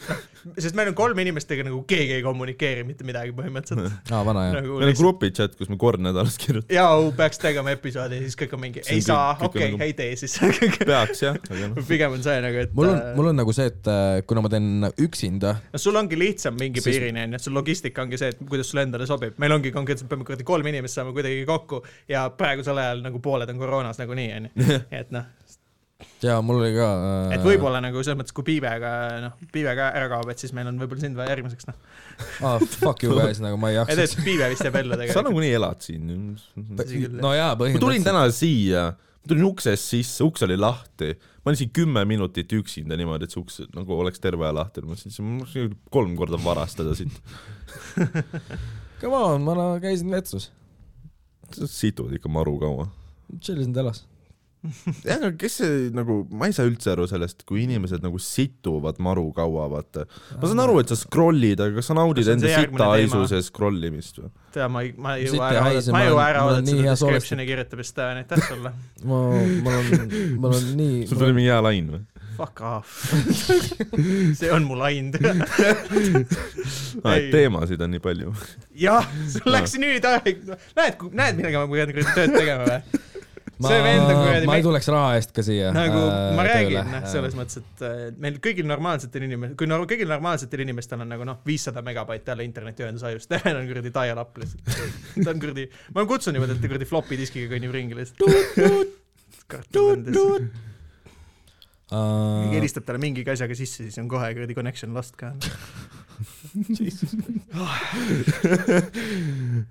sest meil on kolm inimest , kellega nagu keegi ei kommunikeeri mitte midagi põhimõtteliselt .
aa , Ah, vana jah .
nagu
meil on
lihtsalt
grupi chat , kus me kord nädalas kirjutame .
jaa , peaks tegema episoodi , siis kõik on mingi ,
See on
ei
kõik-
saa ,
kõik on
okei
nagu- ,
ei tee siis .
peaks jah , aga noh .
pigem on see nagu , et
mul on , mul on nagu see , et äh, kuna ma teen üksinda ,
no sul ongi lihtsam mingi
Siis-
piirini onju , sul logistika ongi see , et kuidas sulle endale sobib , meil ongi konkreetselt , peame kuradi kolm inimest saama kuidagi kokku ja praegusel ajal nagu pooled on koroonas nagunii onju , et noh ,
ja mul oli ka . äh,
et . võib-olla nagu selles mõttes , kui Piivega noh , Piive ka ära kaob , et siis meil on võib-olla sind vaja järgmiseks noh ,
aa , ah, fuck you guys , nagu ma ei
et ,
jaksaks
et . Piive vist jääb ellu
sa
tegelikult .
nagunii elad siin .
tõsi küll, jah.
no jaa ,
ma tulin
põhimõtteliselt .
täna siia , tulin uksest sisse , uks oli lahti , ma olin siin kümme minutit üksinda niimoodi , et see uks nagu oleks terve aja lahti , ma mõtlesin , ma võiks kolm korda varastada siit ,
Come on , ma no, käisin vetsus ,
situd ikka maru kaua .
tšillisin telas .
jah , aga kes see nagu , ma ei saa üldse aru sellest , kui inimesed nagu situvad maru kaua , vaata . ma saan aru , et sa scroll'id , aga kas sa naudid
Kas on
enda
see järgmine
sita
teema?
aisuse scroll imist või ?
tea , ma ei , ma ei
Siit
jõua
ei
ära
haise,
oodata , ma ei
ma
jõua
olen-
ära
ma olen
oodata
nii
seda
hea soolestatud.
description'i kirjutamist , aitäh sulle ,
ma , mul on , mul on nii .
sul tuli mingi hea lain või ?
fuck off . see on mu lain .
aa ,
Ei.
Ah, et teemasid on nii palju .
jah , sul läks nüüd aeg , näed , näed , millega ma pean kuradi tööd tegema või ?
ma
see vend on kuradi
ma ei
me-
tuleks raha eest ka siia . äh,
nagu ma räägin , noh , selles . mõttes , et äh, meil kõigil normaalsetel inimestel , kui no, kõigil normaalsetel inimestel on nagu noh , viissada megabaiti alla internetiühendus ajus , temal on kuradi dial-up lihtsalt . ta on kuradi , ma kutsun niimoodi , et ta kuradi flopi diskiga kõnnib ringi lihtsalt . keegi
Uh,
helistab talle mingi asjaga sisse , siis on kohe kuradi connection lost ka .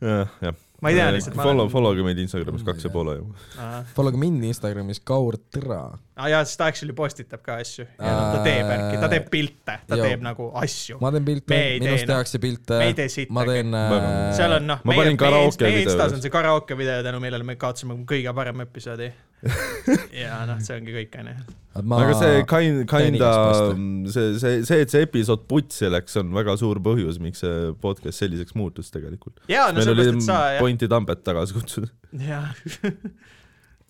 jah .
ma ei tea lihtsalt .
Follow , follow ge meid Instagramis
Ma ei
kaks ja
tea.
poole juba .
aa
Follow mind Instagramis , Kaur Tõra .
ah, jaa , siis ta actually postitab ka asju . ta teeb värki , ta teeb pilte , ta
Joo.
teeb nagu asju .
ma teen pilte
Me ei , tee,
minust
noh.
tehakse pilte
Me ei tee sittagi.
ma teen
Ma-
äh,
seal on noh ,
ma
meie ,
panin
meie
karaoke
Inst- meie
video
Instas
üles.
on see karaoke video , tänu millele me kaotasime kõige parema episoodi . ja noh , see ongi kõik onju .
ma...
aga see kind ,
teen
kinda
igast vastu. ,
see , see , see , et see episood putsi läks , on väga suur põhjus , miks see podcast selliseks muutus tegelikult .
ja no
meil oli
sellepärast , et sa jah ,
pointi Tambet tagasi kutsuda .
jah ,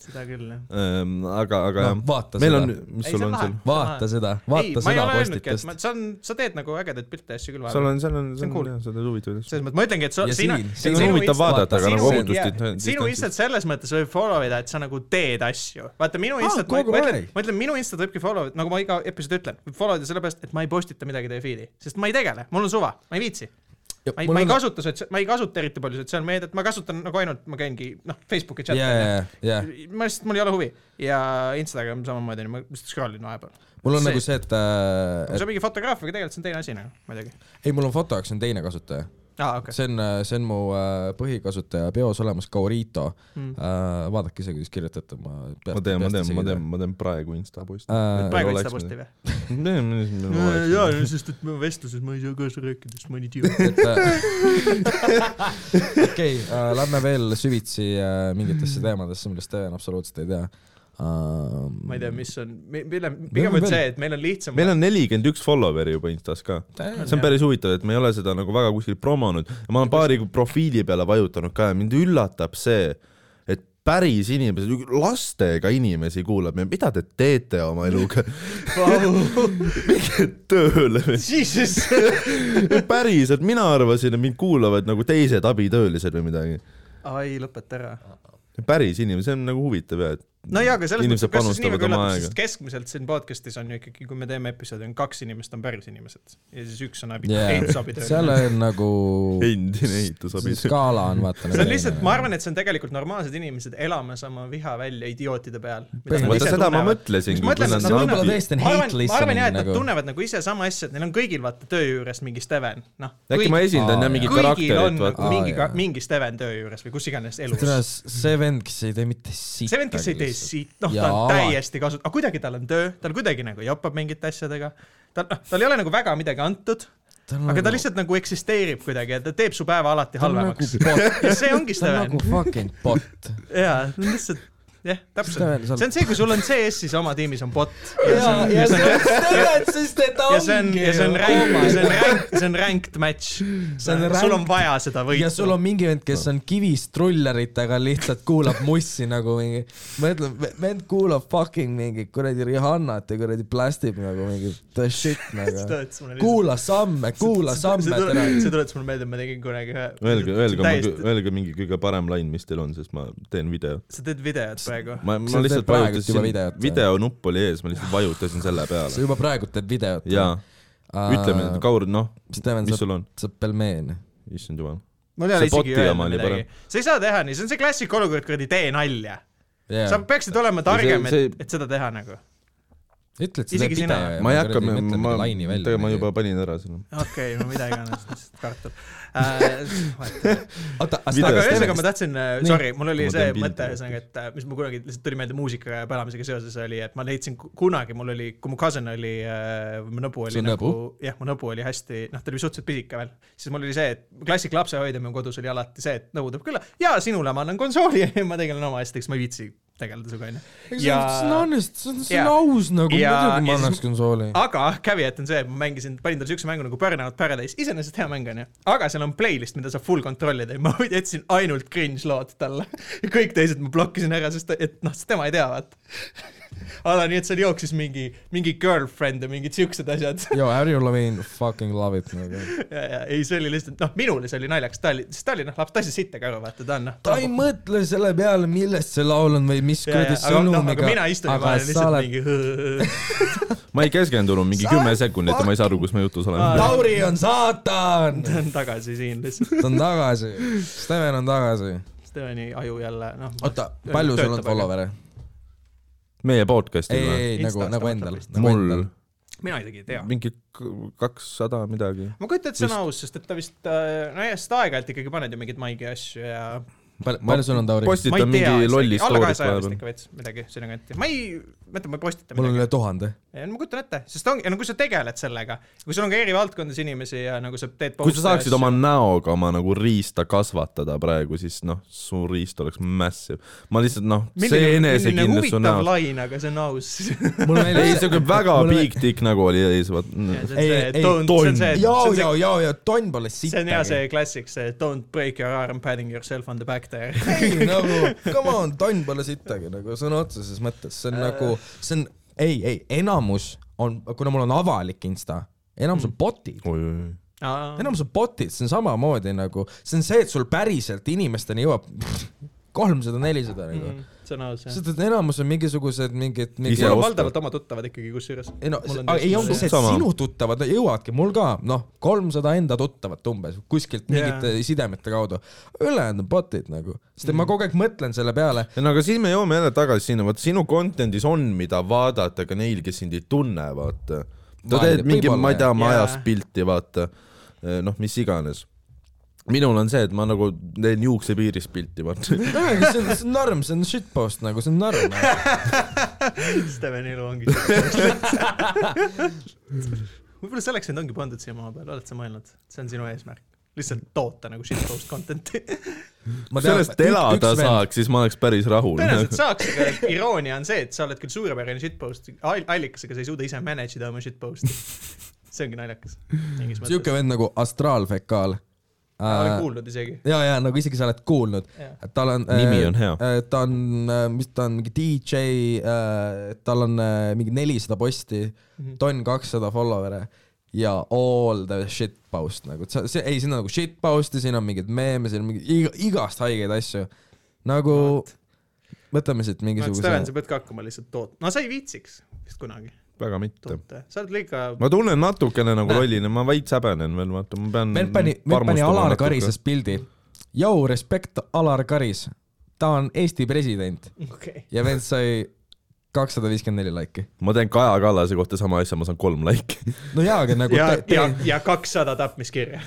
seda küll jah .
Ehm, aga , aga
no,
jah ,
vaata
meil
seda
on , mis sul on seal ?
vaata seda ,
ei
vaata ,
ma ei
seda
ole öelnudki , et
postitust
ma , see on , sa teed nagu ägedaid pilte ja asju küll
seal
vahepeal .
on , seal on ,
See on
seal on
cool.
jah , seda oli huvitav .
selles mõttes ma ütlengi , et sa ,
Ja
sina
siin- , siin
see on
sinu
huvitav
Insta-
vaadata , aga
sinu-
nagu
jaa,
ohutust .
sinu Instat selles mõttes võib follow ida , et sa nagu teed asju . vaata minu
Aa,
Instat , ma
kogu
ma ütlen
aeg. ,
ma ütlen , minu Instat võibki follow , nagu ma iga episood ütlen , võib follow ida sellepärast , et ma ei postita midagi teie feed'i , sest ma ei tegele , mul on suva , ma ei viitsi . ma ei , ma ei kasuta sots- , ma ei kasuta eriti palju sotsiaalmeediat , ma kasutan nagu ainult , ma käingi noh , Facebooki chat'i
jaa ,
yeah, .
jaa , jaa .
ma lihtsalt , mul ei ole huvi ja Instagram samamoodi , ma lihtsalt scroll in vahepeal .
mul on
See-
nagu see , et
kui
äh,
sa mingi fotograafiaga tegeled , see on teine asi nagu muidugi .
et ei , mul on foto jaoks on teine kasutaja .
aa , okei .
see on , see on mu äh, põhikasutaja peos olemas , Kaurito .
Hmm.
vaadake ise , kuidas kirjutate , ma .
ma teen , ma teen , ma teen , ma teen praegu Insta posti
Äh, .
praegu Insta posti või ? jaa , sest et me vestluses ma ei saa kaasa rääkida , sest ma olen idioot .
et äh, okei , lähme veel süvitsi äh, mingitesse teemadesse , millest Steven absoluutselt ei tea uh, .
ma ei
Mm.
tea ,. mis on , mille ,
on
pigem on
veel-
see , et meil on lihtsam .
meil on nelikümmend üks follower'i juba Instas ka . see on päris huvitav , et me ei ole seda nagu väga kuskil promonud ja ma olen paari profiili peale vajutanud ka ja mind üllatab see , et päris inimesed , lastega inimesi kuulab ja mida te teete oma eluga , minge tööle .
Jesus .
päriselt , mina arvasin , et mind kuulavad nagu teised abitöölised või midagi .
ai , lõpeta ära
päris inimesed , see on nagu huvitav ja et
no jaa , aga selles mõttes ,
Inimesed
et kas siis nii
panustavad
väga
oma
üllatus ,
aega.
sest keskmiselt siin podcast'is on ju ikkagi , kui me teeme episoodi , on kaks inimest on päris inimesed ja siis üks on abi- , teine abi
seal
tööl .
on nagu .
endine ehitusabi .
skaala on vaata . nagu-
see on lihtsalt , ma arvan , et see on tegelikult normaalsed inimesed elamas oma viha välja idiootide peal .
vaata seda ma mõtlesin .
Mis ma ütlen, et nad tunnevad-
võib-olla tõesti on
ma
hate
arvan , ma arvan jah , et
listening
nad
nagu .
tunnevad nagu ise sama asja , et neil on kõigil vaata töö juures mingi Steven , noh .
äkki ma
Aa,
esindan jah mingit
kõigil on
karakterit ,
nagu
vaata .
Aa,
mingi
jaa. ,
mingi Steven töö juures või kus iganes elus .
see vend , kes ei tee mitte siit .
see vend , kes ei tee siit , noh ,
Ja
ta on
alati.
täiesti kasu- , aga kuidagi tal on töö , tal kuidagi nagu joppab mingite asjadega . tal , noh , tal ei ole nagu väga midagi antud , aga ta . lihtsalt nagu eksisteerib kuidagi ja ta teeb su päeva alati
ta on nagu
halvemaks .
bot ,
nagu-
ja see ongi
ta on
Steven
nagu . fucking bot .
jaa , lihtsalt jah , täpselt . see
see
on see , kui sul on CS-is oma tiimis on bot .
ja , ja see on tegelikult , sest et ta
ja see on ,
ongi
ja see on ränk , see
ju .
on ränk , see on ranked match .
See on
sul on
ranked-
vaja seda
ja sul
võitu .
on mingi vend , kes on kivis trulleritega , lihtsalt kuulab mussi nagu mingi , ma ütlen , vend kuulab fucking mingi kuradi Rihannat ja kuradi plastib nagu mingi the shit nagu . kuula samme , kuula samme täna .
see tuletas mulle meelde , ma tegin kunagi ühe .
öelge , öelge , öelge mingi kõige parem lain , mis teil on , sest ma teen video .
sa teed videot praegu ?
ma ,
Sa
ma
teed
lihtsalt
praegult juba
vajutasin
videot või? ,
videonupp oli ees , ma lihtsalt vajutasin selle
sa
peale .
juba praegu teed videot .
jaa , ütleme , Kaur , noh ,
Steven ,
mis
sa ,
sul on ?
sa oled pelmeen .
issand jumal .
mul ei ole
See
isegi
bot'i
öelda
jama oli
midagi . sa ei saa teha nii , see on see klassik olukord , kuradi tee nalja . sa
ütled ,
peaksid olema targem ,
see-
et , et seda teha nagu .
sa teed
Isegi sina.
video .
ma ei hakka , ma , tegelikult ma juba . panin ära selle .
okei okay, , no mida iganes , lihtsalt kartul äh, .
oota ,
Video-
aga
Videost.
nagu-
ühesõnaga ma tahtsin ,
Nii.
sorry , mul oli
Ma
see
teen
mõte
pildi.
ühesõnaga , et äh, mis mul kunagi lihtsalt tuli meelde muusika ja pelamisega seoses oli , et ma leidsin ku- kunagi , mul oli , kui mu cousin oli , mu nõbu oli
Sul on
nagu , jah , mu nõbu oli hästi , noh , ta oli suhteliselt pisike veel . siis mul oli see , et klassik lapsehoidja mu kodus oli alati see , et nõu tuleb külla ja sinule ma annan konsooli ja ma tegelen oma asjadega , sest ma ei viitsi tegeleda sinuga onju .
see on- see on honest , see on , see on
Ja-
aus nagu ,
ja- ja
muidugi ma
siis- Ah!
annaks konsooli .
aga caveat on see , et ma mängisin , panin talle siukse mängu nagu Burnout Paradise , iseenesest hea mäng onju , aga seal on playlist , mida saab full kontrollida ja ma jätsin ainult cringe lood talle . ja kõik teised ma blokkisin ära , sest ta- et noh , sest tema ei tea vaata . ala nii , et seal jooksis mingi , mingi girlfriend ja mingid siuksed asjad .
Yo , Harry Levine fucking love it nagu .
ja , ja ei , see oli lihtsalt , noh , minule see oli naljakas , ta oli , sest ta oli noh , laps , ta ei saa sittagi aru , vaata , ta on noh .
ta ei mõtle selle peale , millest see laul on või mis
aga,
kuradi
no, aga
sõnumiga
mina istun ja ma olen lihtsalt oled... . mingi .
ma ei keskendunud mingi
Sa
kümme
oled
sekundit ja ma ei saa aru , kus ma jutus olen .
Lauri on saatan
ta on tagasi siin lihtsalt ,
ta on tagasi , Steven on tagasi .
Steveni aju jälle , noh .
oota , palju sul
Töötab,
on
aga-
follower'e ?
meie
ei ,
podcast'il
ei ,
või ?
ei nagu
Instas , ta
nagu
võtab
endal
vist. .
mul
mina isegi ei tea .
mingi k- kakssada midagi .
ma kujutan ette , see on aus , sest et ta vist , äh, nojah , seda aeg-ajalt ikkagi paned ju mingeid maigi asju ja
ma-
palju sul on , Tauri ?
ma ei
postitan
tea
mingi , lolli
alla
story't
kahesaja vist
vahepeal .
ikka veits midagi sinna kanti . ma ei , mõtlen , ma ei postita
mul on
midagi .
üle tuhande .
ma kujutan ette , sest ongi , no kui sa tegeled sellega , kui sul on ka eri valdkondades inimesi ja nagu sa teed
kui sa saaksid oma näoga oma nagu riista kasvatada praegu , siis noh , su riist oleks massive . ma lihtsalt noh , see enesekindlus su
näol .
näol .
lain , aga see on aus .
mul on
ei , siuke väga
Mul-
big dick nägu oli ees , vaat .
Mm. Ei, ei,
tonn.
jao , jao , jao , jao , tonn pole
see on hea
sittagi .
see klassik , see don't break your arm patting yourself on the back there .
ei nagu , come on , tonn pole sittagi nagu sõna otseses mõttes , see on nagu , see on , ei , ei , enamus on , kuna mul on avalik insta , enamus on bot'id . enamus on bot'id , see on samamoodi nagu , see on see , et sul päriselt inimesteni jõuab kolmsada , nelisada nagu .
see on aus Mm, jah .
sest et enamus on mingisugused mingid ,
Ise
mingid
mul on
osta.
valdavalt oma tuttavad ikkagi , kusjuures .
ei no ,
mul on
ei
täpselt
ongi
see.
see , et
Sama.
sinu tuttavad jõuavadki , mul ka , noh , kolmsada enda tuttavat umbes , kuskilt
Jaa.
mingite sidemete kaudu . ülejäänud on bot'id nagu , sest
Mm.
et ma kogu aeg mõtlen selle peale ,
no aga siis me jõuame jälle tagasi sinna , vaat sinu content'is on , mida vaadata ka neil , kes sind ei tunne , vaata . sa
Vaadake,
teed mingi ,
võib-olla,
ma ei tea ,
jah.
majas
Jaa.
pilti , vaata . noh , mis iganes . minul on see , et ma nagu teen juuksepiiris pilti , vaata .
see on see on norm , see on shitpost nagu , see on norm .
Steveni elu ongi selline . võib-olla selleks sind ongi pandud siia maa peale , oled sa mõelnud , see on sinu eesmärk , lihtsalt toota nagu shitpost content'i .
kui sellest elada . saaks , siis ma oleks päris rahul .
tõenäoliselt saaks , aga iroonia on see , et sa oled küll suurepärane shitpost all- allikas , aga sa ei suuda ise manage ida oma shitposti . see ongi naljakas .
siuke
ma
vend nagu astraalfekaal .
olen kuulnud isegi .
ja , ja nagu isegi sa oled kuulnud ,
Jah.
et tal on . äh,
Nimi on hea. .
ta on , mis ta on , mingi DJ , tal on äh, mingi nelisada posti ,
Mhm.
tonn kakssada follower'e ja all the shit post nagu , see , see , ei , siin on nagu shit post'i , siin on mingeid meeme , siin on mingi iga, igast haigeid asju . nagu võtame siit
Steven , sa
mingisuguse .
pead ka hakkama lihtsalt tootma , no sa ei viitsiks vist kunagi
väga mitte .
toota , sa oled liiga
ma tunnen natukene nagu
Näe.
lollina , ma veits häbenen veel , vaata , ma pean .
vend pani , vend pani Alar . Karises pildi . Jou , respekt , Alar Karis . ta on Eesti president
okei .
ja vend sai kakssada viiskümmend neli laiki .
ma teen Kaja Kallase kohta sama asja , ma saan kolm laiki .
no jaa , aga nagu
ja
te, , te,
ja , ja kakssada tapmiskirja .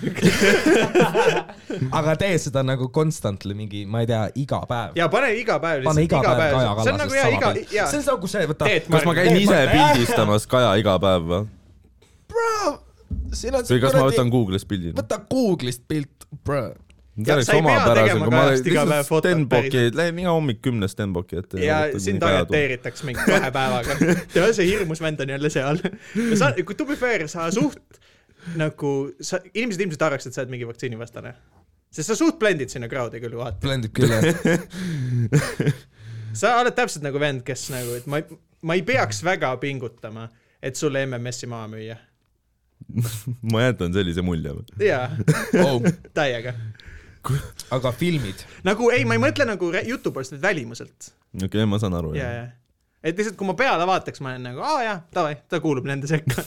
aga tee seda nagu constantly mingi , ma ei tea , iga päev .
ja pane iga päev
pane
lihtsalt ,
iga päev Kaja
see on nagu
Kallasest
hea ,
sama
iga ,
pilt .
jaa
see on nagu see , võta ,
Teet
kas ma
Margit.
käin
Ei,
ise
ma-
pildistamas Kaja iga päev või ?
siin on see
või kas ma
kuradi
võtan , Google'is pildi ?
võta Google'ist pilt ,
Ja sa ei pea tegema kajast iga päev fotot
Stenbocki
päriselt. ,
lähen iga hommik kümne Stenbocki ette .
ja sind orienteeritakse mingi kahe päevaga . tead , see hirmus vend on jälle seal . ja sa , kui to be fair , sa suht nagu , sa , inimesed ilmselt arvaks , et sa oled mingi vaktsiinivastane . sest sa suht blendid sinna crowd'i küll vaata .
blendib küll jah .
sa oled täpselt nagu vend , kes nagu , et ma , ma ei peaks väga pingutama , et sulle MMS-i maha müüa .
ma jätan sellise mulje .
jaa ,
Oh.
täiega .
aga filmid ?
nagu ei , ma ei mõtle nagu re- jutu poolest , vaid välimuselt .
okei , ma saan aru .
ja , ja . et lihtsalt , kui ma peale vaataks , ma olen nagu , aa jah , davai , ta kuulub nende sekka .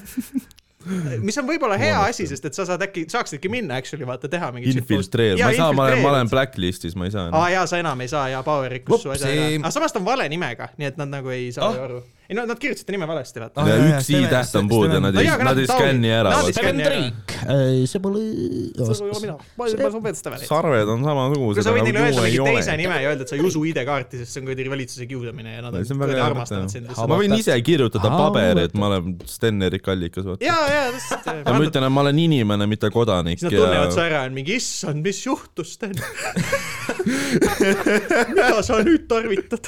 mis on võib-olla hea asi , sest et sa saad äkki , saaksidki minna , actually , vaata , teha mingit .
infiltreer , ma ei saa , ma olen , ma olen . blacklistis , ma ei saa enam
aa . jaa , sa enam ei saa ja Power rikkus su asja
Upsi.
ära . aga samas ta on vale nimega , nii et nad nagu ei saa
Ah.
ju aru . ei no nad kirjutasid ta nime valesti , vaata .
Ah, jaa, jaa,
üks
Steven-
i-täht on puudu ja nad
No
ei
jaa, , aga
nad
nad
ei
taunid-
skänni ära .
nad ei skänni ära.
see pole .
see olen mina , ma olen juba Peetste väli .
sarved on
kui
samasugused ,
sa võid neile öelda
juua ei
mingi teise
ole .
nime ja öelda , et sa ei usu ID-kaarti , sest see on kuradi valitsuse kiusamine ja nad on
see on väga
kuradi
hea
armastavad sind .
mõte . noh. ma võin ise kirjutada
Aa,
paberi , et
vaata.
ma olen Sten-Erik Allikas , vaata .
ja , ja täpselt .
aga ma ütlen , et ma olen inimene , mitte kodanik
siis nad tunnevad su
ja
ära ja on mingi , issand , mis juhtus , Sten ? mida sa nüüd tarvitad ?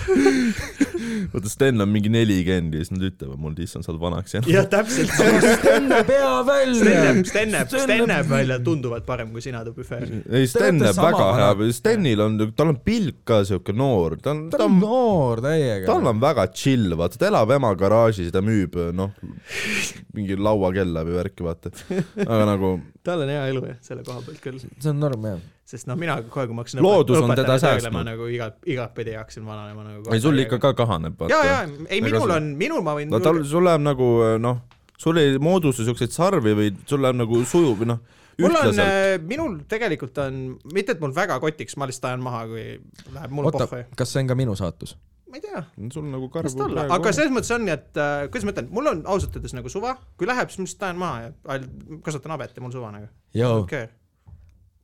vaata Sten on mingi nelikümmend ja siis nad ütlevad mulle , issand , sa oled vanaks jäänud .
jah , täpselt .
Stenne pea
Sten
välja .
näeb , Sten näeb , Sten näeb välja tunduvalt parem kui sina , Tupi Fair .
ei , Sten
olete
näeb
sama
väga
vana.
hea , Stenil on , tal on pilk ka siuke noor , ta on ,
ta on noor täiega .
tal on väga chill , vaata , ta elab ema garaažis ja ta müüb , noh , mingi lauakella või värki , vaata . aga nagu
tal on hea elu jah , selle koha pealt küll .
see on norm jah .
sest noh , mina kohe , kui ma hakkasin
Loodus on teda
ma
säästnud.
nagu igat , igatpidi hakkasin vananema nagu .
ei , sul ikka ka kahaneb ,
ja ,
vaata
ja . ei ,
Ega
minul
see-
on , minul ma võin
no tal , sul läheb nagu noh , sul ei moodustu siukseid sarvi või sul läheb nagu sujuv , noh ,
mul on äh,
ühtlaselt .,
minul tegelikult on , mitte et mul väga kotiks , ma lihtsalt ajan maha , kui läheb mul
oota
pohhu .,
kas see on ka minu saatus ?
ma ei tea ,
sul nagu
las
karv
eh, ta olla , aga selles mõttes on , et äh, kuidas ma ütlen , mul on ausalt öeldes nagu suva , kui läheb , siis ma lihtsalt ajan maha ja ail- kasvatan habet ja mul suva nagu .
joo ,
okei ,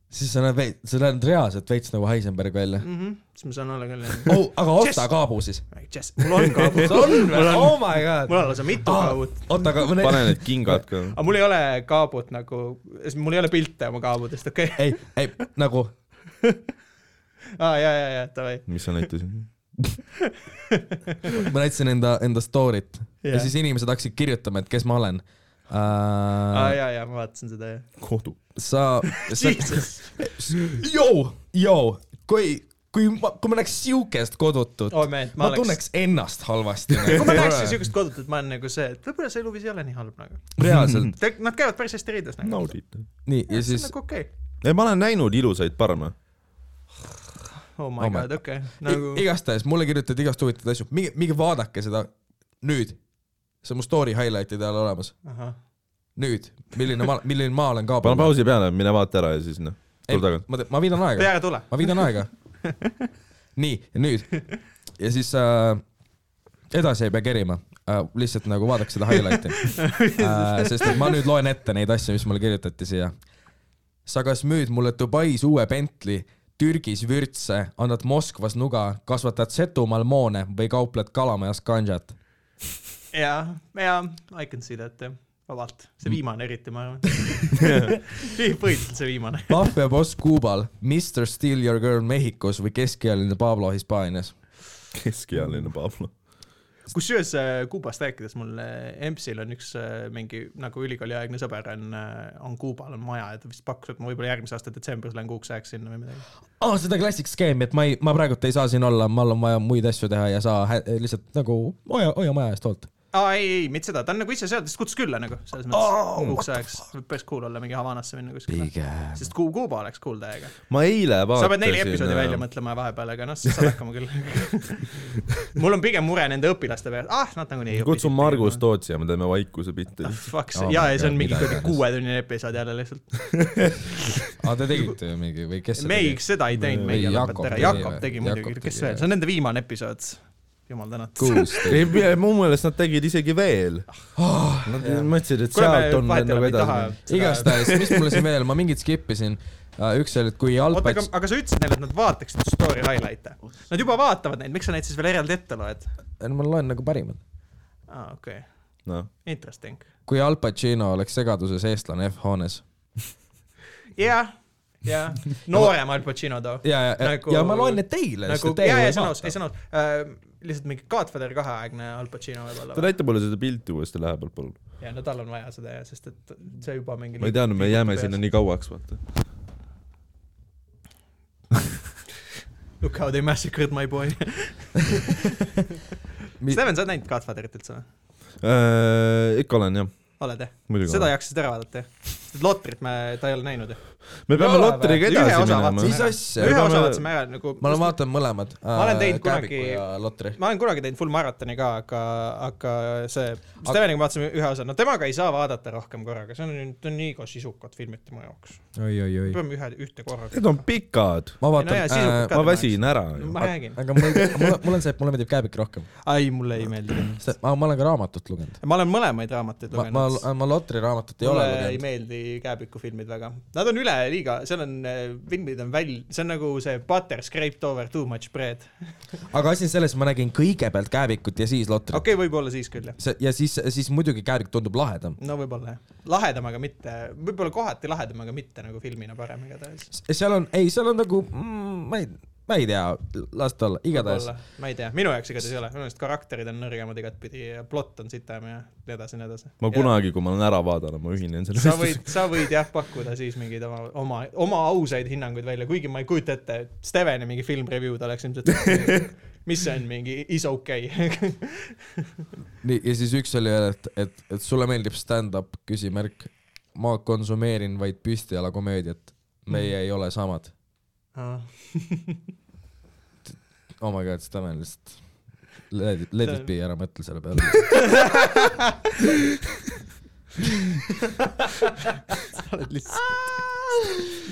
siis sa näed veits , sa näed reaalselt veits nagu Heisenberg välja .
Mm. Mhm. siis ma saan olla küll jah .
oh , aga
Yes.
osta kaabu siis .
Jess , mul on kaabud ,
on või
mul ? on ,
oh my god
mul . on lausa mitu
Ah.
kaabut ,
oota , aga mõne...
pane need kingad ka .
aga mul ei ole kaabut nagu , mul ei ole pilte oma kaabudest , okei okay.
ei , ei nagu ,
ah, , ja , ja , ja davai .
mis sa näitasid ?
ma näitasin enda , enda story't yeah.
Jah.
ja siis inimesed hakkasid kirjutama , et kes ma olen uh, .
aa ,
Yeah.
ja , ja Ah, ma vaatasin seda jah .
kodu .
sa , sa ,
Jesus ,
joo , joo , kui , kui ma , kui ma näeks siukest kodutut
oh man , ma
ma, ma
oleks
tunneks ennast halvasti . Nagu
kui ma näeksin siukest kodutut , ma olen nagu see , et võib-olla see eluviis ei ole nii halb nagu .
reaalselt ,
Nad käivad päris hästi riides nagu .
naudid .
nii ja
see on
siis
nagu okei
ei , ma olen näinud ilusaid parme .
okay. . Oh my
Oh
oh
my-
god , okei okay. .
nagu...
nagu ,
igastahes mulle kirjutati igast huvitavaid asju , minge , minge vaadake seda nüüd . see on mu story highlight'ide all olemas ,
ahah .
nüüd , milline ma , milline ma olen ka .
pane pausi peale , mine vaata ära ja siis noh , tule tagasi .
ma , ma viidan aega ,
peale tule .
ma viidan aega . nii , nüüd ja siis äh, edasi ei pea kerima äh, , lihtsalt nagu vaadake seda highlight'i äh, . sest et ma nüüd loen ette neid asju , mis mulle kirjutati siia . sa kas müüd mulle Dubais uue Bentley , Türgis vürtse , annad Moskvas nuga , kasvatad Setumaal moone või kaupled Kalamajas kanjat ?
jaa , jaa , I can see that jah , vabalt . see viimane eriti , ma arvan . põhiliselt see viimane .
maffia boss Kuubal , Mr Steal Your Girl Mehhikos või keskealine Pablo Hispaanias ?
keskealine Pablo .
kusjuures äh, Kuubast rääkides mul äh, EMS-il on üks äh, mingi nagu ülikooliaegne sõber on , on Kuubal on maja ja ta vist pakkus , et ma võib-olla järgmise aasta detsembris lähen kuuks ajaks sinna või midagi .
aa , seda klassik skeemi , et ma ei , ma praegult ei saa siin olla , mul on vaja muid asju teha ja sa hä- lihtsalt nagu hoia , hoia maja eest hoolt .
aa ei , ei , mitte seda , ta on nagu ise seal , ta siis kutsus külla nagu selles mõttes oh, kuuks ajaks . võib päris cool olla mingi Havanasse minna kuskile .
pigem .
sest Ku- , Kuuba oleks cool täiega .
ma eile vaatasin . eh,
sa pead neli episoodi välja . mõtlema vahepeal , aga noh , siis saad hakkama küll . mul on pigem mure nende õpilaste peale , ah nad nagunii ei Ah. õpi .
kutsun Margus . Tootsi ja me teeme vaikuse pilti .
Fuck
Oh
see ,
my
jaa , ja see
God,
on mingi
mida
kuradi
iganes.
kuuetunnine episood jälle lihtsalt .
aa , te tegite ju mingi või kes see
me ei ,
tegi ?
seda ei teinud , meie
Või
lõpeta ära ,
Jakob tegi
Jakob
või?
tegi
Jakob
muidugi ,
tegi,
kes veel ,
jah.
see on nende viimane episood . jumal tänatud .
kuus
ei
tegi .,
mu meelest nad tegid isegi veel . Nad mõtlesid , et
Ah. kuule ,
sealt
me
on
vahet ei
nagu
ole , me ei taha
edasi .
seda .
igastahes , mis mulle siin veel , ma mingit skip isin . üks oli , et kui
oota , aga
jalgpats ,,
aga sa ütlesid neile , et nad vaataksid story highlight'e . Nad juba vaatavad neid , miks sa neid siis veel eraldi ette loed ?
ma loen nagu parimad .
aa , okei ,
noh ,
interesting .
kui Al Pacino oleks segaduses eestlane F-hoones .
jah , ja noorem Al Pacino too .
ja , ja ,
Nagu-
ja ma loen need teile ,
nagu
sest , et
jaa ,
teie
jaa , sõna otseses , sõna otseses . Äh, lihtsalt mingi Godfather kaheaegne Al Pacino võib-olla
ta . näita mulle seda pilti uuesti lähedalt , palun .
ja no tal on vaja seda ja sest et see juba mingi
ma ei teadnud , me jääme sinna nii kauaks , vaata .
Look how they massacred my boy
Mi-
Steven , sa oled näinud Godfatherit üldse või ?
Äh, ikka olen jah ,
oled jah ?
muidugi
seda
olen .
jaksasid ära vaadata jah ? Lotrit me , ta ei ole näinud ju .
me peame
Ei ole
Lotteriga
või? Ühe
edasi
osa
minema
vaatasin.
mis asja
Ei, ?
ühe
aga
osa
me-
vaatasime ära nagu
ma olen vaadanud mõlemad .
Ma olen teinud kunagi-
ja Lotri .
ma olen kunagi teinud full maratoni ka , aga , aga see , Steveniga vaatasime ühe osa , no temaga ei saa vaadata rohkem korraga , see on , ta on nii ka sisukad filmid tema jaoks .
oi , oi , oi .
peame ühe , ühte korraga .
Need on pikad ,
ma
No ja,
vaatan
sisuliselt
äh,
ka-
ma väsin ära ju .
ma räägin .
aga mul , mul , mul on see , et mulle meeldib käepikk rohkem ,
ai , mulle ei meeldi .
sest ma, ma olen ka raamatut lugenud .
ma olen mõlemaid raamatuid
ma , ma
lugenud .,
ma Lotri raamatut ei ole
mulle ei
lugenud .
meeldi käepikufilmid väga . Nad on üleliiga , seal on , filmid on väl- , see on nagu see butter scraped over too much bread .
aga asi on selles , ma nägin kõigepealt käevikut ja siis Lotrit
okei
okay. .
okay, , võib-olla siis küll jah .
see ja siis , siis muidugi käevik tundub lahedam .
no võib-olla jah , lahedam , aga mitte , võib-olla kohati lahedam , aga mitte nagu filmina parem igatahes .
seal on , ei , seal on nagu mm, , ma ei , ma ei tea , las ta olla , igatahes .
ma ei tea , minu jaoks igatahes ei ole , minu meelest karakterid on nõrgemad igatpidi ja plott on sitem ja nii edasi , nii edasi .
ma . kunagi , kui ma olen ära vaadanud , ma ühinen selle
sa võid , sa võid jah pakkuda siis mingeid oma , oma , oma ausaid hinnanguid välja , kuigi ma ei kujuta ette , et Steveni mingi film review'd oleks ilmselt , mis see on , mingi is okei okay. .
nii , ja siis üks oli veel , et , et , et sulle meeldib stand-up , küsimärk . ma konsumeerin vaid püstijalakomöödiat . meie mm. ei ole samad . oh my god , Steven lihtsalt . Let it , let it be , ära mõtle selle peale .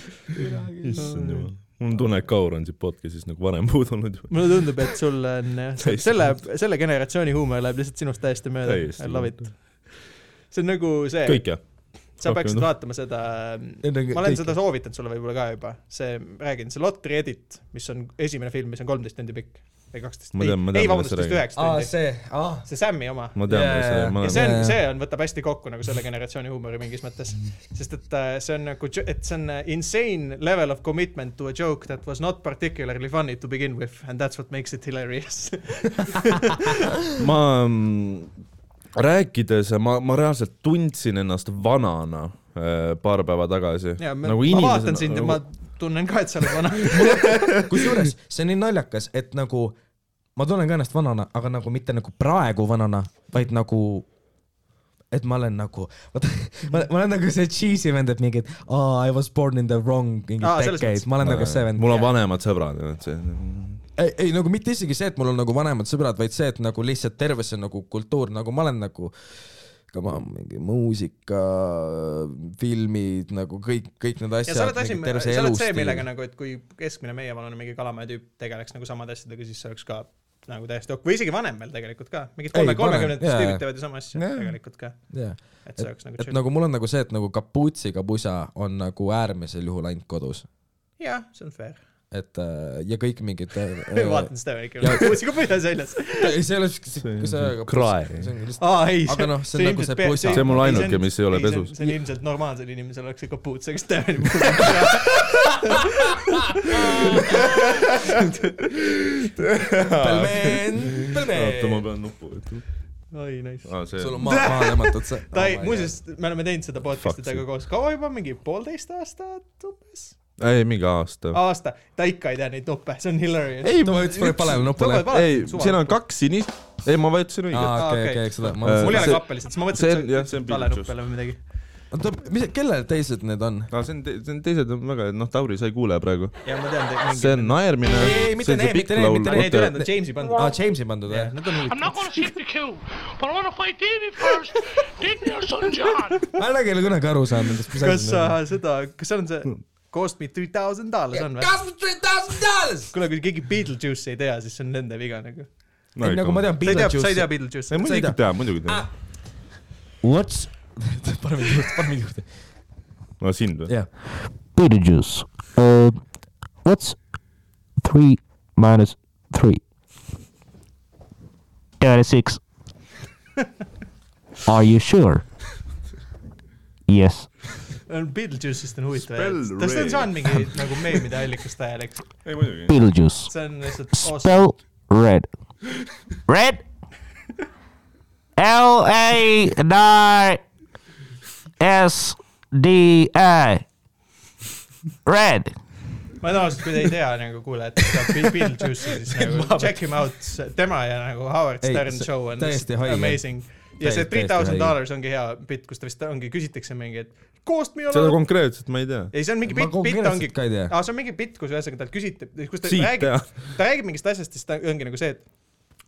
issand jumal . mul on tunne , et Kaur on siit podcast'is nagu varem puudunud juba .
mulle tundub , et sul on jah ,
Täiesti.
selle , selle generatsiooni huumor läheb lihtsalt sinust täiesti mööda .
Täiesti.
I love it . see on nagu see ,
kõik jah ?
sa
rohkem
peaksid
ei taha.
vaatama seda , ma olen seda soovitanud sulle võib-olla ka juba , see , räägin , see Lotri edit , mis on esimene film , mis on kolmteist tundi pikk või kaksteist ,
Ma
ei
tean- ma , tean,
ei
millest
vabandust ,
sa
vist
räägid.
üheksa tundi .
see , aa .
see Sam'i oma .
ma tean , mis
Jaa,
see , ma
ja
olen
see on ,
Jaa.
see on , võtab hästi kokku nagu selle generatsiooni huumori mingis mõttes , sest et äh, see on nagu , et see on insane level of commitment to a joke that was not particularly funny to begin with and that's what makes it hilarious .
ma mm, rääkides , ma , ma reaalselt tundsin ennast vanana äh, paar päeva tagasi . Äh,
ja ma, nagu ma vaatan sind ja ma tunnen ka , et sa oled vana .
kusjuures see on nii naljakas , et nagu ma tunnen ka ennast vanana , aga nagu mitte nagu praegu vanana , vaid nagu , et ma olen nagu , vaata , ma ma olen nagu see cheesy vend , et mingi , et aa , I was born in the wrong mingi
Aa, selles
decade ,
mõttes.
ma olen nagu see vend .
mul on vanemad sõbrad , et see .
ei , ei nagu mitte isegi see , et mul on nagu vanemad sõbrad , vaid see , et nagu lihtsalt terve see nagu kultuur , nagu ma olen nagu ka ma mingi muusika , filmid nagu kõik , kõik need
ja sa
asjad nagu
oled . asi , sa oled see , millega nagu , et kui keskmine meievanune mingi Kalamaja tüüp tegeleks nagu samade asjadega , siis see oleks ka nagu täiesti ok- , või isegi vanem veel tegelikult ka , mingid
Ei,
kolme ,
vanem,
kolmekümnendates
jaa,
tüübid
jaa.
teevad ju sama asja
Jaa.
tegelikult ka ,
yeah.
et see oleks nagu
et
chill .
nagu mul on nagu see , et nagu kapuutsiga pusa on nagu äärmisel juhul ainult kodus ,
jah , see on fair .
et äh, ja kõik mingid
ma vaatan seda ikka
jaa. ,
kuulsin ka põhjas väljas .
ei , see ei ole siukse .
krae.
see on lihtsalt ,
aa ei ,
Aga noh, see on nagu see pusa.
See on mul ainuke, mis ei ole pesus.
see on ilmselt normaalsel inimesel oleks see kapuut , see oleks tõeline .
pelmeen ,
oota , ma
pelmeen .
pean nuppu võtma .
oi , nice .
aa , see
sul on maa , maa tõmmatud see .
Ah,
Oh
ta ei , muuseas , me oleme teinud seda podcast'i
Fuck
temaga
see.
koos kaua juba , mingi poolteist aastat umbes .
ei , mingi aasta .
aasta , ta ikka ei tea neid nuppe , see on hilarious .
ei ,
ma ütlesin , et pane palele nupule .
ei , siin on . kaks sinist , ei , ma vajutasin õiget .
aa , okei ,
Ah, okei.
okei , eks ole .
Äh,
mul ei ole
see-
kappe lihtsalt , siis ma
see
mõtlesin ,
on-
et sa
jah, see on
ütlesid talle
piinlik
nuppele või midagi .
oota , mis , kellel teised need on ?
aa , Ah, see on , see on teised on väga , noh , Tauri , sa ei kuule praegu .
ja ma tean ,
see on naermine .
Ei, mitte need, mitte need, mitte
need ülejäänud on Jamesi pandud .
aa , Jamesi Ah, pandud või ?
Need on
I'm
huvitavad
not gonna shoot the kill, but I wanna fight Davy first, then your son John.
ma ei ole küll kunagi aru saanud nendest , mis
kas sa seda , kas see on see Cost me three thousand dollars on või ?
kasvab three thousand dollars .
kuule , kui keegi Beetlejuice'i ei tea , siis see on nende viga nagu .
ei , nagu ma . tean ,
sa ei tea ,
Beetlejuice .
sa
ei ,?
ei tea . Beetlejuice'i
muidugi tean , muidugi tean .
What's ? pane mind juurde , pane mind juurde .
no sind või ?
jah .
Beetlejuice. Uh, what's three minus three? Thirty-six. Are you sure? yes.
on Beetlejuice'ist on huvitav
Spell
hääl . kas see on
Ray.
saanud mingi nagu meemide allikast hääl , eks ?
ei muidugi .
Beetlejuice.
see on lihtsalt awesome .
Spell red. Red. L A N I S D I. Red.
ma tavaliselt , kui te ei tea nagu kuulajad , kes teab Be- Beetlejuice'i , siis nagu check him out , tema ja nagu Howard
Ei,
Stern
see-
show on
täiesti
lihtsalt
haige.
amazing . ja see
Täiesti-
three
täiesti
thousand
haige.
dollars ongi hea bitt , kus ta vist ongi , küsitakse mingi , et koost me
seda
oleme .
konkreetselt ma ei tea .
ei , see on mingi
Ma
bitt , bitt
konkreetselt
ongi ,
ka ei tea.
aa , see on mingi bitt , kus ühesõnaga talt küsiti , kus ta
Siit teha.
räägib , ta räägib mingist asjast , siis ta ongi nagu see , et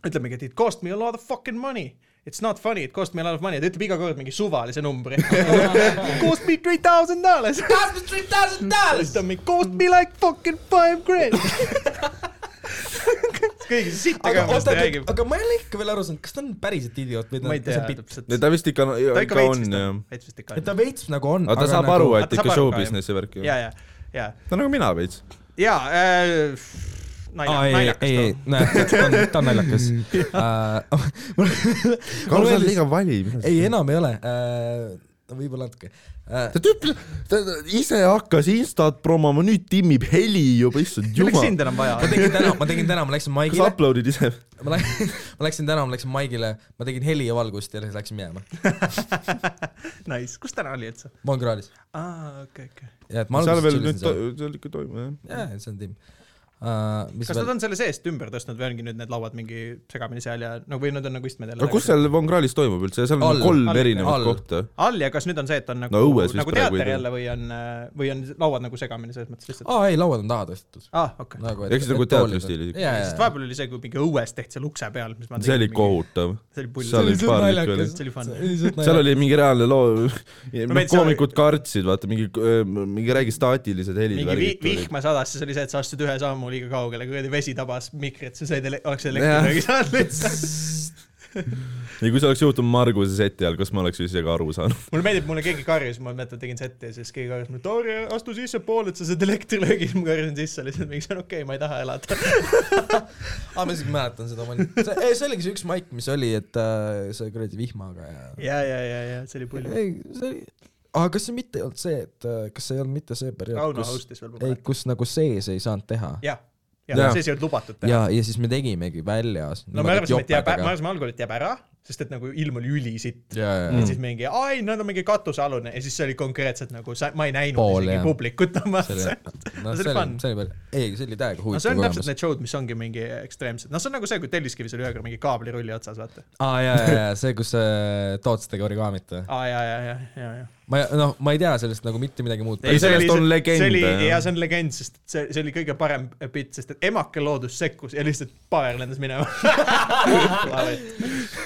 ütleb mingi , et it cost me a lot of fucking money . It's not funny , it cost me a lot of money , ta ütleb iga kord mingi suvalise numbri . Cost me three thousand dollars . siis ta on mingi cost me like fucking five grand . kõigi see sitt aga
aga
mis
oota
ta , räägib .
aga ma ei ole ikka veel aru saanud , kas ta on päriselt idioot või ta
ma ei
on
tea
lihtsalt
täpselt .
ta vist ikka ,
ta ikka
ikka on
veits vist
jah
on ,. veits vist ikka
pitt ? et ta
on .
veits nagu on .
aga ta saab aru ,
Aga
et
ta saab
ikka
aru
show
ka, jah.
business'i värk ju .
ja , ja , ja ,
ta on nagu mina veits .
ja äh, .
aa , ei , ei , ei , ei , näed , ta on , ta on naljakas uh, .
Karl , sa oled liiga vali .
ei , enam ei ole uh, . võib-olla natuke uh, .
ta tüüp , ta ta ise hakkas Instat promoma , nüüd timmib heli juba , issand
milleks
jumal .
sind enam vaja
ma
on ?
tegin täna , ma tegin täna , ma
kas
läksin
sa
Maigile ,
upload'id ise ?
ma läksin , ma läksin täna , ma läksin Maigile , ma tegin heli ja valgust ja siis läksin minema .
Nice , kus täna oli üldse ?
ma olen kraalis .
aa , okei , okei .
ja et ma
seal
alguses
veel nüüd ,
tšillisin seal .
seal ikka toimub jah .
jaa , see on tiim uh, . mis
kas nad
veel ,
on selle seest ümber tõstnud või ongi nüüd need lauad mingi segamini seal ja no või nad on nagu istmed jälle
aga kus ? seal Von Krahlis toimub üldse , seal on
All.
all, kolm
All.
all, erinevat
All.
all. kohta .
all ja kas nüüd on see , et on nagu
No õues vist
nagu
praegu ei
teater
tule. Oh.
jälle või on , või on lauad nagu segamini selles mõttes lihtsalt ?
aa ei , lauad on taha tõstetud .
aa , okei .
nagu
Eks see nagu teatri stiilis ikka.
jaa ,
sest
jaa ,
vahepeal oli see , kui mingi õues tehti seal ukse peal , mis ma
see oli . kohutav .
see oli
seal
pull
oli . paar tükki oli .
see oli fun .
nagu-
seal oli mingi reaalne loo ,
meeldis-
koomikud kartsid , vaata mingi , mingi räägi staatilised helid .
mingi vi- , vihma sadas , siis oli see , et sa astusid ühe sammu liiga kaugele , kuradi vesi tabas mikrit , sa said , oleks
Jah.
elektrilöögi saanud lihtsalt .
ja kui see oleks juhtunud Marguse seti ajal , kas ma oleks ise ka aru saanud ?
mulle meeldib , mulle keegi karjus , ma mäletan , tegin sette ja siis keegi karjus mulle , Tauri , astu sissepoole , et sa saad elektrilöögi , siis ma karjusin sisse lihtsalt , mingi see on okei okay, , ma ei taha elada .
aa ma isegi mäletan seda , ma olin , see , ei see oligi see üks maik , mis oli , et äh, see kuradi vihmaga ja
ja , ja , ja , ja see oli pull .
ei , see oli , aga kas see mitte ei olnud see , et äh, kas see ei olnud mitte see periood ,
Rauno
kus ,
host'is veel
ei
praegu .
kus nagu sees ei saanud teha ja ,
jah , ja
Jah.
siis ei olnud lubatud teha .
ja , ja siis me tegimegi väljas .
no me arvasime , et jääb , me arvasime algul , et jääb ära , sest et nagu ilm oli ülisitt .
ja ,
ja
ja ,
siis mingi , ai , nad on mingi katusealune ja siis see oli konkreetselt nagu sa , ma ei näinud
Pool,
Pool, isegi
jah.
publikut oma .
see oli , no
see oli
see oli
fun. ,
see oli veel , ei , see oli täiega
no see
huvitav
on täpselt
kogemus .
need show'd , mis ongi mingi ekstreemsed , noh , see on nagu see , kui Telliskivis oli ühe korra mingi kaablirulli otsas , vaata .
aa ja , ja , ja see , kus äh, Toots tegi origaamit .
aa , ja , ja , ja , ja , ja .
ma , noh , ma ei tea sellest nagu mitte midagi muud .
Ei, sellest on legende,
see oli ,
jah.
jaa , see on legend , sest see , see oli kõige parem bitt , sest et emake loodus sekkus ja lihtsalt paber lendas minema .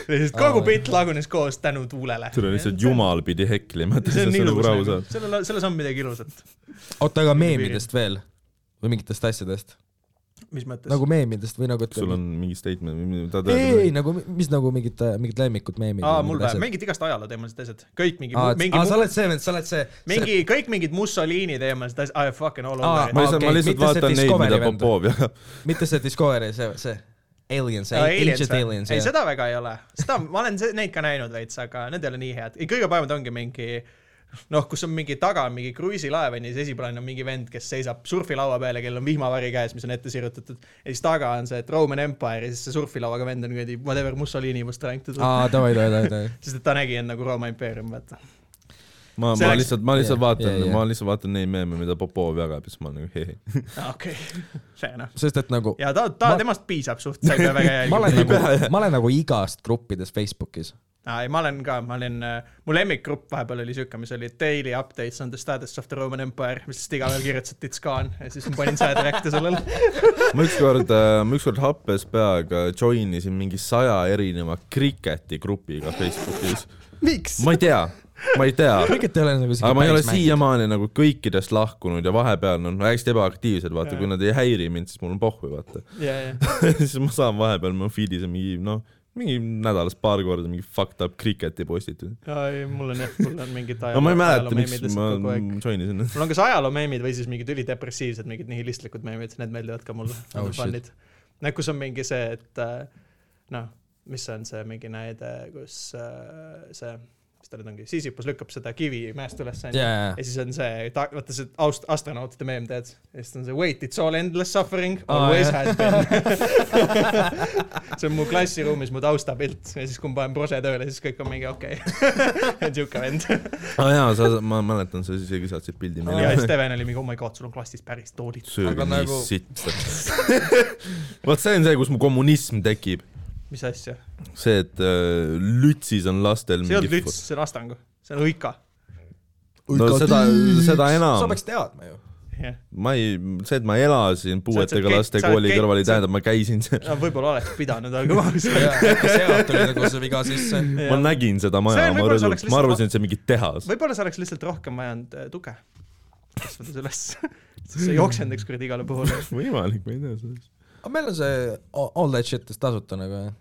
lihtsalt kogu bitt lagunes koos tänu tuulele .
sul on lihtsalt jumal pidi heklima , et
see
sa
on
nagu
ilus
aru
nagu.
saad .
sellel , selles on midagi ilusat .
oota , aga meemidest veel või mingitest asjadest
mis mõttes
nagu meemidest või nagu , et
sul on mingi statement või midagi , tahad
ei , ei
öelda ?
nagu , mis nagu mingid , mingid lemmikud meemid .
aa , mul vähe , mingid igast ajalooteemalised asjad , kõik mingi ,
aa ,
mingi
sa , oled see vend , sa oled see .
mingi , kõik mingid Mussolini teemalised asjad , I am fucking all
Aa,
over
ma
it .
lihtsalt ,
okei,
ma lihtsalt
mitte see
vaatan neid ,
Discovery
mida
vend.
Popov jagab .
mitte see Discovery , see , see nagu Aliens , Ancient Aliens .
ei , seda väga ei ole , seda ma olen se- neid ka näinud veits , aga need ei ole nii head , kõige paremad ongi mingi noh , kus on mingi taga mingi kruiisilaev on ju , siis esiplaanil on mingi vend , kes seisab surfilaua peal ja kellel on vihmavari käes , mis on ette sirutatud . ja siis taga on see , et Roman Empire ja siis see surfilauaga vend on kuradi whatever Mussolini vastu rankitud .
aa , davai , davai , davai , davai .
sest et ta nägi end nagu Rooma impeerium , vaata .
ma ,
See
ma
läks-
lihtsalt , ma lihtsalt
Jah, jah,
vaatan ,
jah.
ma lihtsalt vaatan neid meeme , mida Popov jagab ja siis ma olen nagu hei .
okei okay. , fair enough .
sest et nagu ,
ja ta , ta
Ma-
ma... , temast piisab suht , sa ei pea väga
ma
jälgima .
olen nagu , ma olen nagu igast gruppides Facebookis .
aa ei , ma olen ka , ma olin , mu lemmikgrupp vahepeal oli siuke , mis oli Daily Updates on the status of the Roman Empire , mis siis iga päev kirjutas , et it's gone ja siis ma panin sääderäkte sellele .
ma ükskord , ma ükskord happes peaga join isin mingi saja erineva kriketi grupiga Facebookis .
miks ?
ma ei tea , ma ei tea ,
kõiget ei ole
aga
nagu isegi
ma ei ole
päris mäng .
siiamaani nagu kõikidest lahkunud ja vahepeal on no, hästi ebaaktiivsed , vaata , kui nad ei häiri mind , siis mul on pohhu , vaata .
ja , ja ,
siis ma saan vahepeal , ma feed'is on mingi noh , mingi nädalas paar korda mingi fucked up kriketi postitud .
ei mul on jah , mul on mingid
no
ajaloo ,
ma ei mäleta , miks ma
ajaloomeemid lihtsalt kogu aeg .
join isin .
mul on kas ajaloomeemid või siis mingid ülidepressiivsed , mingid nihilistlikud meemid , need meeldivad ka mulle , need
Oh,
on
shit.
fun'id . Need , kus on mingi noh, see , et äh, noh , mis see on see mingi näide , kus äh, see siis tal ongi , Sisyphus lükkab seda kivi mäest üles , onju .
Jaa, jaa.
ja siis on see , vaata see aust- , astronautide meem , tead . ja siis on see wait , it's all endless suffering ,
Aa,
always
jah.
has been . see on mu klassiruumis mu taustapilt ja siis , kui ma panen prose tööle , siis kõik on mingi okei okay. . siuke vend .
aa jaa , sa , ma mäletan , sa isegi saatsid pildi
ja siis
meile .
Steven oli mingi , oh my god , sul on klassis päris toolid .
sööge
Aga
nii nagu...
nagu-
sitta . vot see on see , kus mu kommunism tekib .
mis asja ?
see , et äh, lütsis on lastel
see ei olnud lüts , see on astangu , see on õika .
no seda , seda
sa
enam
peaks . teadma ju .
jah ,
ma ei , see , et ma elasin puuetega
kõik-
laste
sa oled
kooli
kõik-
kõrval , ei
sa-
tähenda , ma käisin seal .
võib-olla oleks pidanud , aga ma arvan ,
sealt tuli nagu see viga sisse .
ma nägin seda maja
See ,
ma
on võib-olla see
rõdult ma
oleks , lihtsalt-
arvasin , et see on mingi tehas .
võib-olla see oleks lihtsalt rohkem vajanud äh, tuge . kasvades üles , siis ei jooksenud ükskord igale poole .
võimalik , ma ei tea sellest .
aga meil on see a- all that shit is tasuta nagu jah .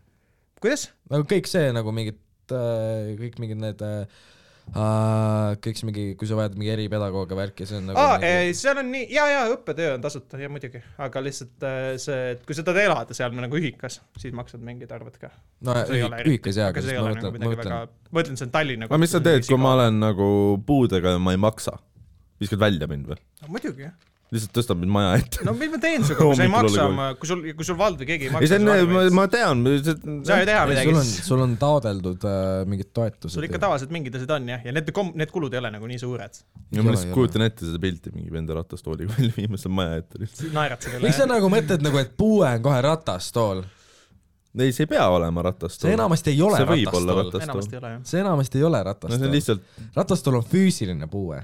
kuidas ?
nagu kõik see nagu mingid , kõik mingid need äh, äh, kõik see mingi , kui sa vajad mingi eripedagoogi värki , see on nagu
aa ,
mingi...
seal on nii , ja , ja õppetöö on tasuta ja muidugi , aga lihtsalt äh, see , et kui sa tahad elada seal nagu ühikas , siis maksad mingid arved ka .
no ühik- ühikas jaa ,
aga
aga
see
siis
ei
ma
ole nagu
mõtlen ,
midagi väga
ma mõtlen ,,
ma ütlen , see on Tallinna .
aga mis sa teed , kui ma ? olen nagu puudega ja ma ei maksa ? viskad välja mind või ?
muidugi ,
lihtsalt tõstab mind maja ette
no mis ma teen sinuga , kui sa ei
Hommikul
maksa
oli
oma , kui sul , kui sul vald või keegi ei
ei ,
maksa
see on ,
arveid ,
ma tean , see
sa ei tea midagi
sul on ,, sul on taodeldud äh, mingid toetused .
sul ikka tavaliselt mingid asjad on jah , ja need , need kulud ei ole nagu nii suured .
ja ma
Ei
lihtsalt
ole,
kujutan ette seda pilti mingi venda ratastooliga välja viimas seal maja ette lihtsalt .
naerad selle
miks sa
üle .
nagu mõtled nagu , et puue on kohe ratastool ?
ei , see ei pea olema ratastool .
see enamasti ei ole
see võib olla
ratastool .
ratastool
enamasti . ei ole jah .
see enamasti ei ole
no see on
ratastool .
lihtsalt ,
ratastool on füüsiline puue .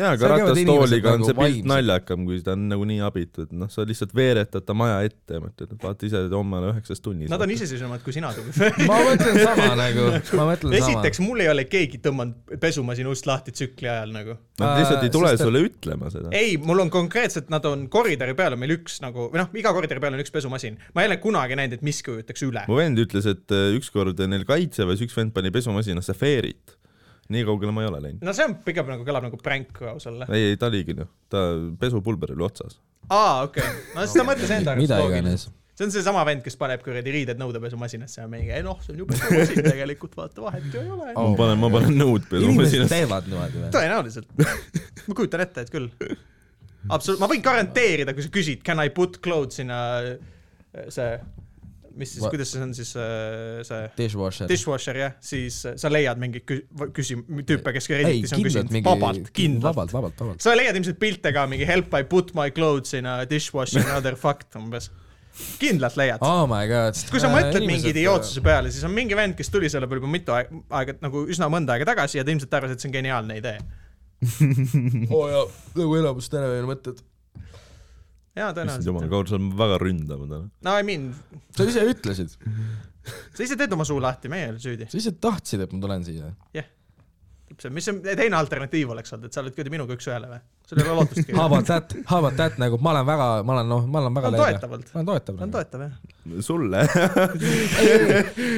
jaa ,
Seal
aga
käivad inimesed
ratastooliga on
nagu
see pilt
vaimselt.
naljakam , kui ta on nagu nii abitu , et noh , sa lihtsalt veeretad ta maja ette ja mõtled , et vaata ise homme on üheksas tunnis .
Nad on iseseisvamad kui sina , Toomas .
ma mõtlen sama nagu , ma mõtlen
esiteks , mul ei ole keegi tõmmanud pesumasina ust lahti tsükli ajal nagu .
Nad lihtsalt ei
Äh,
tule
sest Eh. et-
sulle ütlema seda .
ei , mul on konkreetselt , nad on koridori peal on meil üks nagu , või noh , iga koridori peal on üks pesumasin . ma ei ole kunagi näinud , et miski ujutaks üle .
mu vend ütles , et äh, ükskord neil kaitseväes üks vend pani pesumasinasse feerit . nii kaugele ma ei ole läinud .
no see on pigem nagu kõlab nagu pränk kui aus olla .
ei , ei ta oligi noh , ta pesupulber oli otsas .
aa , okei okay. , no siis ta mõtles enda
mida
arust
iganes.
loogiliselt see on seesama vend , kes paneb kuradi riided nõudepesumasinasse ja mingi , ei noh , see on ju pesumasin tegelikult , vaata vahet ju ei ole
Oh
ma panen , ma panen nõud
inimesed
pesumasinasse .
teevad niimoodi või ?
tõenäoliselt . ma kujutan ette , et küll . absoluutselt , ma võin garanteerida , kui sa küsid can I put clothes in a see , mis siis ,
Va-
kuidas see on siis äh, see
Dishwasher .
dishwasher jah , siis äh, sa leiad mingeid kü- , küsim- , tüüpe , kes
ei ,
Redditis on
kindlalt
küsinud
mingi .
vabalt , kindlalt .
vabalt , vabalt , vabalt .
sa leiad ilmselt pilte ka mingi help I put my clothes in a dishwasher another fucked umbes . kindlalt leiad .
Oh my god .
sest kui sa mõtled mingi
äh,
idiootsuse peale , siis on mingi vend , kes tuli selle peale juba mitu aeg- aega , nagu üsna mõnda aega tagasi ja ta ilmselt arvas , et see on geniaalne idee .
oo jaa , nagu enamus tänapäeval mõtted .
jaa ,
issand jumal ,
tõenäoliselt .
Kaur , sa oled väga noh? ründav täna .
no I mean ,
sa ise ütlesid ,
sa ise teed oma suu lahti , meie ei ole süüdi .
sa ise tahtsid , et ma tulen siia .
täpselt , mis see teine alternatiiv oleks olnud , et sa oled kuidagi minuga üks-ühele või ? sul ei ole lootustki .
How about that , how about that nagu ma olen väga , ma olen noh , ma olen väga
On
leebe.
toetavalt.
ma olen toetav .
ta on toetav jah .
sulle ?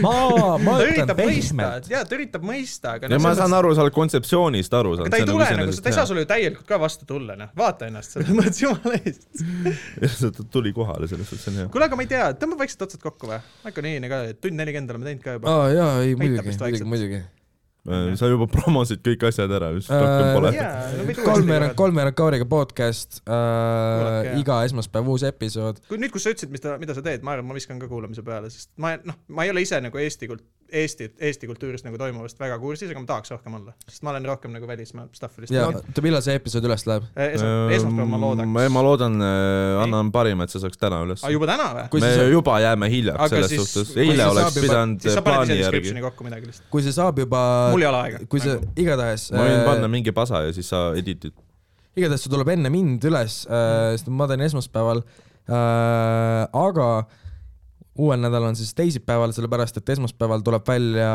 ma , ma
ta
ütlen
üritab mõista
pehmelt .,
jaa , ta üritab mõista , aga
ja ma saan aru , sa oled kontseptsioonist aru
aga
saanud .
ta ei tule nagu , ta ei saa sulle ju täielikult ka vastu tulla , noh , vaata ennast selles mõttes , jumala eest .
sulle . nagu- ta tuli kohale , selles suhtes see on hea .
kuule , aga ma ei tea , tõmbab vaikselt otsad kokku või ? äkki on nii ka , tund nelikümmend oleme teinud ka juba .
aa jaa , ei
Aitab vist ,
muidugi muidugi ,
vaikselt.
muidugi .
Äh, sa juba promosid kõik asjad ära , just rohkem
Äh,
pole .
jaa , no võid
kolmveerand ,
uuesti .
kolmveerand Kauriga podcast
Kuulake,
äh,
jah. ,
iga esmaspäev uus episood .
kui nüüd , kus sa ütlesid , mida , mida sa teed , ma arvan , ma viskan ka kuulamise peale , sest ma , noh , ma ei ole ise nagu Eesti kult- , Eesti , Eesti kultuurist nagu toimuvast väga kursis , aga ma tahaks rohkem olla , sest ma olen rohkem nagu välismaa stuff'i
ja
lihtsalt .
oota , millal see episood üles läheb ?
esmaspäeval ma
ei , Äh,
loodan .
mm, Ehm, ma loodan , annan parima , et see saaks täna üles
aga . juba täna või ?
kui
me
see ,
juba jääme
Aga
hiljaks selles
siis-
suhtes ,
kui
eile
see
oleks
saab juba-
pidanud äh,
siis sa paned
plaani
ise
järgi .
description'i kokku midagi lihtsalt .
kui see saab juba ,
mul ei ole aega . Nagu-
kui see , igatahes ,
ma võin panna
äh,
mingi pasa ja siis sa edit'id .
igatahes see tuleb enne mind üles äh, , sest ma teen esmaspäeval äh, , aga uuel nädalal on siis teisipäeval , sellepärast et esmaspäeval tuleb välja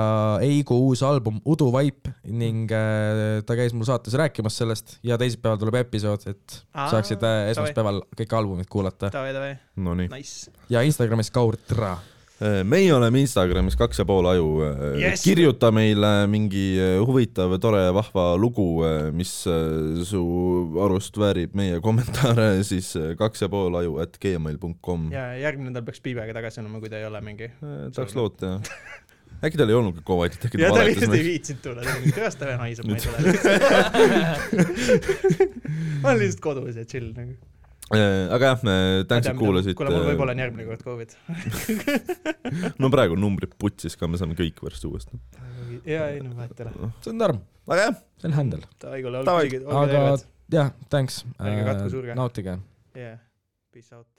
Eigu uus album Udu vaip ning äh, ta käis mul saates rääkimas sellest ja teisipäeval tuleb episood , et
Aa,
saaksite
davai.
esmaspäeval kõik albumid kuulata
Davai , davai ,
Nonii .
nice .
ja Instagramis Kaur Tra .
Äh, meie oleme Instagramis kaks ja pool aju yes.
Yes. .
kirjuta meile mingi äh, huvitav , tore , vahva lugu , mis äh, su arust väärib meie kommentaare , siis äh, kaks ja pool aju at gmail.com .
ja järgmine nädal peaks Piibega tagasi olema , kui ta ei ole mingi .
tahaks Äh, loota jah . äkki tal ei olnudki kovatit , äkki
ja
ta
ta
valetas
lihtsalt ei
meile .
viitsinud tulla , ta oli , kuidas ta veel haiseb , ma ei tule . ma olen lihtsalt kodus ja chill nagu .
Äh, aga jah , tänks , et kuulasid . äh,
kuule , mul võib-olla on järgmine kord Covid .
no praegu on numbrid putsis ka , me saame kõik varsti uuesti .
ja ei no vahet ei ole .
see on norm ,
aga jah ,
see on händel .
Davai , kuule ,
Davai.
olge , olge
aga
terved .
jah , thanks Äh,
Ärge katku surge. .
nautige
jaa , peace out .